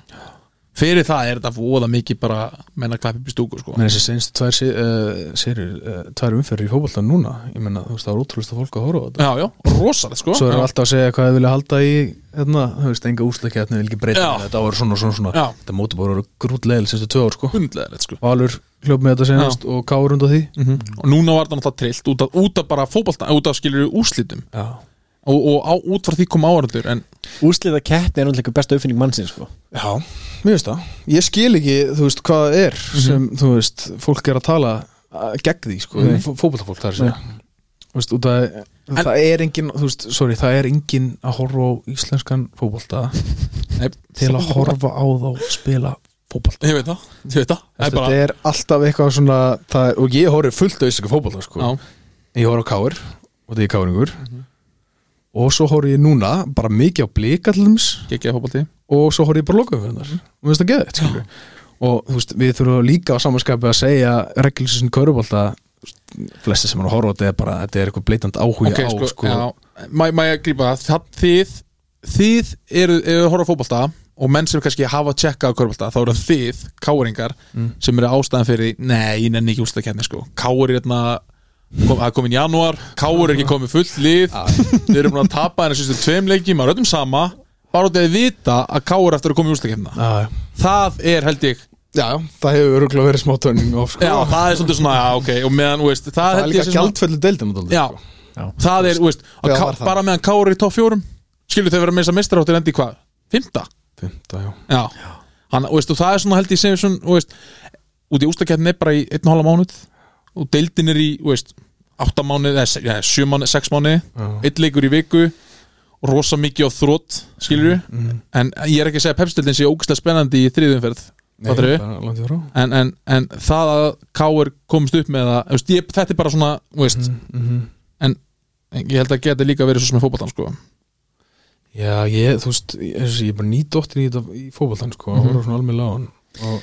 fyrir það er þetta voða mikið bara menna klæpi upp í stúku sko
menn þessi senstu tvær uh, serjur, uh, tvær umferður í fótboltan núna ég menna, þú veist, það var ótrúlust að fólk að horfa á þetta
já, já, rosalegt sko
Svo erum við
já,
alltaf að segja hvað þið vilja halda í hérna, þú veist, enga úrslakefni, vil ekki breyta
Já.
henni, þetta voru svona, svona, svona
Já.
þetta móti bara voru grútlegil sérstu tvö ár, sko
hundlegaðilegt sko
Valur hljóp með þetta senast og Káur undan því
og núna var það náttúrulega trillt út af, út af bara fótbolta út af skilur úrslitum
Já,
og, og á, út frá því kom áhörður en
Úrsliða keppni er náttúrulega besta uppfinning mannsins sko.
Já mér veist það Ég skil ekki, þú veist, hvað það er
Mhm.
sem, þú veist, fólk er að tala að, gegn því, sko,
Nei.
fótballafólk það er að segja Þú veist, út að
En-
það er engin, þú veist, sorry, það er engin að horfa á íslenskan fótbolta
nei,
til að horfa á þá spila fótbolta
ég veit það, ég veit það það er
Þetta
bara,
er alltaf eitthvað svona það, er- og ég horfði fullt á íslenska fótbolta sko.
já, Mhm.
ég horfði á Káur og það er Káringur og svo horfði ég núna bara mikið á blika til þeims
geggjaði fótbolti
og svo horfði ég bara lokaðum fyrir þar og veist að geða þetta og þú veist, við þurfum líka á samanskapi að segja reglisins Kárubolta flesti sem hann horfa á þetta er bara þetta er eitthvað bleitand áhuga
ok,
á
sko,
sko.
já, má, má ég grípa það það, þið, þið eru, eru að horfa á fótbolta og menn sem kannski hafa tjekkað á körbólta, þá eru það þið, káringar
Mm.
sem eru ástæðan fyrir, því, nei, ég nenni ekki úrstakefni sko, káur er hérna kom, það er komin janúar, káur er ekki komið fullt lið, þið eru búin að tapa en þessu tveim leikjum að röddum sama bara út af því að vita að káur eftir að koma í úrstakefna
Já,
það er held ég
já, það hefur öruglega verið smá törning of, sko.
já, það er svolítið svona, já, ok, og meðan, þú veist, það,
það er
held ég
líka
sé svona-
gjaldfellu deildin dálítið,
Já,
sko.
Já.
það er, þú veist að
Já,
Ká-
var það.
bara meðan Káur er í topp fjórum skilur þau vera með þess að mistaráttir endi í hvað? Fymta?
Fimmta, já.
Já, Hann, þú veist, og það er svona held ég sem svona, þú veist, út í ústakettin er bara í einn og halva mánuð og deildin er í, þú veist, átta mánuð eða se- ja, sjö mánuð, sex mánuð einn leikur í viku og rosa mikið á þrótt, skilur en ég er ekki að segja að pepsdeildin sé ógæslega spennandi í þriðumferð
Nei,
Fattarðu?
bara langt í frá.
en, en, en það að Káur komist upp með það, þú veist, ég, þetta er bara svona, þú veist,
Mm, mhm.
en ég held að geta líka verið svo sem er fótboltan, sko
Já, ég, þú veist, ég, eins og ég er bara nýdóttir í, þetta- í fótboltan, sko, mm -hmm. og svona alveg lágan og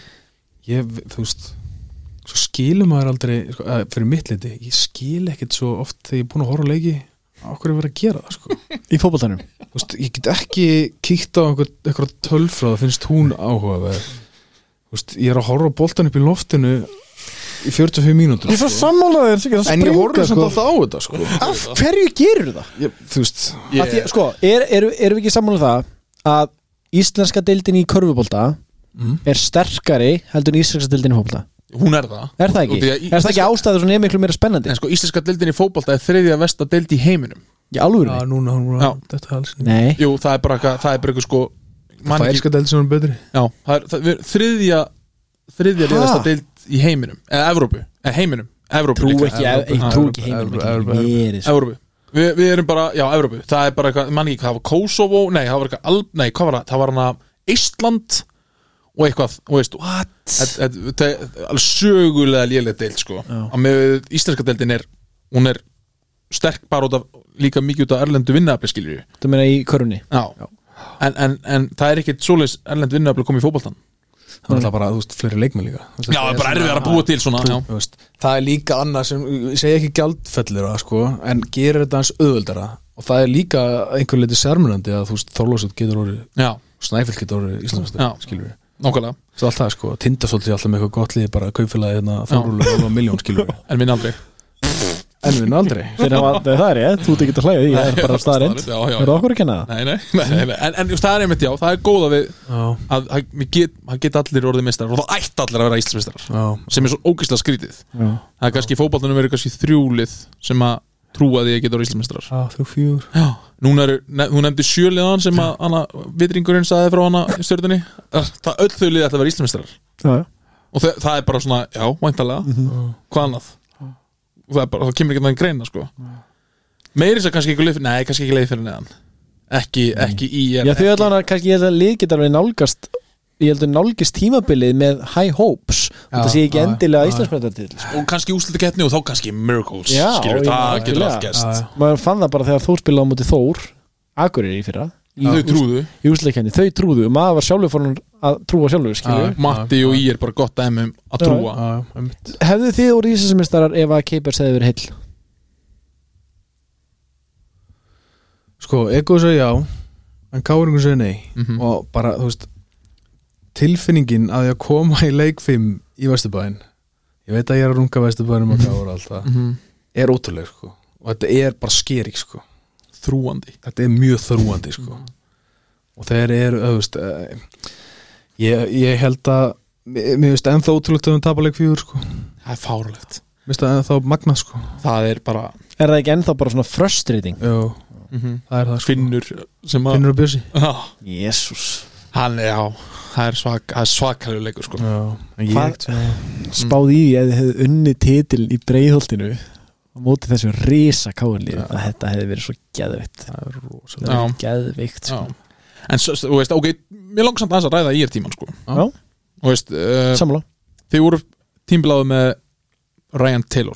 ég, þú veist svo skilum maður aldrei, sko, að, fyrir mitt liti, ég skil ekkit svo oft þegar ég er búin að horfa á leiki okkur er verið að gera það sko
í fótboltanum
Þú veist, ég get ekki kíkt á einhver, einhver tölfra, það finnst hún áhugaverð Þú veist, ég er að horfa á boltan upp í loftinu í 45 mínútur sko.
sammálaðið en ég
en ég horfa samt alltaf á þetta sko
af hverju gerur það?
ég, þú veist,
Yeah. Því, sko, er, er, erum við ekki sammálað það að íslenska deildin í körfubólta
Mm.
er sterkari heldur en íslenska deildin í fótbolta
hún er það
sko- er það ekki?
Út í að í-
er það ekki ástæður svona er miklu meira spennandi?
En sko, íslenska deildin í fótbolta er þriðja vesta deild í heiminum
í alvöru?
já, núna, núna
Já.
þetta er alls
nei,
Jú, það er bara eitthvað, það er bara eitthvað sko man ekki-
fælska delt sem er betri
Já, það er, það er þriðja þriðja
Ha?
reyðasta deild í heiminum eða Evrópu, eða heiminum Evrópu
trú
líka.
ekki ég ég trú ekki heimur
Evrópu, Evrópu, Evrópu.
ekki
Evrópu Vi, Við erum bara, já, Evrópu Það er bara eitthvað, mann ekki, það var Kosovo Nei, það var eitthvað, Al, nei, hvað var það? Það var hana Ísland og eitthvað, og veist
what?
þetta- þetta- Þetta er alveg sögulega lélega deild, sko að með við- íslenska deildin er hún er sterk bara út af líka mikið út af erlendu vinnaafli skiljur við
þú meina í körfunni
Já, En, en, en það er ekkit svoleiðis erlend vinnaafli komið í fótboltan
það er alltaf bara, þú veist, fleiri leikmenn líka Þú veist,
Mm. Já, það
þetta
er bara
svona-
erfiðar að búa til svona já.
Þú veist, það er líka annað sem ég segi ekki gjaldfellir að sko en gerir þetta hans auðvöldara og það er líka einhver leiti sérmunandi að þú veist Þorlósut getur orðið
já,
Snæfell getur orðið íslenskt
Já.
skilur við
nákvæmlega
Svo allt það sko, tindastólt er alltaf með eitthvað gott liði bara að kaupfélagi hérna Þorlósut og miljón skilur við
En minn aldrei
en við aldrei
Þeir hafa- það er ég, þú ert ekki að hlæða því það er bara staðarind,
Já, já,
er það okkur að kenna það?
Nei, nei, nei, nei, nei. En, en just, það er einmitt já, það er góða við
Já,
að það við get, það get allir orðið mistrar og það ætti allir að vera íslmistrar
já,
sem er svo ógeðslega skrítið
Já.
Það er kannski í fótballtunum verið kannski þrjúlið sem að trúa því að geta orðið íslmistrar
já þrjú fjúr
Já, núna eru, ne, hún nefndi sjöliðan sem að hana, vitringurinn saði frá hana í stjörðinni Það öll þau liði ætla að vera íslmistrar
Já, já.
og það, það er bara svona, já, væntalega hvað annað og það, er bara, það kemur ekki að greina sko. meiri sér kannski ekki leið nei, kannski ekki leið fyrir neðan ekki, ekki í er,
Já, þau allan að kannski ég held að lið geta alveg nálgast ég held að nálgist tímabilið með high hopes og það sé ekki
já,
endilega
já.
Íslandsmyndartill
og kannski úslit getni og þá kannski miracles
Já,
skilur,
já,
það getur
algjörlega.
allt gæst
Já, já.
maður fann það bara þegar Þór spilaði á móti Þór Akureyri í fyrra
þau trúðu,
í úsleikjarni, þau trúðu og maður var sjálfur fór að trúa sjálfur skilju
Já,
Matti og í er bara gott dæmi um að
Já,
trúa
Já, einmitt
hefðu þið úr Íslandsmyndarar ef að Keipers hefði verið heill
Sko, Ego segir já en Káringur segir nei
Mhm.
og bara, þú veist tilfinningin að ég að koma í leik 5 í Vesturbæin ég veit að ég er að runga Vesturbænum og Kára alltaf
Mhm.
er ótrúlega sko og þetta er bara skeri sko
þrúandi
þetta er mjög þrúandi sko og þeir eru þú veist, eh, ég, ég held að mér mér finnst ennþá ótrúlegt að við tapa leik fjúr sko mér
það er fárlegt,
finnst það ennþá magna sko
það er bara Mhm.
er það ekki ennþá bara svona frustrating
Jó, það er það sko
finnur sem að
Finnur og Bjössi
Já,
Jésús
hann er já, það er svak, það er svakalegu leikur sko
Já, en ég
Hvað-
já.
spáð í því ef þið hefðu unni titil í breiðholtinu á móti þessu risa káinlið
Já.
að þetta hefði verið svo geðvikt
það er rosalega
það
Já.
hefði geðvikt
Já.
sko.
En svo- þú veist, ok, mér langsamt aðeins að ræða í er tíman sko
Já.
Og veist, uh,
samlá
þið voru tímbilaðu með Ryan Taylor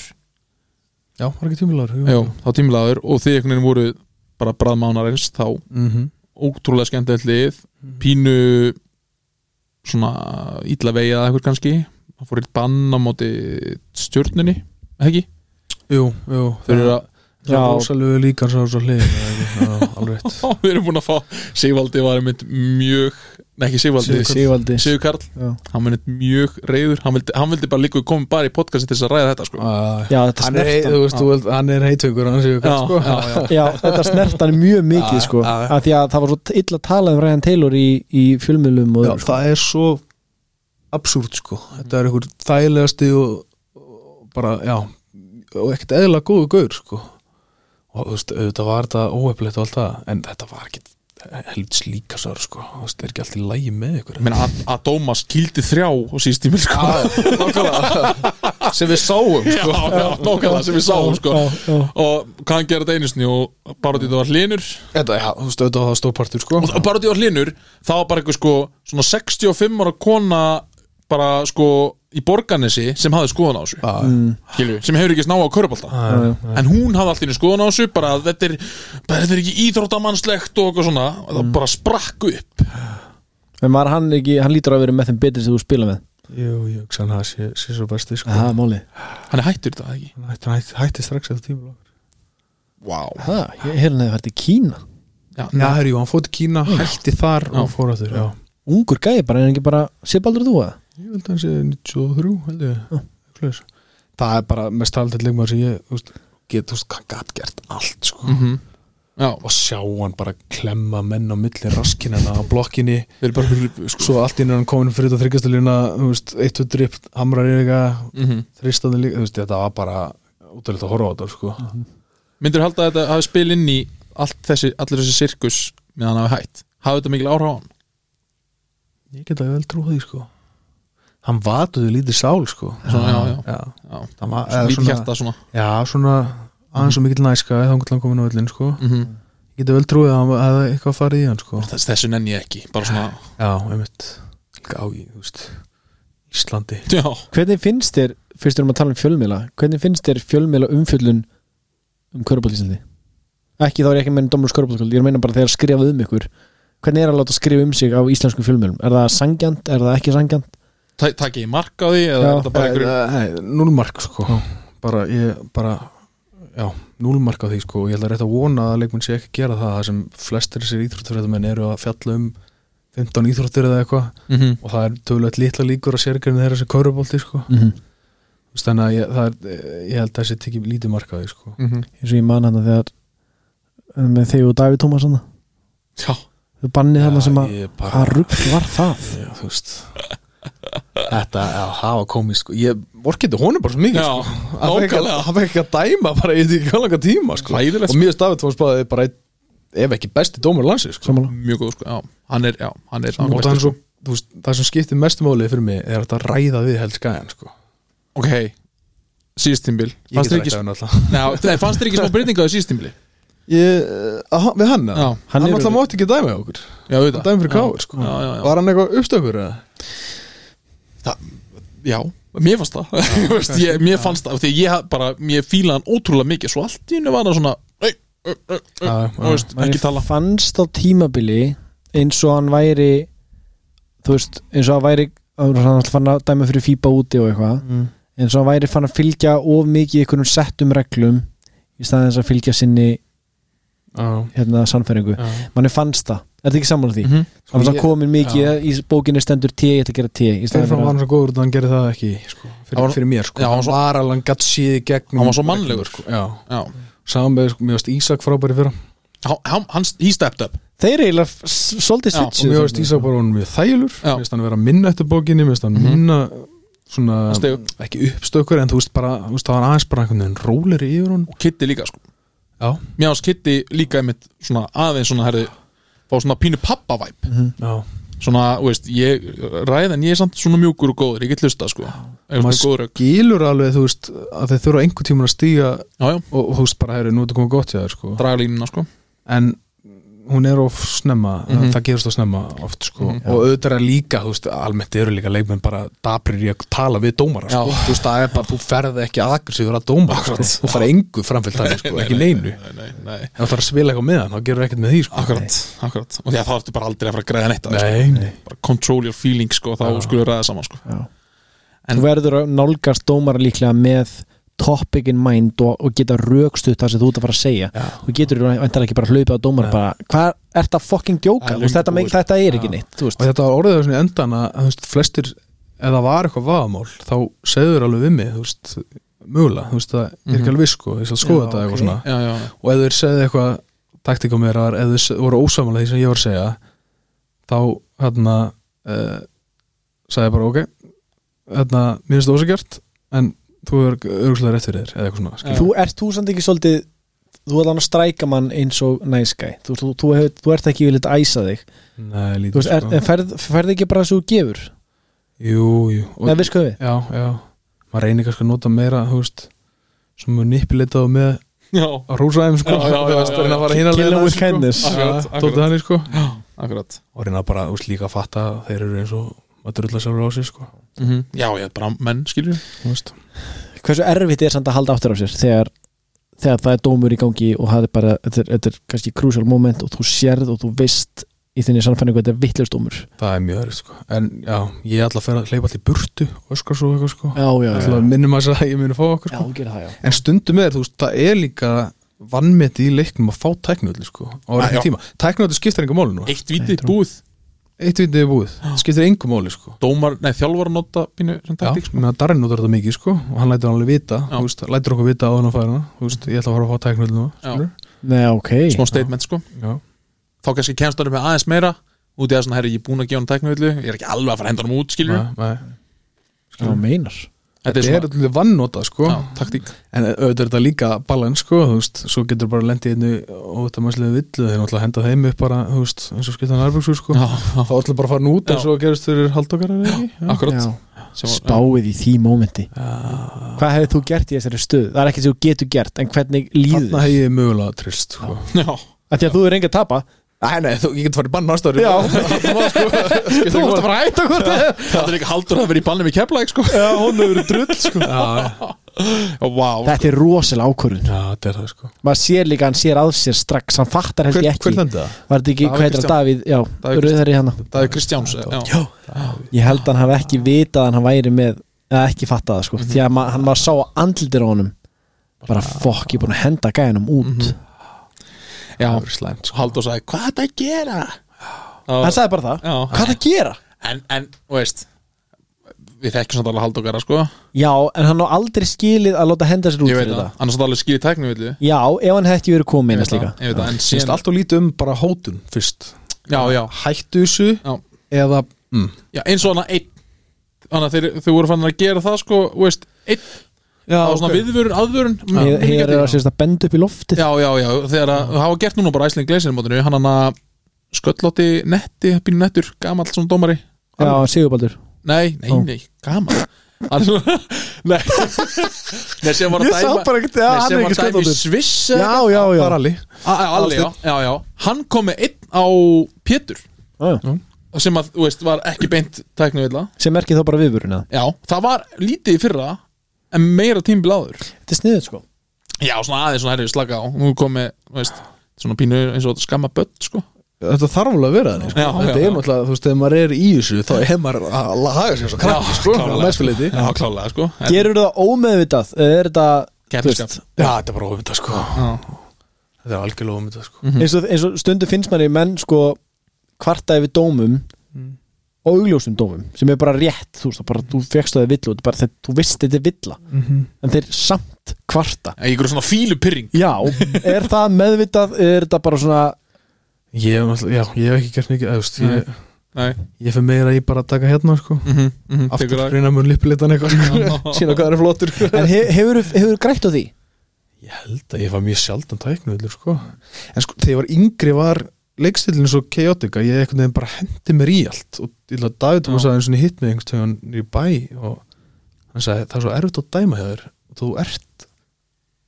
Já, var ekki tímulegur
Jú, þá tímbilaður og þið einhvern veginn voru bara bræðmánarins þá
-hmm.
ótrúlega skemmtilegt lið pínu svona illa vegið að eitthvað kannski það fór eitt bann á móti stjörnunni, eða ekki?
Jú, jú
Þau eru að,
Það
Já.
er rosalega líka hans á svo hlið Já, alveg rétt
við erum búin að fá Sigvaldi var einmitt mjög, nei ekki Sigvaldi
Sigvaldi
Sigur Karl,
Já.
hann var einmitt mjög reyður hann vildi, hann vildi bara líka koma bara í podcastin til þess að ræða þetta sko.
Já,
Já, þetta
hann er,
snerti
hei, þú veist, þú veist, hann er heitökur hann séu
Já,
hvað sko
já, já.
Já, þetta snert hann mjög mikið
Já,
sko
já, já.
af því að það var svo illa talað um Ryan Taylor í, í fjölmiðlum og sko.
Já, það er svo absúrt sko þetta er einhver þægilegasti og, og bara, já og ekkert eðla góðu gaur sko og þú veist, auðvitað var þetta óhefnilegt og allt það en þetta var ekki helds líka sár sko, þú veist, er ekki allt í lægi með ykkur
Ég meina að, að Dómas kýldi þrjá og síðst tímil sko.
nákvæmlega sem við sáum sko.
Já, já, nákvæmlega sem við sáum sko. og hvað hann gera þetta einu sinni og bara þetta var hlinur
þetta, já, þú veist, auðvitað var stópartur sko
og bara þetta var hlinur, þá var bara eitthvað sko svona 65 ára kona bara sko í borganesi sem hafði skoðan á þessu
Já,
Gilvi, sem hefur ekki sná á körubalta en hún hafði allt í einu skoðan á þessu bara að þetta er, bara, þetta er ekki íþróttamannslegt og eitthvað svona, og
Mm.
það bara sprakk upp
En maður hann ekki, hann lítur að vera með þeim betri sem þú spila með
Jú, ég hugsa hann að það sé, sé svo besti sko.
Það er máli
hann er hættur þetta ekki
Hann hætti, hætti, hætti strax eftir tíma
Vá
Ha, ég hef nefnir verið í Kína
Já,
Já, herri, jú, hann fótt í Kína, hætti þar og fór að þurr, já
Ungur gæði bara, er hann ekki bara Sibaldur þú að?
Ég held að hann sé 93, held ég
Já.
Svoleiðis. Það er bara mest talið leikmaður sem ég úst, get, úst, hann gat gert allt sko.
Mhm. Já,
og sjá hann bara klemma menn á milli raskinana á blokkinni
við erum bara sko,
svo allt inn er hann komin fyrir þetta þryggastalina eitt og drip, hamrar í eitthvað
mm -hmm.
þristandi líka, þú veist, þetta var bara útöðilegt að horfa á þetta sko.
Myndur halda að þetta hafi spil inn í allt þessi, allir þessi sirkus meðan hafi hætt Hafið þetta mikil áhrá á hann?
ég get að vel trú því sko. hann vatuði lítið sál sko.
Svona, já, já. Já,
Hann var-
svona
eða
lítið
svona-
hjarta svona
já, svona aðeins og mikill næska þá hann komin á öllin sko.
mm
geti vel trúið að hann hefði eitthvað farið í hann sko.
Þess, Þessu nenni ég ekki, bara svona
já, einmitt á í, þú veist Íslandi
Já,
Hvernig finnst þér, fyrst erum að tala um fjölmiðla Hvernig finnst þér fjölmiðla umfjöllun um körbólísildi? Ekki þá er ég ekki að meina dómur skörbólísildi Ég er að meina bara þegar skrifað um ykkur Hvernig er að láta skrifa um sig á íslensku fjölmiðlum? Er það sangjant? Er það ekki sangjant?
Ta- takk ég mark á því eða
Já.
er þetta bara einhverjum
núlmark sko bara, ég, bara já, núlmark á því sko og ég held að rétt að vona að leikmenn sé ekki að gera það það sem flestir þessir íþróttfréttamenn eru að fjalla um 15 íþróttir eða eitthvað
mm -hmm.
og það er tölvöld litla líkur að sérgerðin þeirra sem kaurubólti sko
Mm -hmm.
Þú veist, þannig að ég, það er, ég held að þessi tekið lítið mark á því sko
Mm,
Eins og ég man hana þegar eh, með þig og Davíð Tómas hana
Já,
Þau bannið hana sem að
ég bara-
Hvað rugg var það?
Já, þú veist Þetta, já, það var komið sko Ég vorkið honum bara svo mikið
Já,
sko Hann fekk ekki-
nákvæmlega.
Hann fekk ekki að dæma bara í því hvað langa tíma sko
Hræðilegt,
Og
sko.
mjög stafið þú spáðið bara einn Ef ekki besti dómur landsið sko
Sammála
mjög góð sko, já, hann er, já, hann er sko.
Og það er svo, þú veist, það sem skiptir mestu málið fyrir mig Er að þetta ræða við held skæðan sko
Ok, hey, síðust tímbil
Ég
Fannst
get
þér ekki,
rætt hann alltaf
Ná, nei, fannst þér ekki smá breytinga á síðust tímbili?
Ég, aha, við hann eða?
Já,
Hann
Hann
er-
alltaf mátti ekki dæma hjá okkur
já,
Hann
auðvitað
dæmi fyrir káur sko
Já, já, já.
Var hann eitthvað uppstökkur eða?
Já, mér fannst það Þú veist, ég, Mér fannst það, af því ég haf- bara, mér fílaði hann ótrúlega mikið Svo allt í hennu var hann svona Nei, ö, ö, ö,
Já,
þú veist, ekki tala
fannst á tímabili eins og hann væri þú veist, eins og hann væri hann var alltaf fann að dæma fyrir fýpa úti og eitthvað
Mm.
eins og hann væri fann að fylgja of mikið einhvernum settum reglum í staðið þess að fylgja sinni
Já,
hérna sannfæringu,
já
manni fannst það er þetta ekki sammála því?
Mhm.
hann var
Ég-
það komin mikið í bókinni stendur T, ég ætla að gera T í staðinn
Stefán
fyrir
var
að-
hann svo góður út að hann gerði það ekki sko, fyrir,
Það var-
fyrir mér sko.
Já, hann var svo-
var alveg hann gatt síði gegn
Hann var svo mannlegur, sko.
já.
Já,
saman með, sko, mér varst Ísak frábæri fyrir hann
hann, hann- hann, he stepped up
þeir eiginlega f- s- svolítið sko.
Já, og
og mér varst
svitsu
Ísak bara hann mjög þælur
Já.
mér varst hann vera minna eftir bókinni mér varst hann
Mhm.
minna svona,
Stigum.
ekki uppstökkur en þú veist bara, þú veist það var aðeins bara einhvern veginn róleri yfir hann
Og Kitty líka, sko
já,
Mér fannst Kitty líka einmitt svona aðeins svona herri Fá svona pínu pappavæp
já.
Svona, þú veist, ég ræðan Ég er samt svona mjúkur og góður, ég get hlusta, sko Ef
maður
svona góður auk
skilur alveg þú veist að þeir þurfa einhvern tíma að stíga
Já, já,
og þú veist bara, herri, nú er þetta komið gott hjá þér sko.
draga línuna, sko
en hún er of snemma
Mhm.
það gerist of snemma oft sko. og auðvitað er líka, þú veist, almennt eru líka leikmenn bara dabrir í að tala við dómara sko.
Já.
þú veist, það er bara, þú ferð ekki aggressíður að dómara, sko. þú farið engu framfylg það, sko, ekki neinu
Nei, nei, nei,
ef það er að spila eitthvað með hann, þá gerur ekkert með því sko.
akkurat, akkurat Og því að það ertu bara aldrei að fara að græða neitt að þessu,
nei, nei,
sko. Bara control your feelings, sko, þá
Já.
skulum við ræða saman, sko En-
þú verður að nálgast dómara líklega með topic in mind og, og geta rökstuð það sem þú ert að fara að segja
Já.
og getur vantar ekki bara hlaupið á dómar
Nei.
bara, hvað er þetta fucking djóka
Það er
Þú veist, þetta,
löngu
meik,
búið,
þetta er ekki
Já.
neitt þú veist.
og þetta var orðið á svona endan að þú veist, flestir, ef það var eitthvað vaðamál, þá segður alveg við mig þú veist, mögulega, þú veist, það er ekki
Mhm.
alveg viss, sko, ég skal skoða
Já,
þetta eitthvað
ok.
svona
Já, já, já
og ef þeir segðu eitthvað taktikumeraðar, ef þeir se- voru ósamanlega því sem ég var að segja þá hérna uh, sagði ég bara ok hérna, mér finnst það ósagjart en þú er örgulega rétt fyrir þér eða eitthvað svona skilur.
þú ert þú samt ekki svolítið þú ert hann að stræka mann eins og næskæ nice guy. þú, þú, þú, hef, þú ert ekki viljað æsa þig
Nei,
Þú
lítið
veist, er,
sko
en ferð, ferð ekki bara þessu gefur
Jú, jú og,
eða viskuðu við
Já, já maður reynir kannski að nota meira, þú veist sem mjög nippileitað með
Já,
að rósa þeim sko
Já, já, já,
Þú veist,
já,
reyna að fara
já.
hina
Kill
leiðina
them with
aðeins, sko.
kindness.
Akkurat,
Já,
akkurat.
dótið þannig, sko.
akkurat
og reyna bara þú veist, líka að fatta að þeir eru eins og maður drulla sjálfur á sig sko,
Já, ég er bara menn, skilur við
þú veist.
hversu erfitt er samt að halda áttur á sér þegar, þegar það er dómur í gangi og það er bara, þetta er, þetta er kannski crucial moment og þú sérð og þú veist í þinni sannfæringu að þetta er vittlust dómur
Það er mjög erið sko En já, ég ætla að fer að hleypa allir burtu og öskar svo eitthvað sko
já, já,
ætla að minnum að þess að ég muni að fá okkur
já,
sko
gera það, já
En stundum er, þú veist, það er líka vannmeti í leiknum að fá tæknöðli sko, á
Ah, já.
réttum tíma tæknöðli skiptir engum máli nú
Eitt viti búið
eitt vitið er búið, skiptir engum máli sko.
Dómar, nei þjálfar nota pínu sem
Já,
taktík sko.
menna, Darren notar þetta mikið sko og hann lætur hann alveg vita,
Já.
þú veist, lætur okkur vita á hann að færa hana, þú veist, ég ætla að fara að fá tæknöld núna,
Já.
skilur
Nei, ok
Smá statement sko
Já,
Þá kannski kemst hann með aðeins meira Út í að svona, herri, ég er búin að gefa hann tæknuvöldu Ég er ekki alveg að fara að henda hann út, skilur
nei, nei.
Já, meinar
Þetta er
Þetta er
svona,
allir vannóta sko
já, taktík
en auðvitað er þetta líka balans sko, þú veist, svo getur bara lendið einu og þetta maður sliðið villu, þeir náttúrulega henda þeim upp bara, þú veist, eins og skipta hann arbeigsur sko
Já,
þá ætlum bara að fara út
Já.
eins og gerist fyrir haldokkar eða ekki Já.
akkurat
Já,
Sem var-
Spáið í því mómenti Hvað hefur þú gert í þessari stöð? Það er ekki sem þú getur gert, en hvernig líður
Þarna hef ég mögulega trist sko.
Já,
Af Því að þú er enga að tapa
Nei, nei, þú, ég get farið bann mástöður
Já.
Þú
Þú ert að fara að hætta hvort þið
það er ekki haldur að vera í banni með keflæk sko
Já, hún hefur verið drull sko Já,
Já, vá
Þetta er rosalega ákvörðun
já þetta er það sko
Maður sér líka, að hann sér að sér strax Hann fattar held
Hver,
ég ekki
hver lendi það?
Var þetta ekki,
Davíð
hvað heitir hann, Davíð? Já,
Davíð
rauðari hérna. hana
Það er Kristjáns já.
Já, ég held að hann hafi ekki vitað að hann væri með eða ekki fattað það sko því að ma hann var sá andldir á honum bara fokk, ég er búin að henda gæðinum út
já.
Það verið slæmt sko
Haldur sagði, hvað er þetta að gera? Já.
hann sagði bara það,
Já.
hvað er það að gera?
En, en, þú veist Við þekkjum samt alveg Haldur Garra sko
Já, en hann á aldrei skilið að láta henda sér út
Ég
fyrir
veit
það.
það, annars er það alveg skil í tæknu villu
Já, ef hann hefði ekki verið komið
Ég
minnast
veit
líka
það, ég veit það, en
Sýnst
síðan
allt og lítið um bara hótun fyrst
Já, já,
Hættu þessu
já,
eða mm.
já, eins og hana einn Þannig að þeir, þau voru fann að gera það sko þú veist, Einn,
Já,
það var svona viðvörun, aðvörun
Hér hér er að sérst að benda upp í loftið
Já, já, já, þegar að það hafa gert núna bara æsling gleisinu mótinu, hann hann að sköllátti netti, býnur nettur, gamall svona dómari
Já, Sigurbaldur
Nei, nei,
Ó.
nei, gamall Hann svona, nei Nei, sem var að
Ég sá
dæma
bara ekkert, já,
Nei,
hann
sem
er ekki
var að dæma í
skotlandur
Sviss
Já, já, já
Það er alveg
Alli, já, já, já Hann kom með einn á Pétur
Já, já.
sem að, þú veist, var ekki beint tæknu vilja
Sem merkir þá bara viðvörun eða
Já, það var lítið í fyrra en meira tímbil áður
Þetta er sniðið sko
Já, svona aðeins svona herrið slaka á Nú komið, þú veist, svona pínu eins og skamma börn, sko
Þetta þarf alveg að vera þannig sko.
Já,
Þetta
já, já.
er náttúrulega, þú veist, ef maður er í þessu þá er maður að að haga sér svo kraft sko, að mestu leyti.
Já, klálega, sko En-
Gerur það ómeðvitað, eða er þetta þú
Keppnisskap.
veist,
Já, þetta er bara ofmynda sko
Já.
Þetta er algjörlega ofmynda sko
eins og, eins og stundu finnst manni menn sko kvarta yfir dómum
Hm.
og augljósum dómum sem er bara rétt, þú veist, það bara, þú fegst það villu, bara, þeir, þú veist þetta er villa
Mhm.
en þeir samt kvarta
Ég ykkur svona fílupyrring
Já, er það meðvitað er þetta bara svona,
Ég, hef náttúrulega- já, ég hef ekki gert mikið eða, þú veist, ég,
Nei,
ég fyrir meira í bara að taka hérna sko
mhm, mm mhm, mm
Aftur
tekur það
reyna mun lipplitan eitthvað
Hm.
sko Sýna hvað það er flottur sko.
en he, hefur, hefur grætt á því?
Ég held að ég var mjög sjaldan tæknuðlur sko En sko, þegar ég var yngri var leikstillin svo chaotic að ég einhvern veginn bara hendi mér í allt og ég laði David Thomas
Já.
að eins og hitt mig einhvern veginn í bæ og hann sagði það er svo erfitt að dæma hjá þér þú ert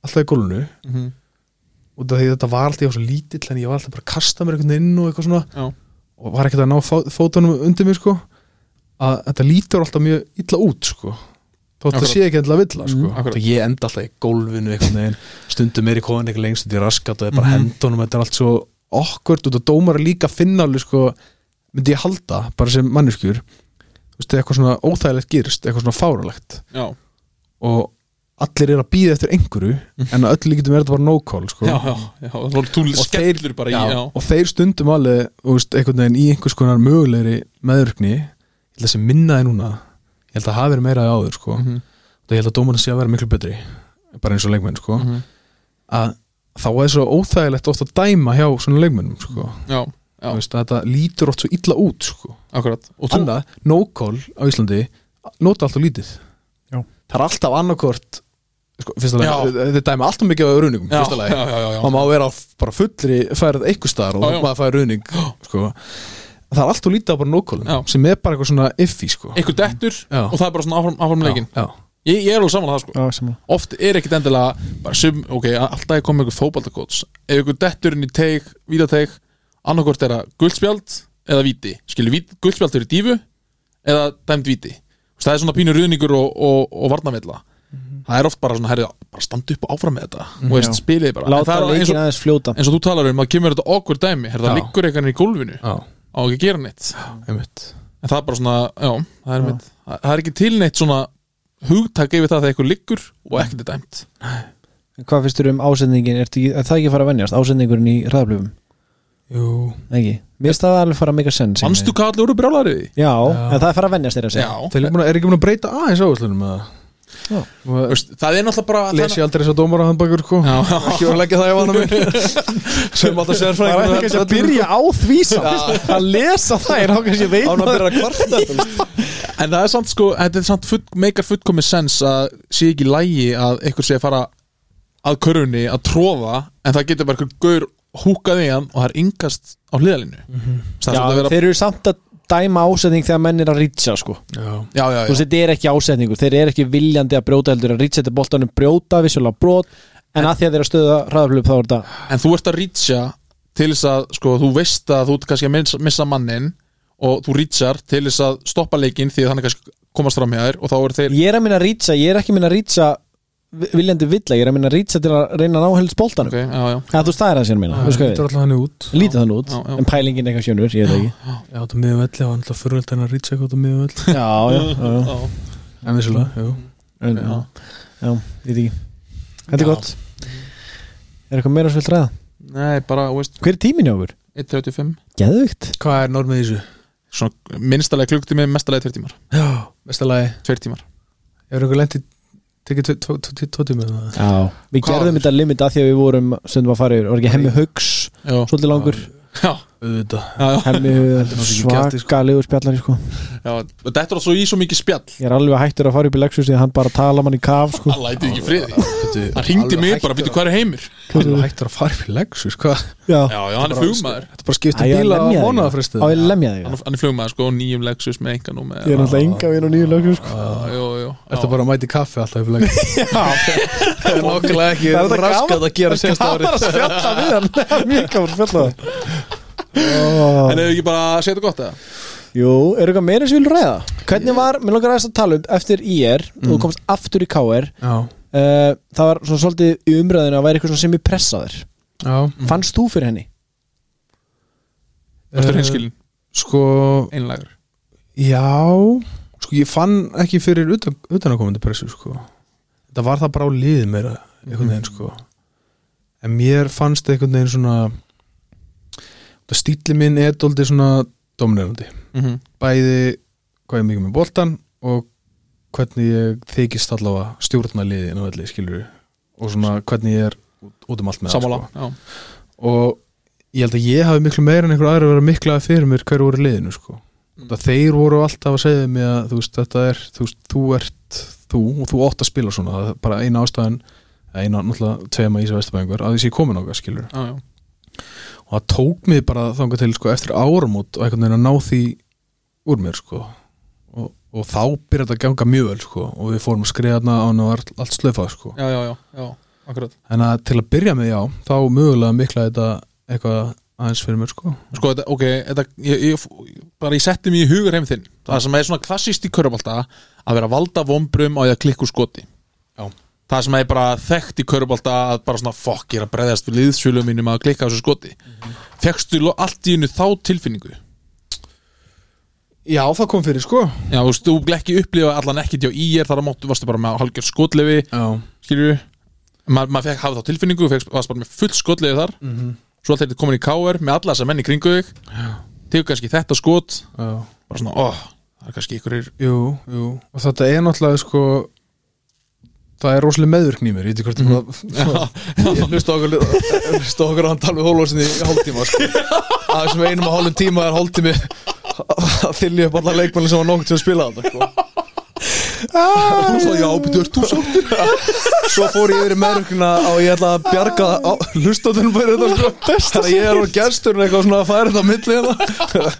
alltaf í gólunu
Mhm,
og því að þetta var alltaf, ég var svo lítill en ég var alltaf bara að kasta mér einhvern veginn inn og eitthvað svona
Já,
og var ekkert að ná fó- fótunum undir mér sko að þetta lítur alltaf mjög illa út sko þótt það
Akkurat.
sé ekki alltaf illa sko
Mm,
akkurat.
mm, ég enda alltaf í gólfinu einhvern veginn stundum er í kóðan eitthvað lengst þetta er raskat og það er bara
Mhm.
hendunum þetta er allt svo okkurt og það dómar er líka finnalið sko myndi ég halda bara sem manneskjur þú veist eitthvað svona óþægilegt gerist eitthvað svona fáralegt
já,
og allir er að býða eftir einhverju en að öll líkitum er þetta bara no call sko
já, já, já Það var túl
Og þeir-
skellur bara í,
já,
já
og þeir stundum alveg þú veist, einhvern veginn í einhvers konar mögulegri meðurkni, ég held að sem minnaði núna ég held að hafi verið meira að áður sko. mm
Mhm.
ég held að dómarinn sé að vera miklu betri bara eins og leikmenn sko.
Mhm.
að þá er svo óþægilegt oft að dæma hjá svona leikmennum sko.
Já,
Þú veist, að þetta lítur oft svo illa út sko.
akkurat Og þú,
annað, no-call á Íslandi nota alltaf lítið
Já.
það er alltaf annarkort sko, fyrst að
Já.
lagi, þeir dæma alltaf mikið á rauningum
já,
fyrst að lagi
já, já, já, já.
maður má vera á f- bara fullri færið eitthvað staðar og
Já, já.
maður fær ruðning sko. það er allt og lítið á bara
Já.
nókólum sem er bara eitthvað svona iffy sko.
Einhver dettur
Já.
og það er bara svona áfram, áfram leikin
já,
ég, ég er alveg saman það sko
Já, sem
oft er ekkit endilega bara sem, ok, alltaf er komið ykkur fótballtakóts ef ykkur dettur inn í teig, vítateig annarkort er að guldspjald eða víti, skilur vít, guldspjald fyrir dífu eða dæmd víti Þú veist, það er svona pínu ruðningur og, og, og varnavilla
Mhm.
það er oft bara svona, herri, bara standa upp og áfram með þetta og veist,
Já.
spilið bara En
Láta
það er eins
leikin
og,
aðeins fljóta
eins og þú talar um, að kemur þetta okkur dæmi herri, það
Já.
liggur eitthvað inn í gólfinu
já,
á ekki að gera neitt
einmitt
en það er bara svona, já, það er, mitt,
Mm.
það það er ekki tilneitt svona hugtak yfir það þegar eitthvað liggur og ekkert er dæmt
Hvað finnst þér um ásendingin? Er það ekki að fara að venjast? Ásendingurinn í ræðablöfum?
Jú,
Ekki? Mér finnst það alveg fara að make a sense
Manstu hvað allir voru brjálæri því?
Já,
Já.
en það er fara að venjast þér að segja
Já,
þeir eru búin að- eru ekki búin að breyta aðeins áherslunum með
Já.
það
Veist, það er náttúrulega bara
Les ég aldrei þess að dómara handbakur sko
Já.
Ekki voru að leggja það í vana mér Sem alltaf sérfræðingur
Það er ekki að byrja á því samt að lesa það er ákveðs ég veit
Án að
maður-
byrja að kvarta þú veist.
En það er samt sko, þetta er samt full, meikar fullkomi sens að sé ekki lægi að einhver sé að fara að körfunni að tróða en það getur bara einhver gaur húkað í hann og það er yngast á hliðalínu mm
Mhm.
-hmm.
Já, þeir eru samt að dæma ásending þegar menn er að rýtsa sko.
Já.
já, já,
þú veist,
já.
þetta er ekki ásendingur þeir eru ekki viljandi að brjóta heldur að rýtsa þetta boltanum brjóta, vissulega brot en að því að þeir eru að stöða ræðablöf þá er þetta
En þú ert að rýtsja til þess að sko, þú veist að þú ert kannski að missa, missa mannin og þú rýtsjar til þess að stoppa leikinn því að hann er kannski komast fram hjá þér og þá eru þeir
ég er að minna að rýtsa, ég er ekki minna að rýtsa viljandi villa, ég er að minna að rýtsa til að reyna að ná helst boltanum
Ok, já, já.
Það þú veist, það er það sem ég minna, þú
Það
sko
lítur alltaf hann út
lítið þannig út,
Já, já.
en pælingin er eitthvað sjönur, ég veit það ekki
Já, þetta miðum velli, það var alltaf fyrirvöld en að rýtsa eitthvað þetta miðum velli
Já, já, já, já,
Já.
En vissulega, jú
en, já. já ég veit ekki Þetta er
Já.
gott Er eitthvað meira svilt ræða?
Nei, bara, þú veist,
Hver er tímin hjá okkur?
1.35
Geðvikt
Hvað er normið í þessu?
Svona minnstalega klukktími, mestalega tveir tímar
Já, besta lagi
Tveir tímar
Hefur einhver lent í tekið tvo- tvo- tvo tvo tíma eða?
Já, við
Hvað
gerðum
var?
þetta limit að því að við vorum stundum að fara yfir, var ekki hemmi hugs
Já,
svolítið langur,
já,
Auðvitað
já, já.
hemmi
er ekki gæti, sko.
svakalegu spjallari sko.
Já, þetta er svo í svo mikið spjall
ég er alveg hættur að fara upp í Lexus því að hann bara tala mann í kaf sko.
Það lætið ekki friði Hann hringdi
alveg
mig
hættur
bara,
að-
býttu hvað er heimir
Alveg hættur að fara upp í Lexus, hvað?
já,
Já, já, hann er
bara-
flugmaður
Þetta bara skiptir
Æ, ég
bíla á
lemja þig.
mánaðafrestið
á ég lemja þig
Hann er- hann er flugmaður sko, og nýjum Lexus með enga númer
ég er náttúrulega enga við erum nýju Lexus sko.
Já, já, já
Þetta bara að mæti kaffi alltaf upp í Lexus Það er nokkulega ekki
Það er þetta
raskat
gaman-
að gera sérst árið
að spjalla við hann mjög gaman að spjalla
En er ekki bara að segja þetta gott eða?
Jú, eru eitthvað meira sem við viljum ræða? Hvernig var, mér langar aðeins að tala um eftir IR, þú komst aftur í KR
Já,
uh, það var svona svolítið í umræðinu að væri eitthvað svona sem ég pressaður
já
fannst þú fyrir henni?
Þetta
Eh,
er hinskilin,
Sko,
einlægur
já Sko, ég fann ekki fyrir utan, utanakomandi pressu, sko Þetta var það bara á liðið meira einhvern veginn, sko En mér fannst einhvern veginn svona Það stíli minn er dóldi svona dominerandi
Mhm.
bæði hvað ég er mikið með boltan og hvernig ég þykist allavega stjórna liðin og allir skilur og svona hvernig ég er út- út um allt með það,
Sammála
sko.
já.
og ég held að ég hafi miklu meira en einhver aðra verið að mikla fyrir mér hverju voru í liðinu sko. mm. þeir voru alltaf að segja mér að þú veist, þetta er, þú veist, þú ert þú og þú ótt að spila svona það er bara eina ástæðan, eina náttúrulega tveima ísa vestabæðingur, að þessi komin okkar skilur
Já, já.
og það tók mig bara þangað til sko, eftir áramót og einhvern veginn að ná því úr mér sko. og, og þá byrjaði þetta að ganga mjög vel sko. og við fórum að skriða þarna á hann og var allt slöfað sko.
já, já, já, já, akkurat
en að til að byrja með já þá mögulega mikla þetta eitthvað aðeins fyrir mér sko.
Sko, þetta, ok, þetta, ég, ég, bara ég setti mig í hugur heim þinn Það sem er svona klassist í körubálta að vera að valda vombrum á ég að klikku skoti
Já.
Það sem er bara þekkt í körubálta að bara svona fokk, ég er að breyðast við liðsfjölu mínum að klikka á þessu skoti mm
Mhm.
Fekstu lo- allt í hennu þá tilfinningu?
já það kom fyrir sko.
Já, þú veist, þú ekki upplifa allan ekkert hjá IR þar að móttu, varstu bara með halgjör skotlefi
já,
skilju Ma, maður fekk hafa þá tilfinningu, fekk, varst bara með full skotlefi þar
Mhm.
svo alltaf þetta komin í káver með alla þessa menn í kringu þig tegur kannski þetta skot
já.
bara svona, óh, það er kannski ykkur
Jú, jú. og þetta er náttúrulega sko, það er rosalega meðvirkni í mér ég veit ekki hvort mm ég hlusta á okkur hlusta á okkur að hann tala við hólósinni í hálftíma sko. að þessum einum og hálfum tíma er hálftími að þylja upp alla leikmenni sem var nokkuð til að spila þetta sko.
Þú svo, já, betur, þú svo
svo fór ég yfir í meðvirkna og ég ætla að bjarga hlustatunum fyrir þetta sko. þannig að ég er á gesturinn eitthvað svona að færa þetta á milli hérna en, það-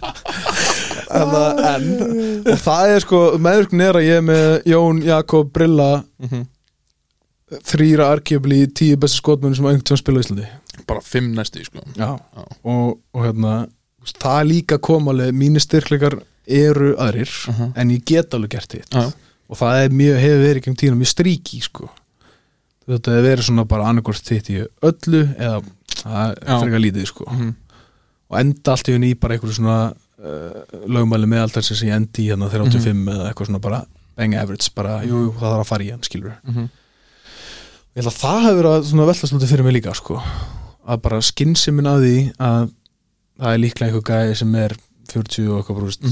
Ah.
en og það er sko, meðvirkni er að ég er með Jón, Jakob, Brilla
Mhm.
þrýra arguably tíu bestu skotmenn sem einhvern tíma spila í Íslandi
Bara fimm næstu, sko
Já, Og, og hérna þú veist, það líka kom alveg, mínir styrkleikar eru aðrir,
Mhm. Uh-huh.
en ég get alveg gert þitt
Já.
og það er mjög, hefur verið gegn tíðina mjög stríki sko. þetta hefur verið svona bara annarkvort þitt í öllu eða
Já.
það er frekar lítið sko.
Mhm.
og enda allt í henni í bara einhverju svona uh, lögmæli meðaldar sem ég endi í hérna
Uh-huh.
35 eða eitthvað svona bara bang average, bara jú, jú, það þarf að fara í hann skilur
Mhm.
ég Ég held að það hefur verið að svona veltast lúti fyrir mig líka sko. að bara skinnsemin að því að það er líklega einhver gæði sem er 40 og eitthvað brúst mm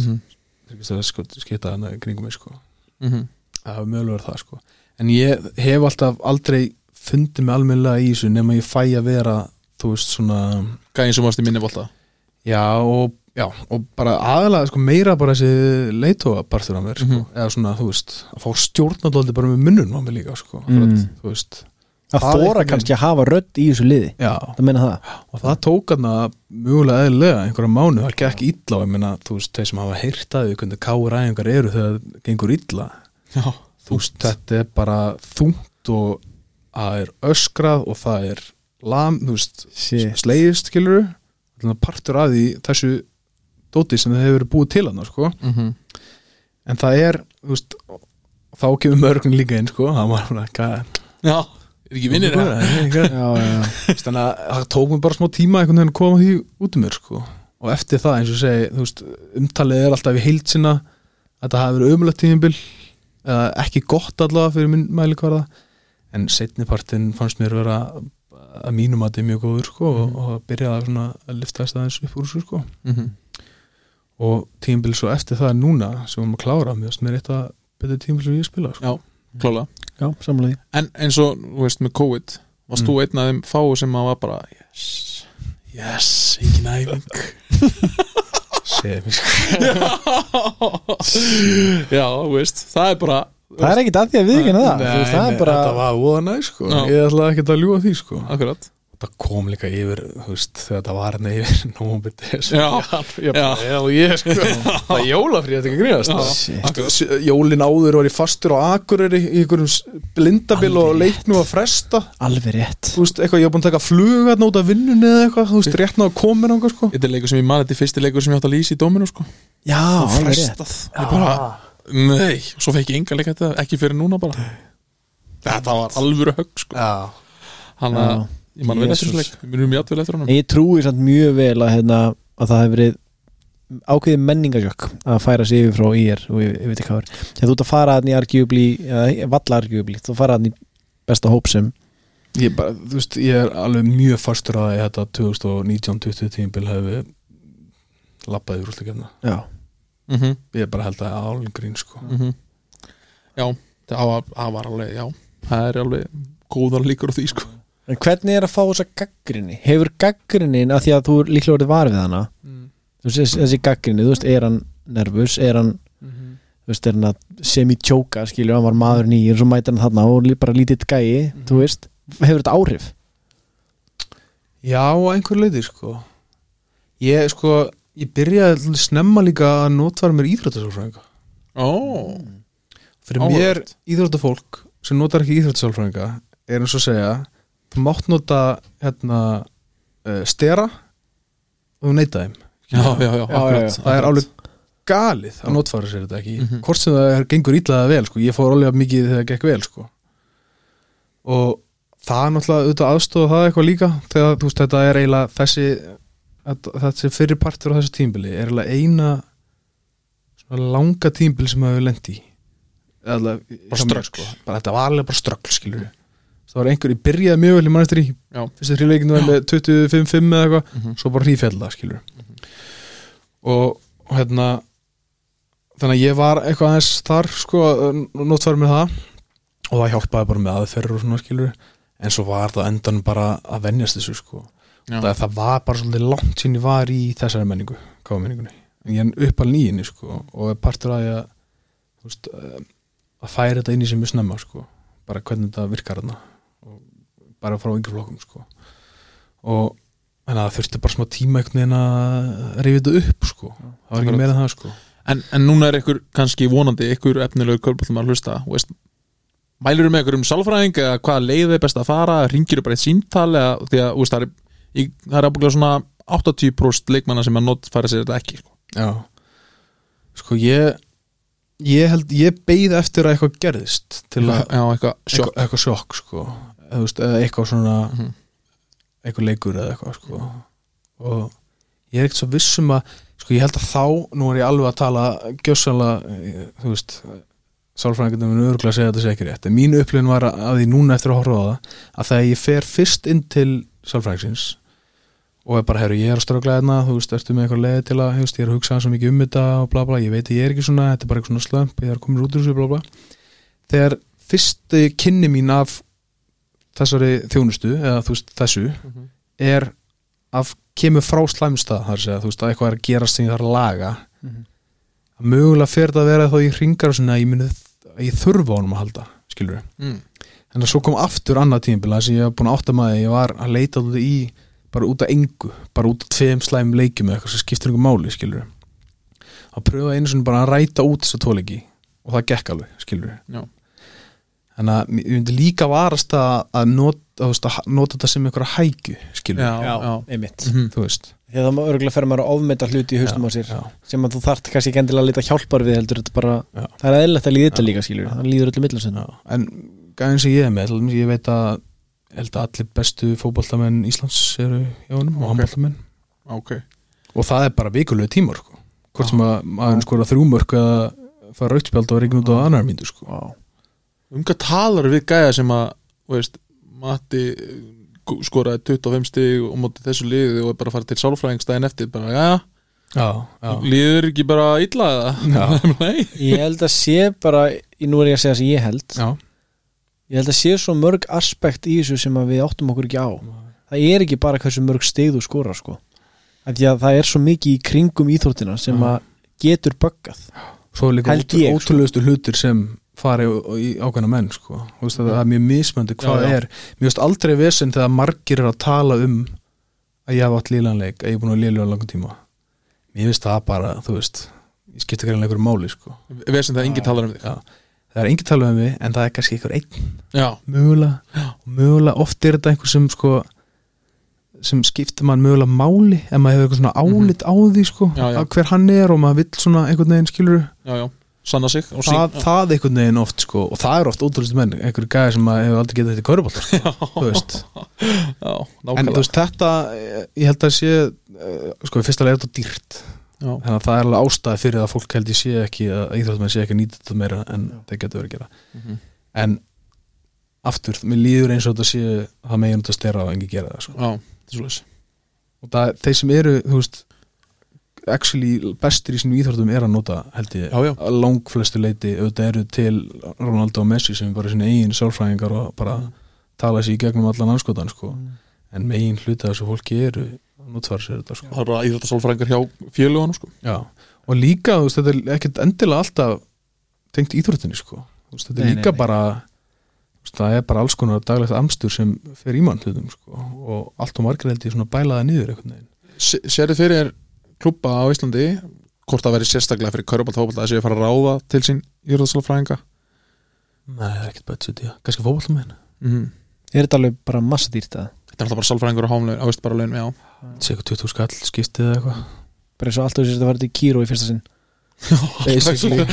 -hmm.
-hmm. sko, skita hana í kringum mig sko.
Mm -hmm.
það hefur mögulega verið það sko. en ég hef alltaf aldrei fundið mig almennilega í þessu nema ég fæ að vera þú veist svona
Gæðin sem varst í minni volta
Já og, já, og bara aðalega sko, meira bara þessi leitóapartur á mér sko. eða svona, þú veist, að fá stjórnaldaldi bara með munnum á mér líka sko. Akkurat,
Mm.
þú veist,
að
Það er
þóra
einhvern
kannski að hafa rödd í þessu liði
já
það meina það
og það tók hann að mjögulega eðlilega einhverja mánu, það gekk illa og ég meina, þú veist, þeir sem hafa heyrtaði hvernig káræðingar eru þegar það gengur illa
Já,
þú veist, þetta er bara þungt og það er öskrað og það er lam, þú veist,
Shit.
slegist skilur partur að því þessu dóti sem það hefur verið búið til hann sko.
mm -hmm.
en það er þú veist, þá kemur mörgum líka inn sko. það var svona hvað-
Já, er ekki vinnir
hvað
það?
er það? Hvað er það?
já, já.
Þú veist, þannig að það tók mér bara smá tíma einhvern veginn að koma því út um mér sko. og eftir það eins og ég segi þú veist, umtalið er alltaf í heild sinna að það hafi verið ömulegt tíðinbil eða ekki gott allavega fyrir minn mælikvarða en setnipartin fannst mér vera að mínum að þetta er mjög góður sko,
Mhm.
og, og byrjaði að, svona að liftast aðeins upp úr þessu sko.
Mm -hmm.
og tíðinbil svo eftir það núna sem við erum að klára mér finnst mér eitt að betur tíðinbil sem ég spila sko.
Klála
já samlega því
En eins og, þú veist, með COVID Varst
Mm.
þú einn af þeim fáu sem að var bara Yes, yes, engin æfing
Segðu mér, sko.
Já, þú veist, það er bara
það er ekkit að því að við ekki það Þú veist,
Nei,
það
nei,
er bara
þetta var óðan aðeins sko.
Já.
ég ætlaði ekki að ljúa því sko.
Akkurat
það kom líka yfir þú veist, þegar það var hann yfir nómur
Já,
ég bara, já, ég sko það er jólafrí, þetta er ekki grínast
Shit.
Sko, s- jólin áður var ég fastur á Akureyri í einhverjum s- blindabil og
Alveg
leiknum að fresta
alveg rétt
þú veist, eitthvað, ég var búin að taka flug að nóta vinnunni eða eitthvað, þú veist, rétt náða komin ánga sko
Þetta er leikur sem ég mani, þetta er fyrsti leikur sem ég átt að lýsa í dóminu sko.
já alveg rétt
Frestað Ég bara, nei, svo fekk ég enga leika þetta Ekki fyrir núna bara Þetta var alvöru högg, sko
já,
Þannig að
Já.
ég man vel eftir þessu
Jesus.
leik Við erum játvel eftir honum
En ég trúi samt mjög vel að, hérna, að það hefur verið ákveðið menningasjokk að færa sig yfir frá IR og ég, ég veit ekki hvað er þegar þú ert að fara hann í arguably eða valla arguably, þú fara hann í besta hóp sem
ég bara, þú veist, ég er alveg mjög fastur að þetta 2019-20 tímbil hefði labbaði úr úrstakefna,
já,
mm -hmm.
ég bara held að það er álinn grín sko
mhm. Já, það var, það var alveg, já Það er alveg góðar líkur á því, sko
en hvernig er að fá þessa gaggrinni hefur gaggrinnin að því að þú er líklega orðið var við hana þú veist, þessi- þessi gaggrinni, þú veist, er hann nervus, er hann þú veist, er hann að semi-tjóka skilju, hann var maður nýjir, svo mætir hann þarna og lí- bara lítið gæi,
Mhm.
þú veist hefur þetta áhrif?
Já, að einhver leiti sko Ég sko Ég byrjaði svolítið snemma líka að notfæra mér íþróttasálfræðinga
Ó,
Fyrir
Áhugavert.
mér íþróttafólk sem notar ekki íþróttasálfræðinga er eins og að segja þú mátt nota hérna uh, stera og neyta þeim
já, já, já, akkurat
já.
Það er alveg galið að notfæra sér þetta ekki
Mhm.
Hvort sem það er, gengur illaða vel sko. Ég fór alveg mikið þegar það gekk vel sko. og það er náttúrulega auðvitað aðstofa það eitthvað líka þegar þú veist þetta er eiginlega þessi þetta- þessi fyrir partur á þessu tímbili er eiginlega eina svona langa tímbili sem maður lendi í Eða,
Bara
hjá mér, sko.
ströggl.
bara, þetta var alveg bara ströggl skilur við það var einhver, ég byrjaði mjög vel í mannistri
Já.
fyrstu þrjuleikinu var með 25-5 eða eitthvað
Mhm.
svo bara hrífjalla skilur við og og hérna þannig að ég var eitthvað aðeins þar sko, notfæri með það og það hjálpaði bara með aðferður og svona skilur en svo var það á endanum bara að venjast þessu sko
Já.
það, það var bara svolítið langt sín ég var í þessari menningu, káfa menningunni en ég er upp að nýjinni sko og er partur að ég að, þú veist, eh, að færa þetta inn í sem við snemma sko bara hvernig þetta virkar þarna og bara frá yngur flokkum sko og þannig að það þurfti bara smá tíma einhvern veginn að rifja þetta upp sko það var
akkurat.
ekki meira en það sko
en, en núna er ykkur kannski vonandi ykkur efnilegu körbóllum að hlusta þú veist, mælurum með ykkur um sálfræðing eða hvaða leið er best að fara, ringir bara eitt síntal eða því að þú veist, það er í- það er ábygglega svona 80% leikmanna sem að not fara sér þetta ekki sko.
já sko ég ég held, ég beið eftir að eitthvað gerðist til að
já, eitthvað sjokk
eitthvað, eitthvað sjokk sko eða, þú veist, eða eitthvað svona
Mhm.
eitthvað leikur eða eitthvað sko og ég er ekkert svo viss um að sko ég held að þá, nú er ég alveg að tala gjössanlega, þú eh, veist sálfræðingarnir mun örgulega segja að þetta sé ekki rétt en mín upplifin var að að því núna eftir að horfa á það að þegar ég fer fyrst inn til sálfræðingsins og er bara, herru, ég er að ströggla hérna þú veist, ertu með eitthvað leið til að, þú veist, ég er að hugsa svo mikið um þetta og bla bla, ég veit að ég er ekki svona þetta er bara eitthvað svona slömp, ég er komin út úr þessu bla bla þegar fyrstu kynni mín af þessari þjónustu, eða þú veist, þessu
Mhm.
er af kemur frá slæmstað, þar segja, þú veist, að eitthvað er að gerast sem ég þarf að laga
Mhm.
að mögulega fer það að vera þá ég hringar og svona að ég muni að ég þurfa á honum að halda, skilur við
mm.
en svo kom aftur annað tímabil þar sem ég var búin að átta maður að ég var að leita alltaf í bara út af engu, bara út af tveim slæm leikjum eða eitthvað sem skiptir einhver máli skilur að pröfa einu svona bara að ræta út þessa tóleiki og það gekk alveg skilur
Já.
en að mér- ég myndi líka varast að, að, not, að, veist, að nota þetta sem einhverja hækju skilur
já, já, já.
einmitt
Mhm.
þú veist
Þegar það maður örgulega fer maður að ofmynda hluti í haustum á sér
já,
sem að þú þarft kannski ekki endilega að lita hjálpar við heldur þetta bara,
Já.
það er eðlilegt að líða þetta
Já.
líka skilur,
Já.
það líður öllu millasinn
já. en gæðin sem ég er með til dæmis, ég veit að ég held að allir bestu fótboltamenn Íslands eru hjá honum
Ok.
og handboltamenn
ok
og það er bara vikulegu tímar sko. hvort sem að maður skora þrjú mörk eða fara rautspjald og regn út á annar myndu sko.
wow. um hvað talar við gæja sem að þú veist, Matti eh, gu- skoraði 25 stig og móti þessu liði og er bara að fara til sálfræðingstæðin eftir bara, já,
já,
líður ekki bara illa eða? Nei,
Ég held að sé bara, í- nú er ég að segja sem ég held
já.
Ég held að sé svo mörg aspekt í þessu sem að við áttum okkur ekki á Það er ekki bara hversu mörg stig þú skorar sko Af Því að það er svo mikið í kringum íþróttina sem
Já.
að getur böggað
svo er líka
Held
ótrú,
ég, sko.
ótrúlegustu hlutir sem fari í- í ákveðna menn sko. Þú veist, það, það er mjög mismöndi hvað
Já, já.
er mér veist aldrei vesend þegar margir er að tala um að ég hafa átt lílanleik að ég er búin að líla á langan tíma mér veist það bara, þú veist ég skipta ekki einhverju máli sko.
vesen það að enginn talar um þig
Já. það er engin tala um mig en það er kannski einhver einn
já,
mögulega og mögulega oft er þetta einhver sem sko sem skiptir mann mögulega máli ef maður hefur eitthvað svona álit á því sko
Mhm. Já, já.
að hver hann er og maður vill svona einhvern veginn skilur
já, já, sanna sig og
það, það einhvern veginn oft sko og það er oft ótrúlistu menn, einhverju gæði sem maður hefur aldrei getað þetta í körbólt sko, þú veist
já,
en þú
nákvæmlega
veist þetta, eh, ég held að sé eh, sko, í fyrsta leið er þetta dýrt
Já.
þannig að það er alveg ástæði fyrir að fólk held ég sé ekki að íþróttmenn sé ekki að nýta þetta meira en
Já.
það getur verið að gera
Mhm.
en aftur, mér líður eins og þetta sé það megin út að stera á engi gera það sko.
já, það er svoleiðis.
og það, þeir sem eru, þú veist actually bestir í sínum íþróttum er að nota, held ég,
Já, já.
að langflestu leiti auðvitað eru til Ronaldo og Messi sem er bara sinni eigin sálfræðingar og bara tala sér í gegnum allan anskotan sko. en megin hluti af þessu fólki eru notfæra sér þetta sko.
það er bara íþróttasálfræðingar hjá fjölugunum sko.
Já. og líka, þú veist, þetta er ekkert endilega alltaf tengt íþróttinni sko. Þú veist, þetta er
Nei, nei,
líka
nei.
bara þú veist, það er bara alls konar daglegt amstur sem fer í mann hlutum sko. og allt og margir held ég svona bælaða niður einhvern veginn
Serðu fyrir klubba á Íslandi hvort það veri sérstaklega fyrir kaurabaldhófald að þessi að fara að ráða til sín íþróttasálfræðinga
Nei, það er ekkert budget, já. Kannski fótballmenn?
mm.
Er þetta alveg bara massa dýrt að
Þetta er alltaf bara sálfræðingur og hámlaun, áveist bara laun, já
Sér eitthvað 20 skall, skiptið eða eitthvað.
bara eins og alltaf þess að fara til Kíró í fyrsta sinn
Basically.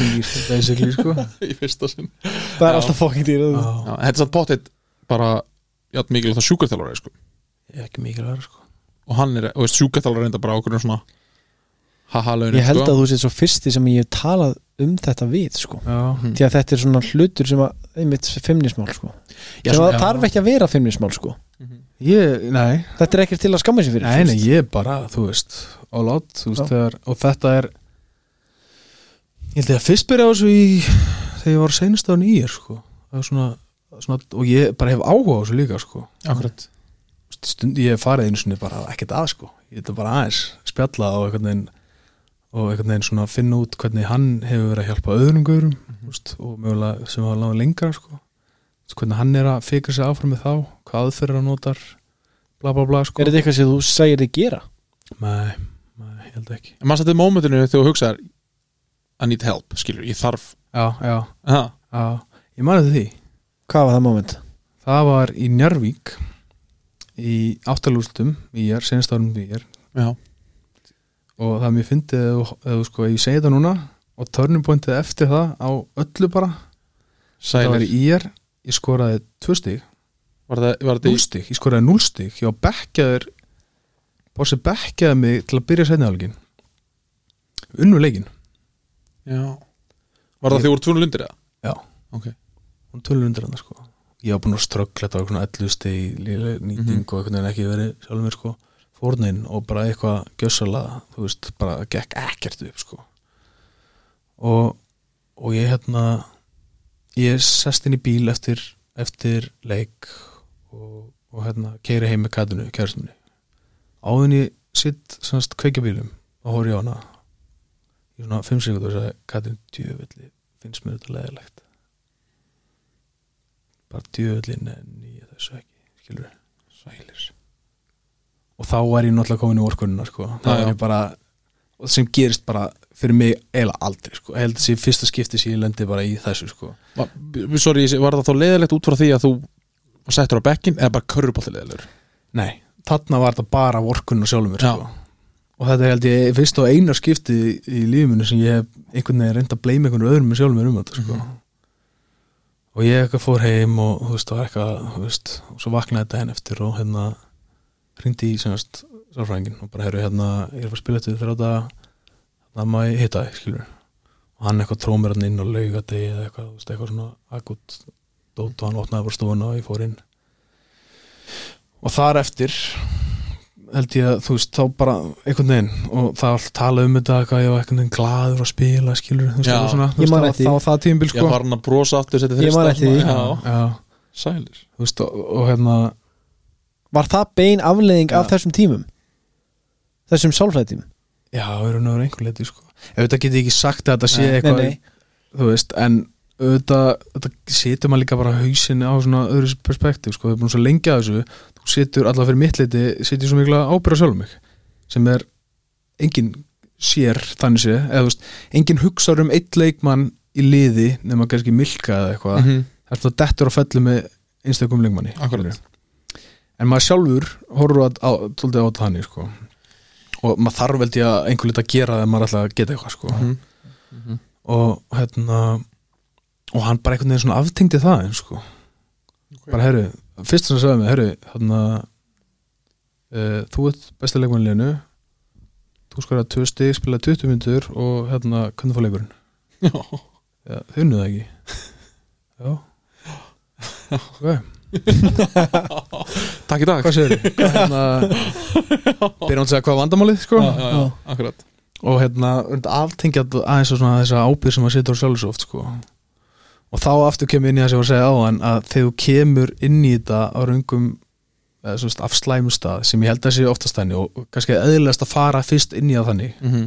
Basically, sko.
í fyrsta sinn
Það er
Já.
alltaf fokkin dýr
Já,
já, Þetta er samt pottitt bara ját mikilvægt að sjúkarþjálfari sko.
ég er ekki mikilvægur, sko.
og hann er, og veist, sjúkarþjálfari reynda bara okkur svona sko. haha laun
Ég held að þú sér svo fyrsti sem ég hef talað um þetta við sko
Já.
því að þetta er svona hlutur sem að, einmitt feimnismál sko
Já,
sem
svona-
að þarf ekki að vera feimnismál sko
Ég, nei,
þetta er ekkert til að skamma sér fyrir
nei, nei,
finnst.
ég er bara, þú veist, all out, þú veist,
Já.
þegar, og þetta er, ég held ég að fyrst byrja á þessu í, þegar ég var senast á nýjir, sko. Það var svona, svona, og ég bara hef áhuga á þessu líka, sko.
Akkurat
Stund, ég hef farið einu sinni bara ekkert að, sko. Ég þetta bara aðeins, spjalla og einhvern veginn, og einhvern veginn svona finna út hvernig hann hefur verið að hjálpa öðrum gaurum
Mhm.
Þú veist, og mögulega sem hafa láðið lengra sko. Þú veist, hvernig hann er að fikra sig áfram með þá, hvað aðferður hann notar bla bla bla sko.
er þetta eitthvað sem þú segir þið gera
Nei, nei, ég held ekki
En maður setið mómentinu þegar þú hugsaðar I need help, skilur, ég þarf
Já, já,
ha,
já, ég man eftir því
hvað var það moment?
það var í Njarvík í áttalúrstum í er, senast árum í er
Já,
og það er mér fyndið ef þú- ef þú sko, ef ég segi það núna og törnupointið eftir það á öllu bara það var
sælir
í er, ég skoraði tvö stig
Var það, var það í,
núlstig, ég skoraði núlstig ég var bekkjaður Bossi bekkjaði mig til að byrja setniðalgin unnu leikin
já Var það því voru tvunum lundir eða?
Já.
Ok.
hún tölur undir hann sko. ég var búin að ströggla þetta á eitthvað ellusti í lílega nýting
Mhm.
og einhvern veginn ekki verið sjálfur mér sko fórnin og bara eitthvað gjössalega þú veist, bara gekk ekkert upp sko og og ég hérna ég sest inn í bíl eftir eftir leik og, og hérna keiri heim með kattinu, kærastunni áðun ég sitt semast kveikja bílum og horf ég á hana í svona fimm sekundur og sagði kattinu djöfelli, finnst mér þetta leðilegt bara djöðlinn en ég þessu ekki skilur sælir og þá er ég náttúrulega komin í orkununa sko. þá
Já, já.
er ég bara og sem gerist bara fyrir mig eiginlega aldrei sko. ég held að sé fyrsta skipti sem ég lendi bara í þessu sko.
Va- b- Sorry, ég sé- var það þá leiðilegt út frá því að þú var settur á bekkin eða bara körfubolti leiðilegur
nei, þarna var þetta bara orkununa sjálfum mér
Já.
sko. og þetta er held ég fyrst og eina skipti í, í lífinu sem ég hef einhvern veginn reynda að bleima einhvern öðrum með sjálfum mér um þetta sko. og ég eitthvað fór heim og þú veist, það var eitthvað þú veist, og svo vaknaði þetta henn eftir og hérna hringdi í semast sálfræðingin og bara heyrðu hérna, ég er að fara að spila þetta þegar þetta það má ég hitta þig, skilur og hann eitthvað tróð mér hann inn og lauga degi eða eitthvað, þú veist, eitthvað svona akut dót og hann opnaði bara stofuna og ég fór inn og þar eftir held ég að, þú veist, þá bara einhvern veginn og það var alltaf talað um þetta eitthvað, ég var einhvern veginn glaður að spila, skilur þú veist,
Já.
það var svona, þú
Ég man
veist,
eftir
þá,
því.
þá það tímbil,
Ég
sko
var hann að brosa aftur setja
Ég man
þrista.
eftir því.
Já,
Já,
sælir
þú veist, og, og hérna
Var það bein afleiðing af
Já.
þessum tímum? Þessum sálfræðtímum?
Já, við erum náður einhver leiti sko. Ef þetta geti ekki sagt að þetta sé
Nei,
eitthvað
nei.
Þú veist, en auðvitað, auðvitað setur maður líka bara hausin á svona öðru perspektíf, sko, við erum búin svo lengi að þessu þú setur allavega fyrir mitt leiti setur svo mikla ábyrða sjálfum mig sem er engin sér þannig sé, eða þú veist, engin hugsar um eitt leikmann í liði nema kannski milka eða eitthvað
Mhm.
mm -hmm. þetta dettur að fellu með einstakum leikmanni
Akkurat.
skilurðu. en maður sjálfur horfur að, á, tóldi á þannig sko og maður þarf veldi að einhver lítið að gera þegar maður ætla að geta eitthvað sko
Mhm.
og hérna og hann bara einhvern veginn svona aftengdi það eins sko bara herru, fyrst sem hann sagði mig herru, hérna uh, þú ert besta leikmannleginu þú skorað 2 stig spila 20 myndur og hérna hvernig fór leikurinn?
Já.
Já, þau unnu það ekki Já Ok,
Takk í dag
hvað segir þið? Hérna, byrjum að segja hvað var vandamálið sko?
Já, já, já, akkurat
og hérna und- aftengja þetta aðeins og svona þessa ábyrð sem maður setur á sjálfur svo oft sko. og þá aftur kemur inn í það sem ég var að segja áðan að þegar þú kemur inn í þetta á röngum eða, svona, af slæmum stað sem ég held að sé oftast þannig og og kannski eðlilegast að fara fyrst inn í það þannig
Mhm.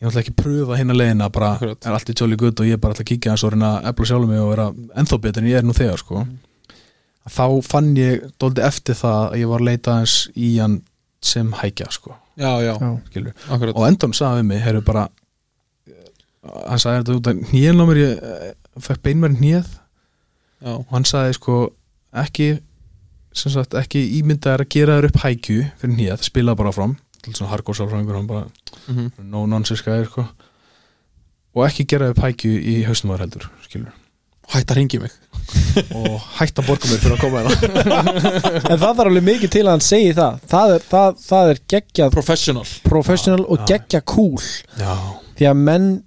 ég ætla ekki að pröfa hérna leiðina bara
Akkurat.
er allt í tjóli gutt og ég er bara ætla að kíkja hans og reyna að efla sjálfum mig og vera ennþá betur en ég er nú þegar sko. þá fann ég dóldi eftir það að ég var að leita hans í hann sem hækja sko,
Já, já,
skilur.
akkurat
og endan sagði við mig, heyrðu bara eh, hann sagði þetta út að hnýjan á mér ég eh, fekk beinmæri hnýjað
Já,
og hann sagði sko ekki sem sagt ekki ímyndaðar að gera þér upp hækju fyrir hnýjað, spila bara fram til svona hardcore sálfræðingur, hann bara
Mhm.
no nonsense gæðir sko. og ekki gera upp hækju í haustumar heldur skilur.
hætt að ringi mig
og hætta að borga mér fyrir að koma hérna
En það þarf alveg mikið til að hann segi það Það er, það, það er geggjað
Professional
professional og
já.
geggjað cool
já,
Því að menn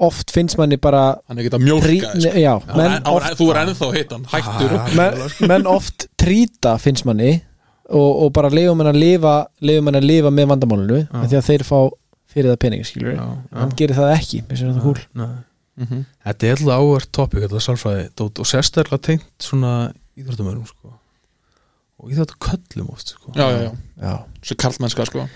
oft finnst manni bara
Hann er ekki að mjólka
rí,
þér, sko.
Já, menn
Hann- hann- Þú er ennþá hittan, hættur
Ah.
menn, menn oft trýta finnst manni og, og bara leiðum hann að lifa leiðum hann að lifa með vandamálinu
Já.
af því að þeir fá fyrir það peningi skilur
já,
hann gerir það ekki, mér finnst það cool
Nei.
Mhm.
þetta er alltaf áhverð topic þetta er sálfræði dót og sérstaklega tengt svona íþróttumörum sko. og íþróttuköllum oft sko.
Já, já, já,
Já,
svo karlmennska sko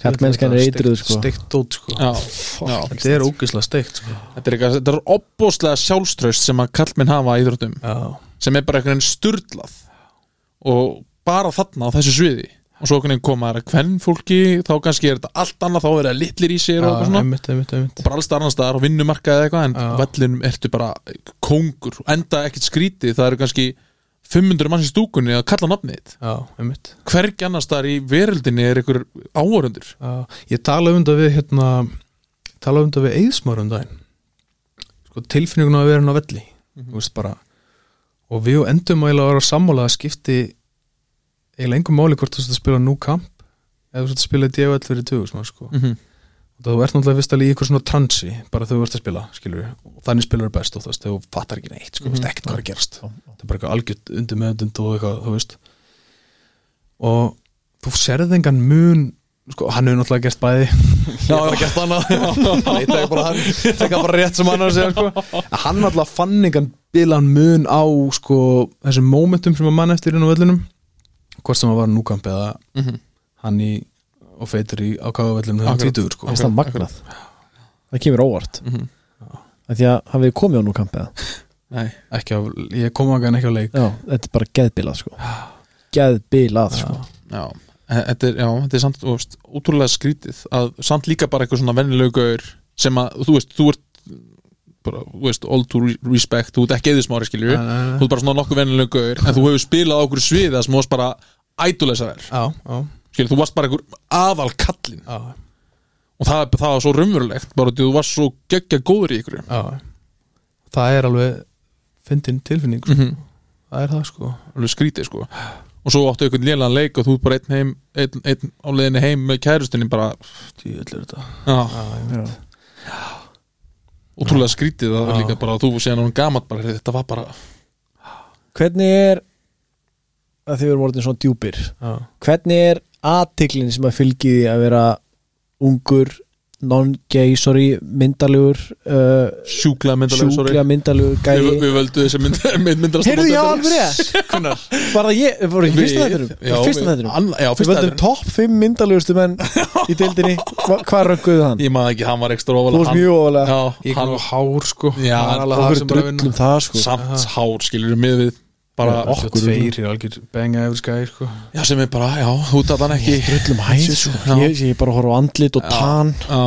kallmennskan er eitruð sko
steikt dót sko.
Já, já
þetta er ógislega steikt sko.
Þetta er, eitthvað, þetta er opbóðslega sjálfströst sem að karlmenn hafa í íþróttum
já,
sem er bara einhvern veginn sturlað og bara þarna á þessu sviði og svo einhvern veginn koma þær að kvenn fólki þá kannski er þetta allt annað, þá er það litlir í sér og, eitthvað svona,
einmitt, einmitt, einmitt
og bara alls staðar annars staðar og vinnumarka eða eitthvað en
Já.
vellinum ertu bara kóngur enda ekkert skrítið, það eru kannski 500 manns í stúkunni að kalla nafnið þitt
já, einmitt
hvergi annars staðar í veröldinni er einhver áhörundur
Já, ég tala um þetta við hérna, tala um þetta við eðsmar um daginn sko, tilfinninguna að vera hann á velli þú veist bara og við endum eiginlega að vera sammála að skipti eiginlega engum máli hvort þú sett að spila nú kamp eða þú sett að spila djöfell fyrir 2000 manns, sko.
mm -hmm.
þú ert náttúrulega vist alveg í ykkur svona transi bara þegar þú ert að spila, skilur og þannig spilar þú best og þú veist, þegar þú fattar ekki neitt sko,
Mhm.
mm -hmm. ekkert hvað er að gerast það er bara eitthvað algjört undir meðundund og eitthvað, þú veist og þú serði engan mun sko, hann hefur náttúrulega gert bæði já, ég hef gert annað Nei, ég tek bara hann, tek hann bara rétt sem hann er að segja sko. En hann náttúrulega fann engan bilan mun á sko, þessum momentum sem að mann eftir inn á völlunum hvort sem að var núkamp eða
Mhm.
hann í og feitur í ákáðavellunum þegar hann
Akkurat.
tvítur sko.
Mér finnst það magnað Það kemur óvart
Mhm.
Af Því að hafið þið komið á nú kampið
Nei,
ekki á, ég kom að hann ekki á leik
Já, þetta er bara geðbilað sko Geðbilað sko
já E- Þetta er, já, þetta er samt, þú veist, útrúlega skrítið að samt líka bara eitthvað svona vennilögur sem að, þú veist, þú ert bara, þú veist, all to re- respect þú ert ekki eða smári skilju
Nei, nei, nei.
þú ert bara svona nokkuð vennilögur en þú hefur spilað á okkur sviða sem þú varst bara ædulesa þær
já, já,
skilju, þú varst bara einhver aðal kallin
já,
og það, það var svo raunverulegt bara því þú varst svo geggja góður í ykkur
já. það er alveg fyndin tilfinning sko. það er það sko
alveg skrítið sko og svo áttu einhvern lélan leik og þú ert bara einn heim einn, einn á leiðinni heim með kærustinni bara,
Djöfull er þetta.
já,
Já.
útrúlega skrítið það er líka bara að þú séðan hún gamat bara heyrðu, þetta var bara,
Hvernig er að þið eru orðin svona djúpir
Já.
Hvernig er aðtiklinn sem að fylgi því að vera ungur non-gay, sorry, myndalegur uh,
sjúklega myndalega
sjúklega
sorry.
myndalegur
við,
gæi
við völdum þessi mynd, myndmyndalast
Heyrðu, já, alveg rétt
Hvenær?
Var það ég, var það í fyrsta
Við-
þættinum?
já,
Í Fyrsta
við-
þættinum
anna- já,
um- Við
fyrsta
völdum
þættinum
topp 5 myndalegustu menn í deildinni Hva- Hvað rögguðu hann?
um- ég maður ekki, hann var ekstra ofalega
Þú varst mjög ofalega
já,
Ég
hann
kom á hár sko
Já,
Það er
okkur
alveg það
Okkur
sem bara vinna
drullum það sko
samt hár skilur við við bara
Já,
okkur
tveir er algjör benga yfir skæði sko.
já, sem er bara, já, þú tatt hann ekki
Drullum hæð sko
Já.
Ég ég bara horf á andlit og tann
já,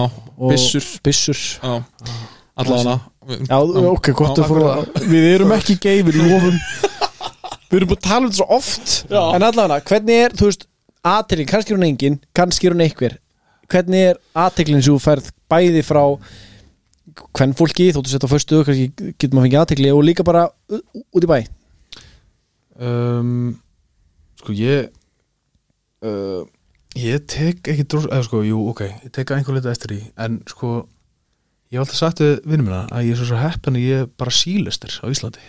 og
byssur
Byssur
já, allavega
Já, ok, gott að fóra Við erum ekki geifir, lofum Við erum búin að tala um þetta svo oft En allavega, hvernig er, þú veist aðteklin, kannski er hún engin, kannski er hún einhver Hvernig er aðteklin sem þú færð bæði frá hvern fólki, þóttu setja á föstu kannski getur maður fengið aðtekli og líka bara ú- út í bæ
Um, sko ég uh, ég tek ekki dros, eða sko, jú, ok, ég tek að einhver leita eftir því, en sko ég hef alltaf sagt við vinnum minna að ég er svo svo heppin að ég er bara sílistir á Íslandi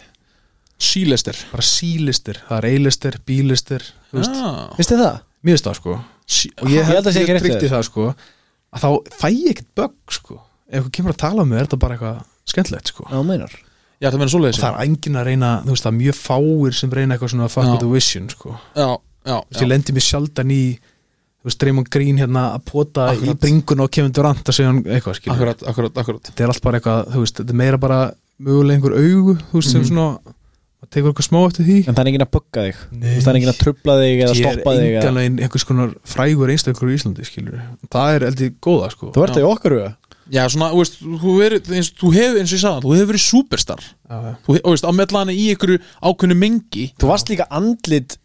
sílester
bara sílistir, það er eilistir, bílistir þú veist,
já,
Veistu það?
mér veist það sko
sí,
og
Ég
ég
held að
held
sé
ég
ekki rétt hjá
tryggti
þér.
það sko að þá fæ ég ekkert bögg sko ef þú kemur að tala um mig er þetta bara eitthvað skemmtilegt sko
Já, meinar
ég ætla að meina
og
svoleiðis
það er enginn að reyna, þú veist, það er mjög fáir sem reyna eitthvað svona fuck
Já.
with the vision sko
já, já,
Þú veist, ég
já,
lendi mér sjaldan í þú veist, Raymond Green hérna að pota í
Akkurat.
bringuna og kemur Durant að segja hann eitthvað skilur
akkurat, akkurat, akkurat
þetta er allt bara eitthvað, þú veist, þetta er meira bara mögulega einhver augu, þú
Mhm.
veist, sem svona maður tekur eitthvað smá eftir því
En það er enginn að bugga þig
Nei.
Það er enginn að trubla þig eða
ég er
stoppa þig eða...
enganlegin einhvers konar frægur einstaklega í Íslandi, skilur það er heldur góða, sko
Þú ert það í okkur huga
já, svona, þú veist, þú, er, eins, þú hefur eins og ég sagði, þú hefur verið superstar
Já, já.
þú hef- þú veist, á meðlana í einhverju ákveðnu mengi
Þú varst líka andlit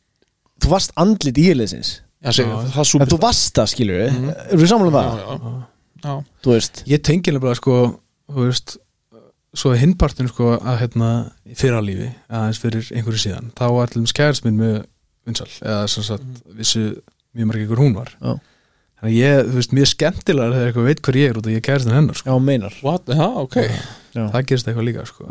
Þú varst andlit í leysins
já, seg,
Já.
það er
En þú
superstar
varst það, skilur við mm. Erum við samanlega það?
já, já, já,
Þú veist
ég tengi nefnilega sko þú veist svo að hinnpartin sko að hérna í fyrra lífi aðeins fyrir einhverju síðan þá var til skæðast minn með vinsal eða sem sagt vissu mjög margir hver hún var
Já.
þannig að ég, þú veist, mjög skemmtilega þegar eitthvað veit hver ég er út og ég kæðast hennar sko.
Já, meinar
what, já, ok já.
það gerist eitthvað líka sko.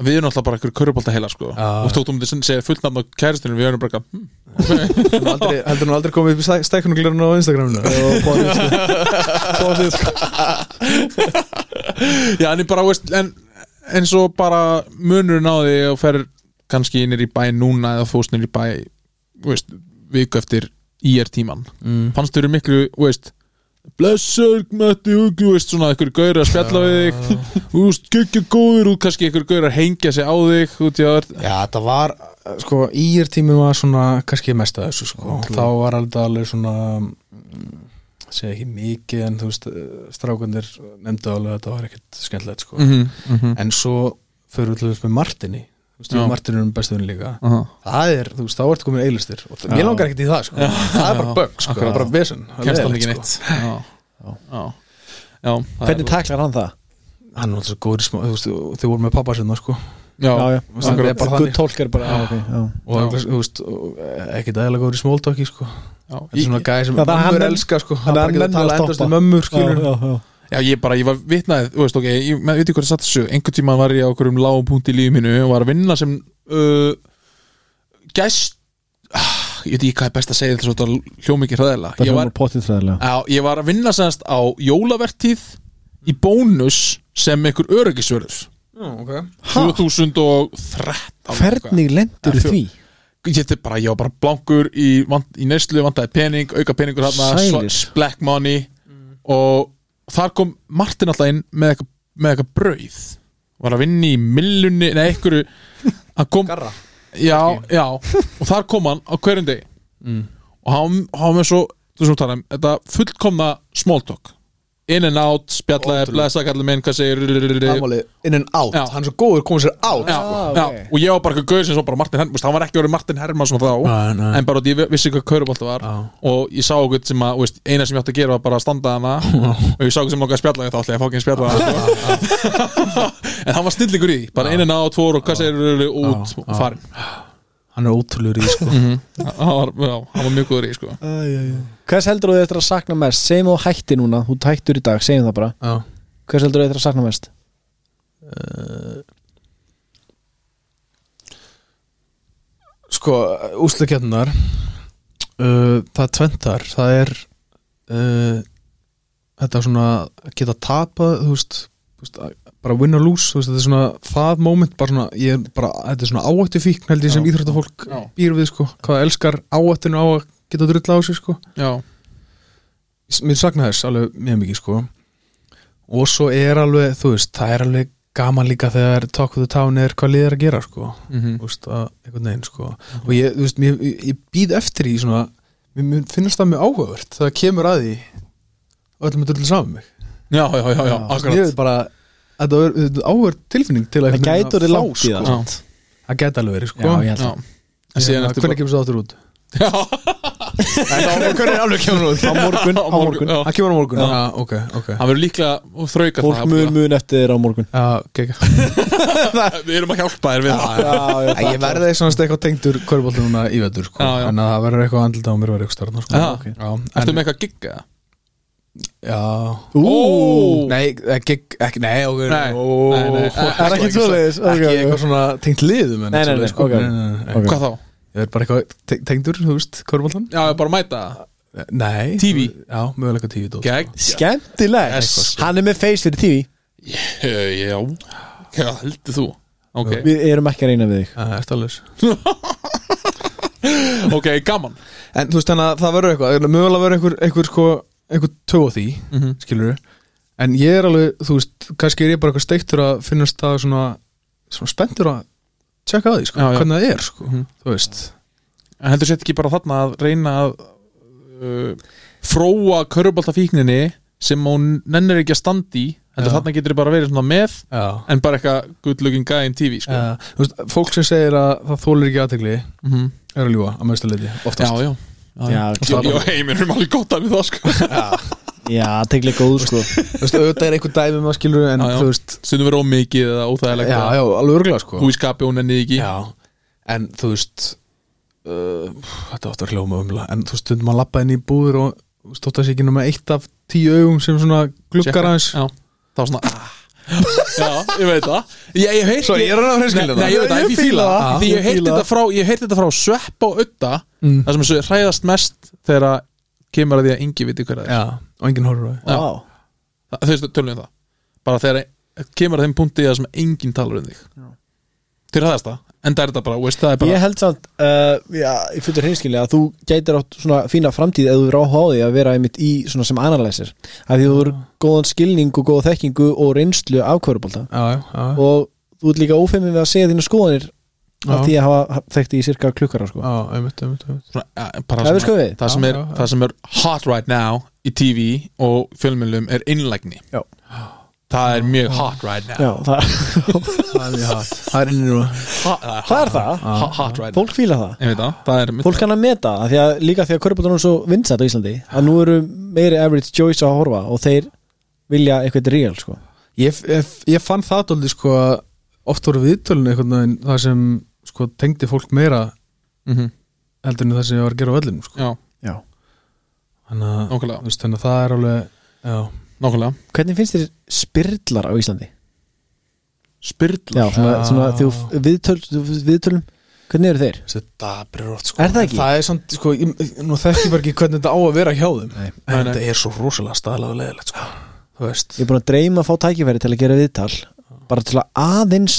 við erum alltaf bara einhverju körubálta heila sko.
Já.
og tóttum þetta segja fullt nafn á kæristinu við erum bara, eitthvað, hm,
Heldur hún aldrei- heldur hún aldrei komið upp í stækkunuglirun á Instagraminu
Og bóðið sko. Bóðið sko.
Já, en ég bara, veist, en eins og bara munurinn á því og fer kannski innir í bæ núna eða fóst innir í bæ, veist, viku eftir IR tíman
Mm.
fannst þurfi miklu, veist blessur, mætti hugi, veist svona einhver gaur að spjalla við þig þú veist, gekkja góður út, kannski einhver gaur að hengja sig á þig út í aður
Já, það var, sko, ír tíminn var svona, kannski mest að þessu, sko þá var alltaf alveg svona mm, segja ekki mikið en þú veist, eh, strákundir nefndu alveg að þetta var ekkert skemmtilegt, sko
mm -hmm.
en svo förum við til þess með Martini þú veist,
Já.
við Martini erum bestuðin líka
Aha.
það er, þú veist, þá ertu komin eilistir og það, ég langar ekkert í það, sko, það er bara bögg, sko, það er bara vesen Það er
kemst hann
leiðilegt,
ekki
sko.
neitt Já, já, já það
Hvernig
er-
taklar hann það?
hann var alltaf svo góður í smá, þú veist, þau voru með pappa sinna, sko
Já,
Já, já
veist, það er bara
Guð
þannig.
tólkar bara Já, ok Já,
og, þú veist, og ekkert aðeinslega góður í smóltóki, sko Þetta er svona gæði sem
Já, það- hann
mömmur
nenn-
elska sko
hann
Hann bara getur
nenni að
að tala
stoppa.
endast um mömmur skilur
já, já.
Já, ég bara, ég var vitnaðið, þú veist, ok, ég með- veit ekki hvað það satt þessu, einhvern tímann var ég á okkur um lágum punkti í lífi mínu og var að vinna sem uh, gæst, ah, ég veit ekki hvað er best að segja þess að þetta hljóma ekki hræðilega.
Það
Ég
hljómar
var,
pottið þræðilega
á, ég var að vinna semast á jólavertíð í bónus sem einhver öryggisvörður,
okay.
2013.
Hvernig lendur
Já, fjó-
því?
Ég þetta er bara, ég var bara blankur í, vant, í neyslu, vantaði pening, auka peningur hérna,
Sælir.
sl- black money
Mm.
og þar kom Martin alltaf inn með eitthvað, með eitthvað brauð var að vinna í millunni, nei einhverju hann kom,
Garra
já, já og þar kom hann á hverjum degi og hann, hann var með svo, þú veist þú tala um þetta fullkomna small talk in and out, spjallaði,
Ótrúlegt.
blessa kallið minn, hvað segir
Afmáli, in and out,
Já.
hann er svo góður komið sér out
já,
Ah,
já,
ok.
og ég var bara eitthvað gauð sem svo bara Martin Hermansson hann var ekki verið Martin Hermansson þá
Nei, nei.
en bara út í ég vissi hvað kaurubólta var
Já.
og ég sá okkur sem að, þú veist, eina sem ég átti að gera var bara að standa hana og ég sá okkur sem langaði að spjalla við þá ætla ég að fá ekki að spjalla hana en hann var snillingur í, því, bara einin á tvoru og hvað segir rölu út
Já,
og farin Mhm.
Hann er ótrúlegur í sko
hann var, já, hann var mjög góður í, sko
Hvers heldur þú eftir að sakna mest? Segjum þú hætti núna, þú hættur í dag, segjum það bara
Já.
Hvers heldur þú eftir að sakna mest?
Eh, Sko, úslakefnar uh, Það er tventar Það er uh, Þetta svona að geta tapað Þú veist, þú veist að- bara win or lose þú veist, Þetta er svona það moment bara svona, ég, er bara, Þetta er svona áættu fíkn held ég sem
Já.
íþróttafólk
Já.
býr við sko, Hvað elskar áættinu á að geta drulla á sig sko.
já,
S- Mér sakna þess alveg mjög mikið sko. Og svo er alveg Þú veist, það er alveg gaman líka þegar Talk of the Town er hvað liðir að gera sko
mhm
þú veist, að einhvern veginn sko og ég, þú veist, mér, ég, ég býð eftir í svona, mér, mér finnst það mjög áhugavert það kemur að því og öllum er drullu saman um mig
já, já, já, já,
ég
akkurat
veit bara, þetta er þetta er áhugavert tilfinning til að
Það
einhvern
gætur
veginn
þið
að
langt í
fá,
það
sko.
samt.
það gæti alveg verið sko
Já, ég held
já,
það
en síðan
Hérna,
eftir
hvernig kemur svo áttur út
bara
hvernig er alveg kemur út
á morgun, á morgun, já
hann kemur á morgun,
Já.
já, ok, ok
hann verður líklega þrauka
Fólk mun mun eftir þér á morgun
já, gegg
við erum að hjálpa þér við það
já,
ég verði svona eitthvað tengdur körbóltu núna í vetur sko
Já, já.
en að það verður eitthvað andlut á mér verður eitthvað starna sko
Já, ok. Ertu
já, en,
með eitthvað gigga?
já
Ó!
Nei, ekki, ekki, nei, ok
Nei,
ó,
nei, nei.
ó,
Er ekki svoleiðis? Ok,
Ekki
ok.
eitthvað svona tengt liðum en
Nei, nei, nei,
svoleiðis, sko.
ok.
nei,
Ok.
nei.
Hvað þá?
Ég er bara eitthvað te- tengdur, þú veist, Körbóltan
Já, ég bara mæta það.
Nei
TV.
Já, möguleika TV dót,
Gegn
Skemmtileg
Yes.
Hann er með face fyrir TV
Eh, Já Hvað heldur þú? Ok,
Við erum ekki að reyna við þig
sko. Það er stális
ok, gaman
En þú veist, þannig að það verður eitthvað Mögulega verður einhver, einhver, sko, einhver tög á því
Mhm.
Skilur En ég er alveg, þú veist, kannski er ég bara eitthvað steiktur að finnast það svona Svona spenntur að tjekka á því, sko
Já, já.
Hvernig það er, sko,
Mhm.
þú veist
En heldur sett ekki bara þarna að reyna að uh, fróa körubaltafíkninni sem hún nennir ekki að standi heldur
Já.
þarna getur þið bara verið svona með
Já
en bara eitthvað good looking guy in TV sko.
Uh, þú veist, fólk sem segir að það þólir ekki aðtegli
Mhm.
er að ljúa að meðstu leiti,
Já,
oftast
já
Já,
Jó, jó, heimir erum alveg gott af við það sko
Já, tegli góð sko
Þú veist, auðvitað er einhver dæmi maður skilur en
Já, já.
þú veist,
Stundum verið ómikið eða
já,
óþægilegt
já, alveg örgulega sko
Hú í skapi hún enni ekki
já, en þú veist uh, þetta áttu að hljóma umla en þú veist, stundum að lappa inn í búður og þú veist, þótt að sé ekki nema eitt af tíu augum sem svona
Tjekka.
glukkar aðeins
Já, það var svona ah. Já, ég veit það Ég, ég hef
Svo ég er að hreinskilja
Nei, ég veit það, ég fíla það Því ég hef heyrt þetta frá, ég hef heyrt þetta frá Svepp og Ötta
Mm.
Það sem þessu hræðast mest þegar að kemur að því að yngi viti hver það er
Já, og enginn horfur á því
Já.
Vá.
Það- Þau veistu, tölum við um það Bara þegar að kemur að þeim punkti það sem enginn talar um þig Til hræðast það, en það er þetta bara, veist, það er bara
Ég held samt, uh, já, ég fyrir hreinskilja að þú gætir átt svona fína framtíð eða þú verður áhuga á því að vera einmitt í svona sem analyzer af því þú verður
Ah.
góðan skilning og góða þekkingu og reynslu af kvörubólta
Já, já, já,
Ah.
og þú ert líka ófeiminn við að segja þína skoðanir af
Ah.
Já.
því að hafa þekkt í cirka klukkara sko.
já, einmitt, einmitt, einmitt
svona, eh, bara
Það er
svona-
skoðið.
það sem
Já,
er,
já, já.
það sem er hot right now í TV og fjölmjölum er innlægni
Já.
Það er mjög hot right now
Já, það,
Það er mjög hatt, það er innir og
Ha-
það er það,
ha- hot right now
fólk fíla það
Ég veit það, það er mitt
Fólk kann að meta það, af því að líka því að kvörubóltan er svo vinsætt á Íslandi að nú eru meiri average joys að horfa og þeir vilja eitthvað real sko.
ég, ég, ég fann það dóldi sko að oft voru viðtölun einhvern veginn það sem sko tengdi fólk meira
Mhm.
heldur en það sem ég var að gera á vellinu sko.
Já,
Já,
þannig að,
Nákvæmlega.
þú veist, þannig að það er alveg já,
nákvæmlega
Hvernig finnst þér spyrlar á Íslandi? Já,
Spyrla
svona,
Já.
svona þú viðtöl, þú- viðtölum Hvernig eru þeir?
þessi dabrir oft sko.
Er það ekki?
En er samt, sko, ég, nú þekki ég bara ekki hvernig þetta á að vera hjá þeim
Nei.
en
Nei, nei.
þetta er svo rosalega staðlega og leðilegt sko. þú veist
Ég er búin að dreyma að fá tækifæri til að gera viðtal bara til að aðeins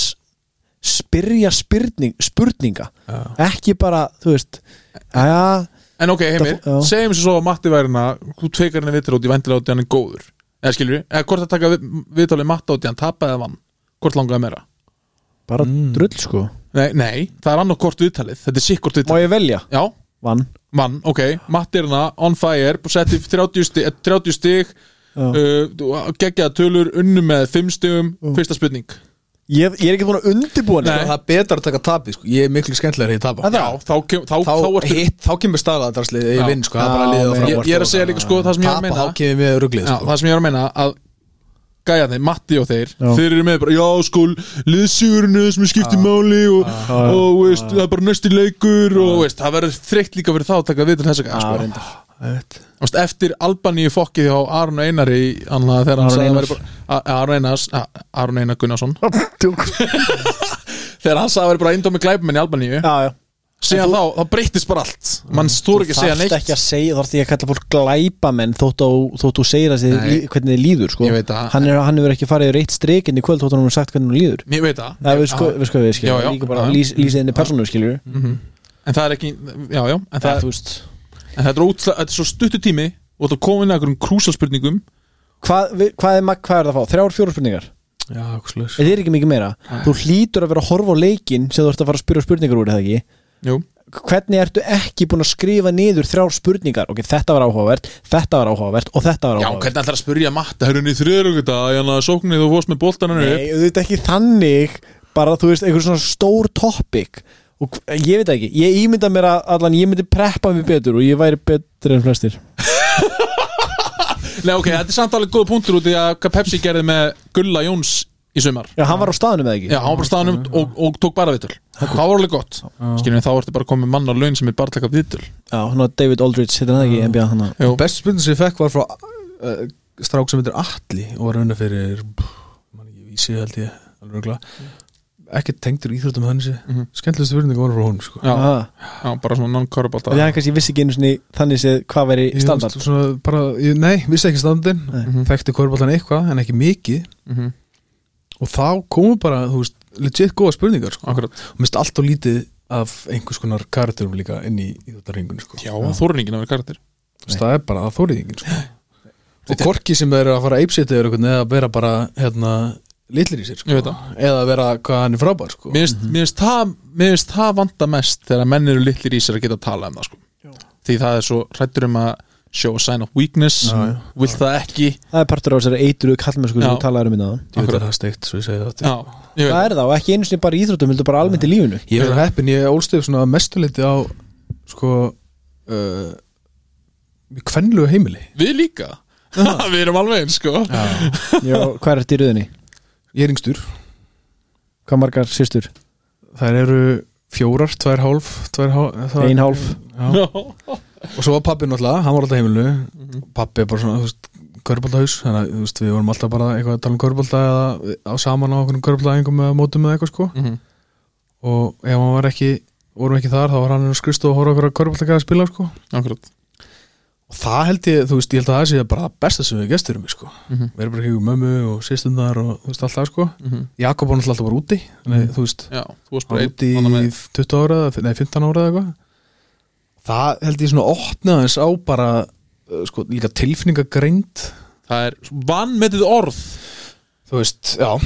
spyrja spyrning, spurninga
já.
ekki bara, þú veist aðja,
En ok,
Það
Heimir,
fó- já.
segjum sér svo að Matti væri hérna Þú tveikar henni vitur út í vendilega út í hann er góður Eða skilur við, eða hvort að taka vi- viðtalið Matti út í hann tapaði eða vann Hvort langaði meira?
bara
Mm.
drull sko
Nei, nei, það er annað hvort viðtalið Þetta er sikk hvort
Má
viðtalið
ég velja?
Já,
Vann
mann, ok, Matti er hérna on fire Setti 30 stig, eh, 30 stig
Já.
uh, Geggjaða tölur, unnu með 5 stigum Fyrsta spurning
ég, ég er ekki búin að undirbúa
Nei.
neitt.
það er betra að taka tapið sko. ég er miklu skemmtilega að ég tapa
Er það?
Já, þá, kem, þá,
þá,
þá, ertu
hitt, þá kemur staðlega drasli
Já.
ég vinn sko, það er
Já,
bara liðið og
nei.
fram
ég, ég er að segja líka sko það sem ég er að
tapa
meina
þá kemur við ruglið
Já,
sko.
það sem ég er að meina að gæjarnir, Matti og þeir
Já.
þeir eru með bara, já sko, liðsigurinn er það sem skiptir máli og,
Já, já,
og veist, það er bara næsti leikur og veist, það verður þreytt líka fyrir þá að taka við til þess að
Já,
gæja sko.
reyndar.
Einmitt.
Veist, eftir Albaníu fokkið hjá Aron Einari í- hann að þegar hann
Aron
sagði að
Einar.
væri bara- A- Aron Einars A- Aron Einar Gunnarsson
Djók.
þegar hann sagði að vera bara eindómi glæpumenn í Albaníu
Já, já.
síðan þá, þá breyttist bara allt mann stór ekki að segja
Þarft
neitt
ekki að segja, þarft ekki að kalla fólk glæpamenn þótt á- þótt þú segir að þið,
Nei.
lí- hvernig þið líður sko.
Ég veit að-
hann, er, hann hefur ekki farið reitt streikinn í kvöld þótt hann hefur sagt hvernig hann líður
ég veit það,
Það er við sko, við sko við
Já,
skiljum
já.
líka bara
Já, Mhm. já.
lýs- lýsið henni persónu skiljum
en það er ekki já, já, en það,
þú veist
En þetta er, útsla, þetta er svo stuttu tími og þetta er komin að einhverjum krúsalspurningum
Hvað, við, hvað, er, ma- hvað er það að fá? Þrjár, fjóru spurningar?
Já, eitthvað svoleiðis.
Þetta er ekki mikið meira Þú hlýtur að vera að horfa á leikinn sem þú ert að fara að spyrja spurningar úr er það ekki
Jú.
Hvernig ertu ekki búin að skrifa niður þrjár spurningar? Ok, þetta var áhugavert, þetta var áhugavert og þetta var
Já,
áhugavert
hvernig ætlar að spurja matta Hörunni hérna í þriðrugta, þannig hérna að sóknir þú fórst með hérna boltaninu
Nei, auðvitað ekki þannig bara þú veist, einhver svona stór topic og hv- ég veit ekki, ég ímynda mér að allan ég myndi preppa mig betur og ég væri betur en flestir
Nei, ok, þetta er samt alveg góð punktur út í að hvað Pepsi gerði með Gulla Jóns í sumar
Já, hann var á staðnum eða ekki
Já, hann var bara staðanum og, og tók bara vitul Það var alveg gott Skiljum við, þá ertu bara komið mann á laun sem er bara að taka vitul
Já, hann var David Aldridge, hittir hann ekki í NBA hann að-
Jú,
Bestu spurning sem ég fekk var frá uh, strák sem heitir Atli og var rauna fyrir man ekki vísi held ég alveg örugglega. ekki tengdur íþróttum hans mm -hmm.
Mhm.
skemmtilegstu spurning var frá hún sko.
já,
Ah,
já, bara svona non-körbalta
Því hann kannski vissi ekki einu sinni þannig séð hvað væri
Ég,
standard
veist, svona, bara, ég, nei, vissi ekki standin
Nei.
Mhm. þekkti korballan eitthvað en ekki mikið
Mhm,
og þá komu bara þú veist, legit góða spurningar sko.
Akkurat
og minnst allt og lítið af einhvers konar karakterum líka inn í íþróttaringun sko.
Já, þorningin að vera karakter
Þú veist, það er bara að þórið enginn sko. og korki sem er að fara að eipsita yfir einhvern eða að vera bara hérna, litlir í sér
Ég
sko.
veit það.
eða að vera hvað hann er frábær sko.
Mhm.
Mér finnst- mér finnst það- mér finnst það vanda mest þegar menn eru litlir í sér að geta að tala um það sko. því það er svo hrættur um að show a sign of weakness
Já, já.
vill það ekki
Það er partur á þessari eitru kallmennsku sem
Já.
þú talaði um minna
ég veit að það er steikt svo ég segi það
já, ég veit
Það er það og ekki einu sinni bara í íþróttum, heldur bara almennt í lífinu
ég er svo heppin, ég ólst upp svona að mestu liti á sko uh, kvennlu heimili
við líka við erum alveg eins sko
Já, Hvað er þetta í röðinni?
ég er yngstur,
Hvað margar sýstur?
þær eru fjórar, tvær hálf, tvær hálf það-
Ein hálf
Já. og svo var pappi náttúrulega, hann var alltaf á heimilinu mm pappi er bara svona, þú veist körbóltahús, þannig að þú veist, við vorum alltaf bara eitthvað að tala um körbólta eða á saman á okkur körbóltaæðingum eða mótum eða eitthvað sko
Mhm.
og ef hann var ekki, vorum ekki þar þá var hann skrist og horfa okkur að körbóltaka að spila sko
akkurat
og það held ég, þú veist, ég held að það sé bara það besta sem við gestur um sko
Mhm.
við erum bara ekki mömmu og sýstundar og þú veist allt það sko
Mhm.
Jakob var náttúrulega alltaf bara úti þannig, þú veist,
já, þú varst
Hann var
bara
úti
einn
í 20 ára, eða- nei 15 ára eða eitthvað það held ég svona opnaðins á bara uh, sko, líka tilfinningagreind
það er vannmetið orð
þú veist, já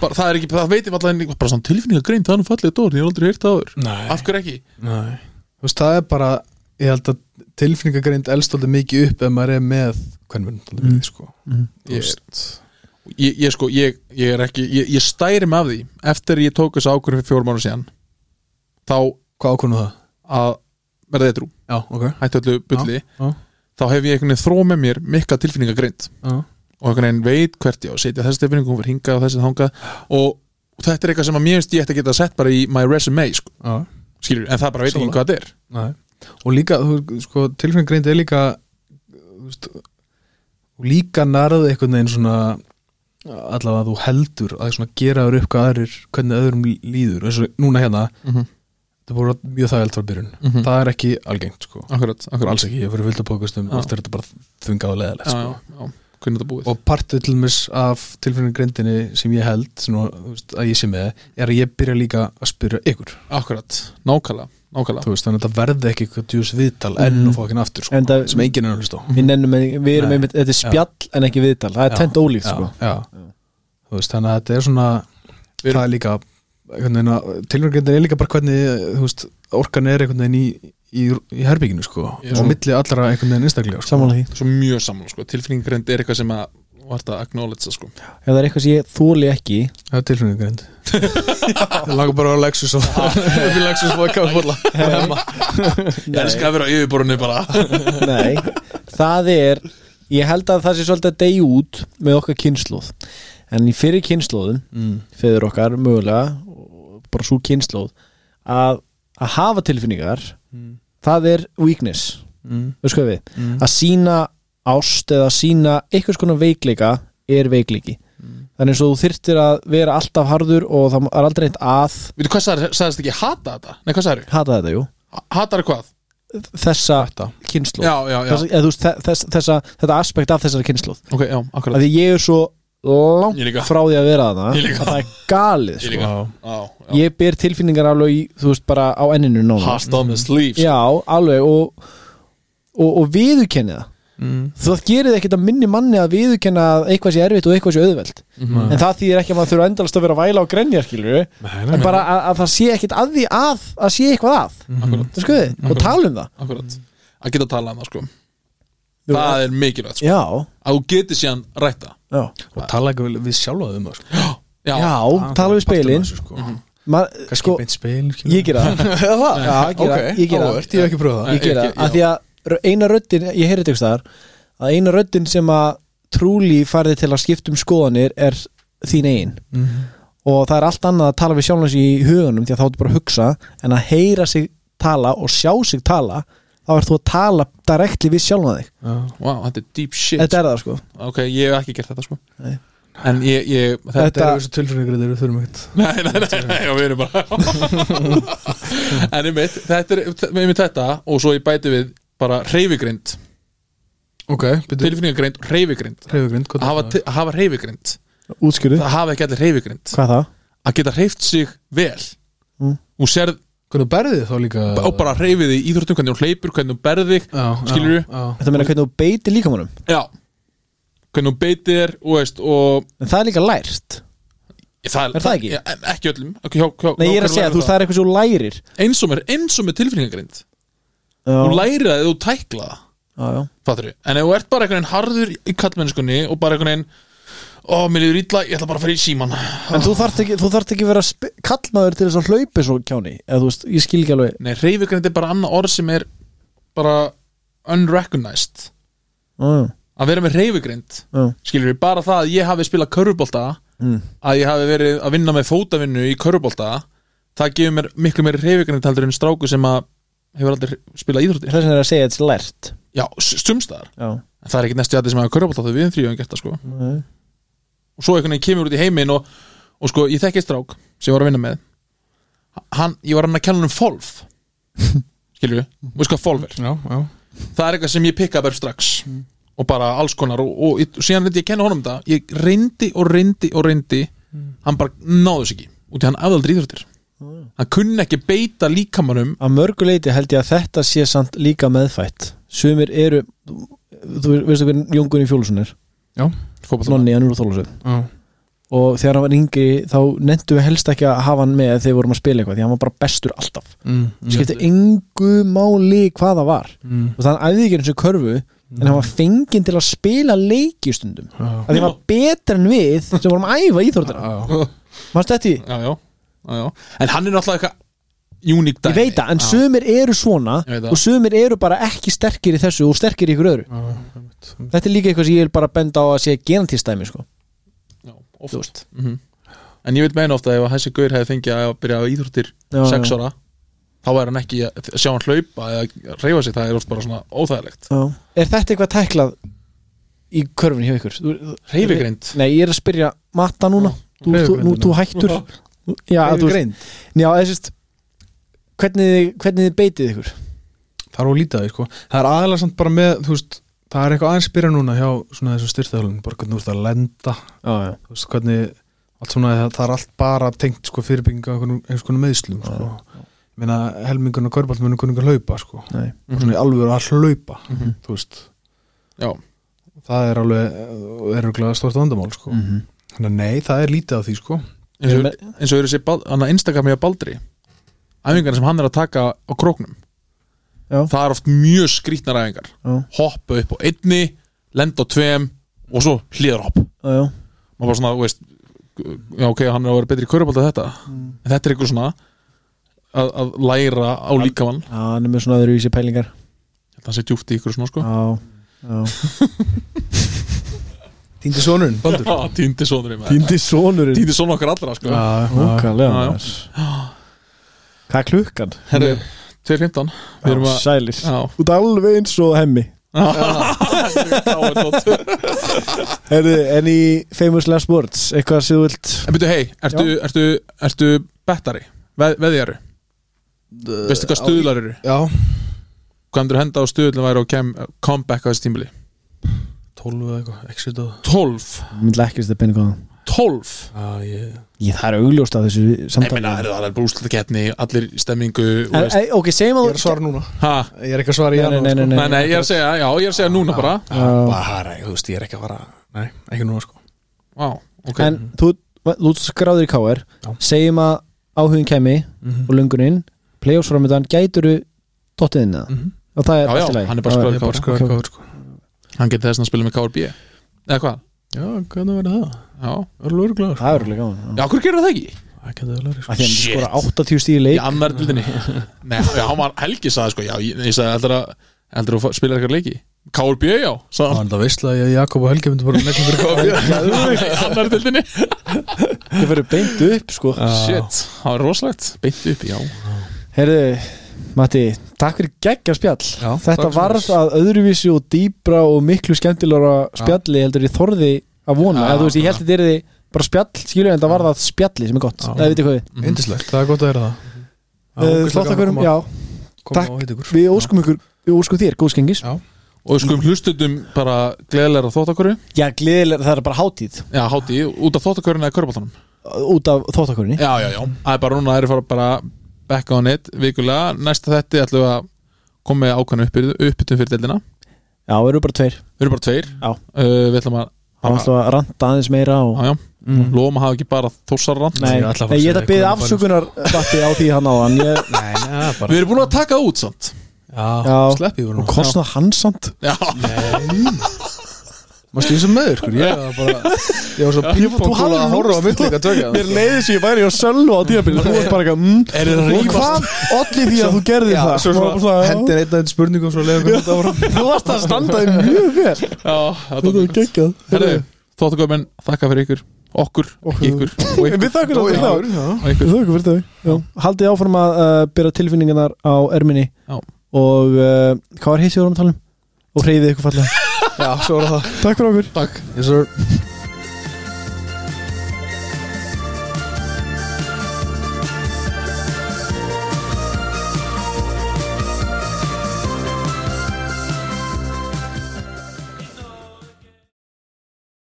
bara, það er ekki, það veitum alltaf bara svona tilfinningagrein, það er nú fallið orð, ég hef aldrei heyrt það áður
nei.
af hverju ekki?
nei þú veist, það er bara, ég held að tilfinningagreind elst alltaf mikið upp ef maður er með hvernig við erum alltaf sko þú
Ég-
veist,
Ég, ég sko, ég, ég er ekki, ég, ég stæri mig af því eftir ég tók þessu ákvörðu fyrir fjórum ára síðan þá
hvað ákvörnum það?
að verða eitthrú,
já, ok
hættu öllu bulli
já,
þá hef ég einhvern veginn þró með mér mikla tilfinningagreind
já.
og einhvern veginn veit hvert ég á að setja þessi tilfinningu, hún verður hingað og þessi þangað og, og þetta er eitthvað sem að mér finnst ég ætti að geta sett bara í my resume, sko,
já.
skilur en það bara veit ekki
Sammála.
hvað þetta er
Nei. og líka þú- sko, tilfinningreind er líka veist, og líka nærðu einhvern veginn svona allavega þú heldur að svona gera þér upp hvað aðrir, hvernig öðrum líður eins og núna hérna,
Mhm.
þetta voru mjög þægælt frá byrjun,
Mhm.
það er ekki algengt sko,
akkurat, akkurat
alls ekki, ég fyrir vilt að bókast um
Já.
oft er þetta bara þungað og leðalegt
já, já,
sko.
já, hvernig þetta búið
og partur til mér af tilfinningrindinni sem ég held, svona, þú veist, að ég sé með er að ég byrja líka að spyrja ykkur
akkurat, nákvæmlega, nákvæmlega
þú veist, þannig að þetta verði ekki eitthvað djús viðtal enn
Mhm.
og fókin aftur, sko,
En það-
sem enginn er að hlusta á
Við, nennum, við erum
Nei.
einmitt, þetta er
Já.
spjall en ekki viðtal, það er
Já.
tent ólíkt
já,
sko.
já. þú veist, þannig að þetta er svona
Við erum-
það er líka tilvægindin er líka bara hvernig þú veist, orkan er einhvern veginn í, í, í herbygginu, sko,
Já.
og milli allra einhvern veginn einstaklega, sko
Samanlega því,
svo mjög sammála, sko, tilfinningrind er eitthvað sem að vart að acknowledge, sko
ef það er eitthvað sem ég þóli ekki
það er tilvægindin ég laga bara á Lexus og við Lexus og að kafa bóla
ég elska að vera á yfirborunni bara
Nei, það er ég held að það sé svolítið að deyja út með okkar kynnslóð en í fyrir kynnslóðum,
mm.
feður okkar mögulega, og bara svo kynnslóð að, að hafa tilfinningar
Mm.
það er weakness
Mm.
veistu hvað við,
Mm.
að sína ást eða sína einhvers konar veikleika er veikleiki
Mm.
þannig svo þú þyrtir að vera alltaf harður og það er aldrei eitt að
veitu hvað sagðist- sagðist ekki, hata þetta? nei, hvað sagður?
hata þetta, jú,
hatar hvað?
þessa
þetta
kynnslóð
já, já, já,
Þessa, eða þú veist, þe- þess, þessa, þetta aspekt af þessari kynnslóð
ok, já, akkurat
að því ég er svo langt
Ég líka.
frá því að vera þarna
Ég líka.
að það er galið
Ég
sko.
líka.
Já.
já, já.
ég ber tilfinningar alveg í, þú veist, bara á enninu nóna
Passed on the sleeves
Mm. já, alveg og, og, og viðurkenni það það gerir það ekkert að minni manni að viðurkenna að eitthvað sé erfitt og eitthvað sé auðvelt
Mhm.
en það þýðir ekki að maður þurfa endalast að vera að væla og grenja skilur
Nei, nei,
en bara að, að það sé ekkert að því að að sé eitthvað að,
akkurat,
það skoði
Mhm.
og tala um það
akkurat að geta að tala um það, sko
Jú,
það er mikilvægt, sko
já,
að þú getur síðan rætta
já,
og tala ekki vel við sjálfa um það sko.
já,
já tala við speilin
Partur af þessu, sko.
Maður-
kannski
sko,
beint speil
ég gera það já, ég gera,
ok,
ég gera það
áhvert, ég hef ekki pröfað það
ég gera
Ekki-
það, af því að rö- eina röddin ég heyrði þetta ykkur að eina röddin sem að trúli farið til að skipta um skoðanir er þín eigin og það er allt annað að tala við sjálfnars í hugunum því að þá ertu bara að hugsa en að heyra sig tala og sjá sig tala þá ert þú að tala direktli við sjálfna þig
Já.
wow, þetta er deep shit
þetta er það sko
ok, ég hef ekki gert þetta, sko
Nei.
en ég, ég þetta,
þetta eru þessu tilfinningur þegar við þurfum ekkert
Nei, nei, nei, nei, já, við erum bara En einmitt, þetta er einmitt þetta og svo ég bæti við bara reyfigrind,
ok, byrju,
tilfinningagrind og reyfigrind
hreyfugrind
að hafa, að hafa reyfigrind
útskjöru,
það hafa ekki allir reyfigrind
hvað það?
að geta reyft sig vel
Mm.
og sérð,
hvernig berðið þá líka
og bara reyfið í íþróttum hvernig hún hleypur, hvernig hún berði
já,
Skilurðu?
já, já.
Þetta meina hvernig þú beitir líkamannum
já, hvernig hún beitir þér og veist, og
en það er líka lært Er það ekki?
Já, en ekki öllum ekki, hjá, hjá,
Nei, ég er
hjá
að segja,
hverju
þú veist, það
lærir
er eitthvað sem þú lærir
það? eins og með, eins og með tilfinningagrind þú
Já,
lærir það eða þú tækla það
já, já.
Fattur En ef þú ert bara einhvern veginn harður í kallmennskunni og bara einhvern veginn Ó, mér líður illa, ég ætla bara að fara í síman
En þú þarft ekki, þú þarft ekki vera sp- kallmaður til þess að hlaupi svo kjáni eða þú veist, ég skil ekki alveg
Nei, reyfugrind er bara annað orð sem er bara unrecognized
uh,
Að vera með reyfugrind
uh,
Skilur við bara það að ég hafi spilað körfubolta
mm.
Að ég hafi verið að vinna með fótavinnu í körfubolta Það gefur mér miklu meiri reyfugrind heldur en stráku sem að hefur aldrei spilað íþróttir
Þess vegna er að segja að þetta er lært
Já, stumstaðar
Já,
En það er ekki næstu að sem hafa körfubolta þau við um þrjóðum gert það sko
Nei.
og svo einhvern veginn kemur út í heiminn og, og sko, ég þekki strák sem ég var að vinna með hann, ég var hann að kenna hann um fólf skilur við, veist hvað fólf er
já, já.
það er eitthvað sem ég pikka bara strax og bara alls konar og, og, og síðan reyndi ég að kenna honum það ég reyndi og reyndi og reyndi hann bara náðu sig ekki, út í hann afðaldri íþróttir hann kunni ekki beita líkamannum
að mörgu leiti held ég að þetta sé samt líka meðfætt Sumir eru, þú veistu hvernig Jón Gunni Fjólusson er,
fótbolta-
Nonni, hann úr Þólusöf
já.
og þegar hann var yngri þá nefndu við helst ekki að hafa hann með þegar við vorum að spila eitthvað því hann var bara bestur alltaf
Mm, mm,
skipti engu máli hvað það var
mm,
og þannig æfði ekki eins og körfu en hann var fenginn til að spila leiki stundum
já.
að því hann var betur en við sem vorum að æfa íþórtina
Já.
Manstu þetta í?
já, já, já, já. en hann er náttúrulega eitthvað uník
Ég veit það, en sumir eru svona
Ég veit það.
og sumir eru bara ekki sterkir í þessu og sterkir í ykkur öðru
Já, einmitt.
Þetta er líka eitthvað sem ég vil bara benda á að sé genantistæmi sko.
Já,
Þú
oft Mhm.
veist.
mm En ég vil meina ofta að ef að þessi gaur hefði fengið að byrja á íþróttir
Já,
6
já.
ára þá er hann ekki að sjá hann hlaupa eða reyfa sig, það er oft bara svona óþægilegt
Er þetta eitthvað tæklað í körfinu hjá ykkur? Þú-
reyfigrind
Nei, ég er að spyrja matta núna
Mm.
Þú, þú, nú, þú hættur Já, þú veist
Reyfigreind.
Já, þessist Hvernig, þið- hvernig þið beitið ykkur?
Það er ólítið sko. Það er aðalega samt bara með þú veist, Það er eitthvað aðeins byrja núna hjá svona þessum styrtaðalun bara hvernig þú ert að lenda
Já, já
þú veist, hvernig, allt svona, það, það er allt bara tengt sko, fyrirbygginga einhvers konar meðslum sko. Ég meina, helmingun og körbalt munum kunningar hlaupa sko.
Nei.
og svona í alvöru að hlaupa þú veist
Já.
það er alveg eh, örugglega stort vandamál sko.
Mhm.
þannig að nei, það er lítið af því sko.
eins og- eins og eru sér hann að Instagram ég að Baldri æfingarna sem hann er að taka á króknum
Já.
það er oft mjög skrýtnar æfingar
Já.
hoppa upp á einni, lenda á tveim og svo hlýðarhopp
Já, já
maður bara svona, þú veist já ok, hann er að vera betri í körubálta þetta
Mm.
en þetta er eitthvað svona að, að læra á líkamann
Já, hann er með svona öðru í sér pælingar
þetta sé djúpt í ykkur svona sko
Já, já
Týndi sonurinn, Baldur
Ah, týndi sonurinn maður.
Týndi sonurinn
týndi sonur okkar allra sko
Ókalega
Já, já.
maður. Hvað er klukkan?
herru, 2.15 við erum að
Sælis
já,
Þú ert alveg eins og hemmi
þá er tótt
Herðu, en í Famous Last Words Eitthvað sem þú vilt
en byrju, hei, ertu, ertu, ertu bettari, veð, veðjaru veistu hvað stuðlar eru
Já,
hvað myndir henda á stuðlum væri og kem, comeback á þessi tímbili
12 eða eitthvað, exit og
12,
Myndla ekki þess að penna góðan
12
Já, ég
Ég það er augljóst af þessu
ég
samtali
meina, heyrðu, það er bara úrslutakeppni, allir í stemmingu og
En,
veist-
ei, Ok, segjum
Ég
að
er að svara núna
ha,
Ég er ekki að svara í
Nei, nei,
janúar,
nei,
sko. Ah,
nei,
nei, nei, ég er að segja, já, ég er að segja núna bara
Já.
Bara, þú veist, ég er ekki að fara Nei, ekki núna sko
Vá, ok
En þú, þú ert skráður í KR
Já.
Segjum að áhugin kemi
Mhm.
og lunguninn Playoffs framöndan gæturu dottiðinna mm
Mhm.
Og það er
Já, já,
allt í lagi
hann er bara
Já,
skráður
Ég er bara að
Ok,
skoða
ok.
hvað sko
Hann getur þess að spila með KRB Eða hvað?
Já, hvernig verður það?
Já,
Það er lörglega
Það er alveg gaman
já hvernig gerir það ekki?
Það getur sko. það lörglega
Það er
Shit.
skora 80 stíð í leik
Í annar dildinni Nei, já, hann var Helgi sagði sko Já, ég, ég sagði heldur að Heldur að fá- spila eitthvað leiki KRB, já
Það
Sagði
var þetta veistla að ég Jakob og Helgi myndi bara að negla fyrir
hann Í annar dildinni
Það verður beint upp sko
Ah,
Shit, Ah, það var rosalegt Beint upp, já
Herðu, Matti, takk fyrir geggja spjall
Já,
Þetta
takk fyrir.
varð að öðruvísi og dýbra og miklu skemmtilegra spjalli heldur ég þorði að vona
Já,
eða þú veist, ég held þetta er því bara spjall skilur en það varð að spjalli sem er gott
Já.
Það veit ég hvað
kópi Indislegt, mhm. það er gott að gera það Það
við
er ógeðslega
Þáttakurum,
gaman að koma-
Eh, já,
koma
Takk.
og hitta ykkur.
við óskum ykkur við óskum þér, góð skengis
Já.
Og sko um hlustutum bara Gleðilega þóttakörðu
Já, gleðilega, það er bara hátíð
Já, hátti í Út af þóttakörðinu eða körbáltanum
út af þáttakurinni
Já, já, já Það er bara núna Það eru fara bara Back on it Vikulega Næsta þetta ætlum við að Koma með ákvæmna uppbytum fyrir deildina
Já, við erum bara tveir
Við erum bara tveir
Já.
uh, Við ætlum að
Það er alltaf að ranta aðeins meira og...
Já, já, lofum að hafa ekki bara þósarrand
Nei,
Ég
ég,
ætla að fara
ég
að segja
ætla að byrja
eitthvað
afsökunar Matti á því hann á hann ég,
Nei, nei, það er
Við
bara
erum búin að taka það út samt
Já,
Já,
slepp ég voru
og
nú
kostnað hansand
Já,
Mástu ég sem meður, skur, sko? ég var bara Ég var svo pingpongkúla að horfa á myndleika tökja
Mér leiðis ég væri á sölva á tíðabili Þú varst bara eitthvað mm,
Er það að
Og
rífast?
hvað olli því að þú gerði það?
Svo
Maður bara
svona hendir einn aðeins spurningum Svo leiðum við þetta áfram
Þú varst að standaði mjög vel
já, það
Þetta var
tók
geggjað
Herðu, þóttakofin, þakka fyrir ykkur Okkur, ekki ykkur og
En
ykkur,
Við þakkum þetta þá Við þakkum
og ykkur.
Já, já.
fyrir þau Já. Haldið áfram að uh, byrja tilfinningarnar á erminni
Já.
Og uh, hvað var hitt í orðum talum? Og hreyðið um? ykkur fallega
Já, svo var það
Takk fyrir okkur
Takk
Yes sir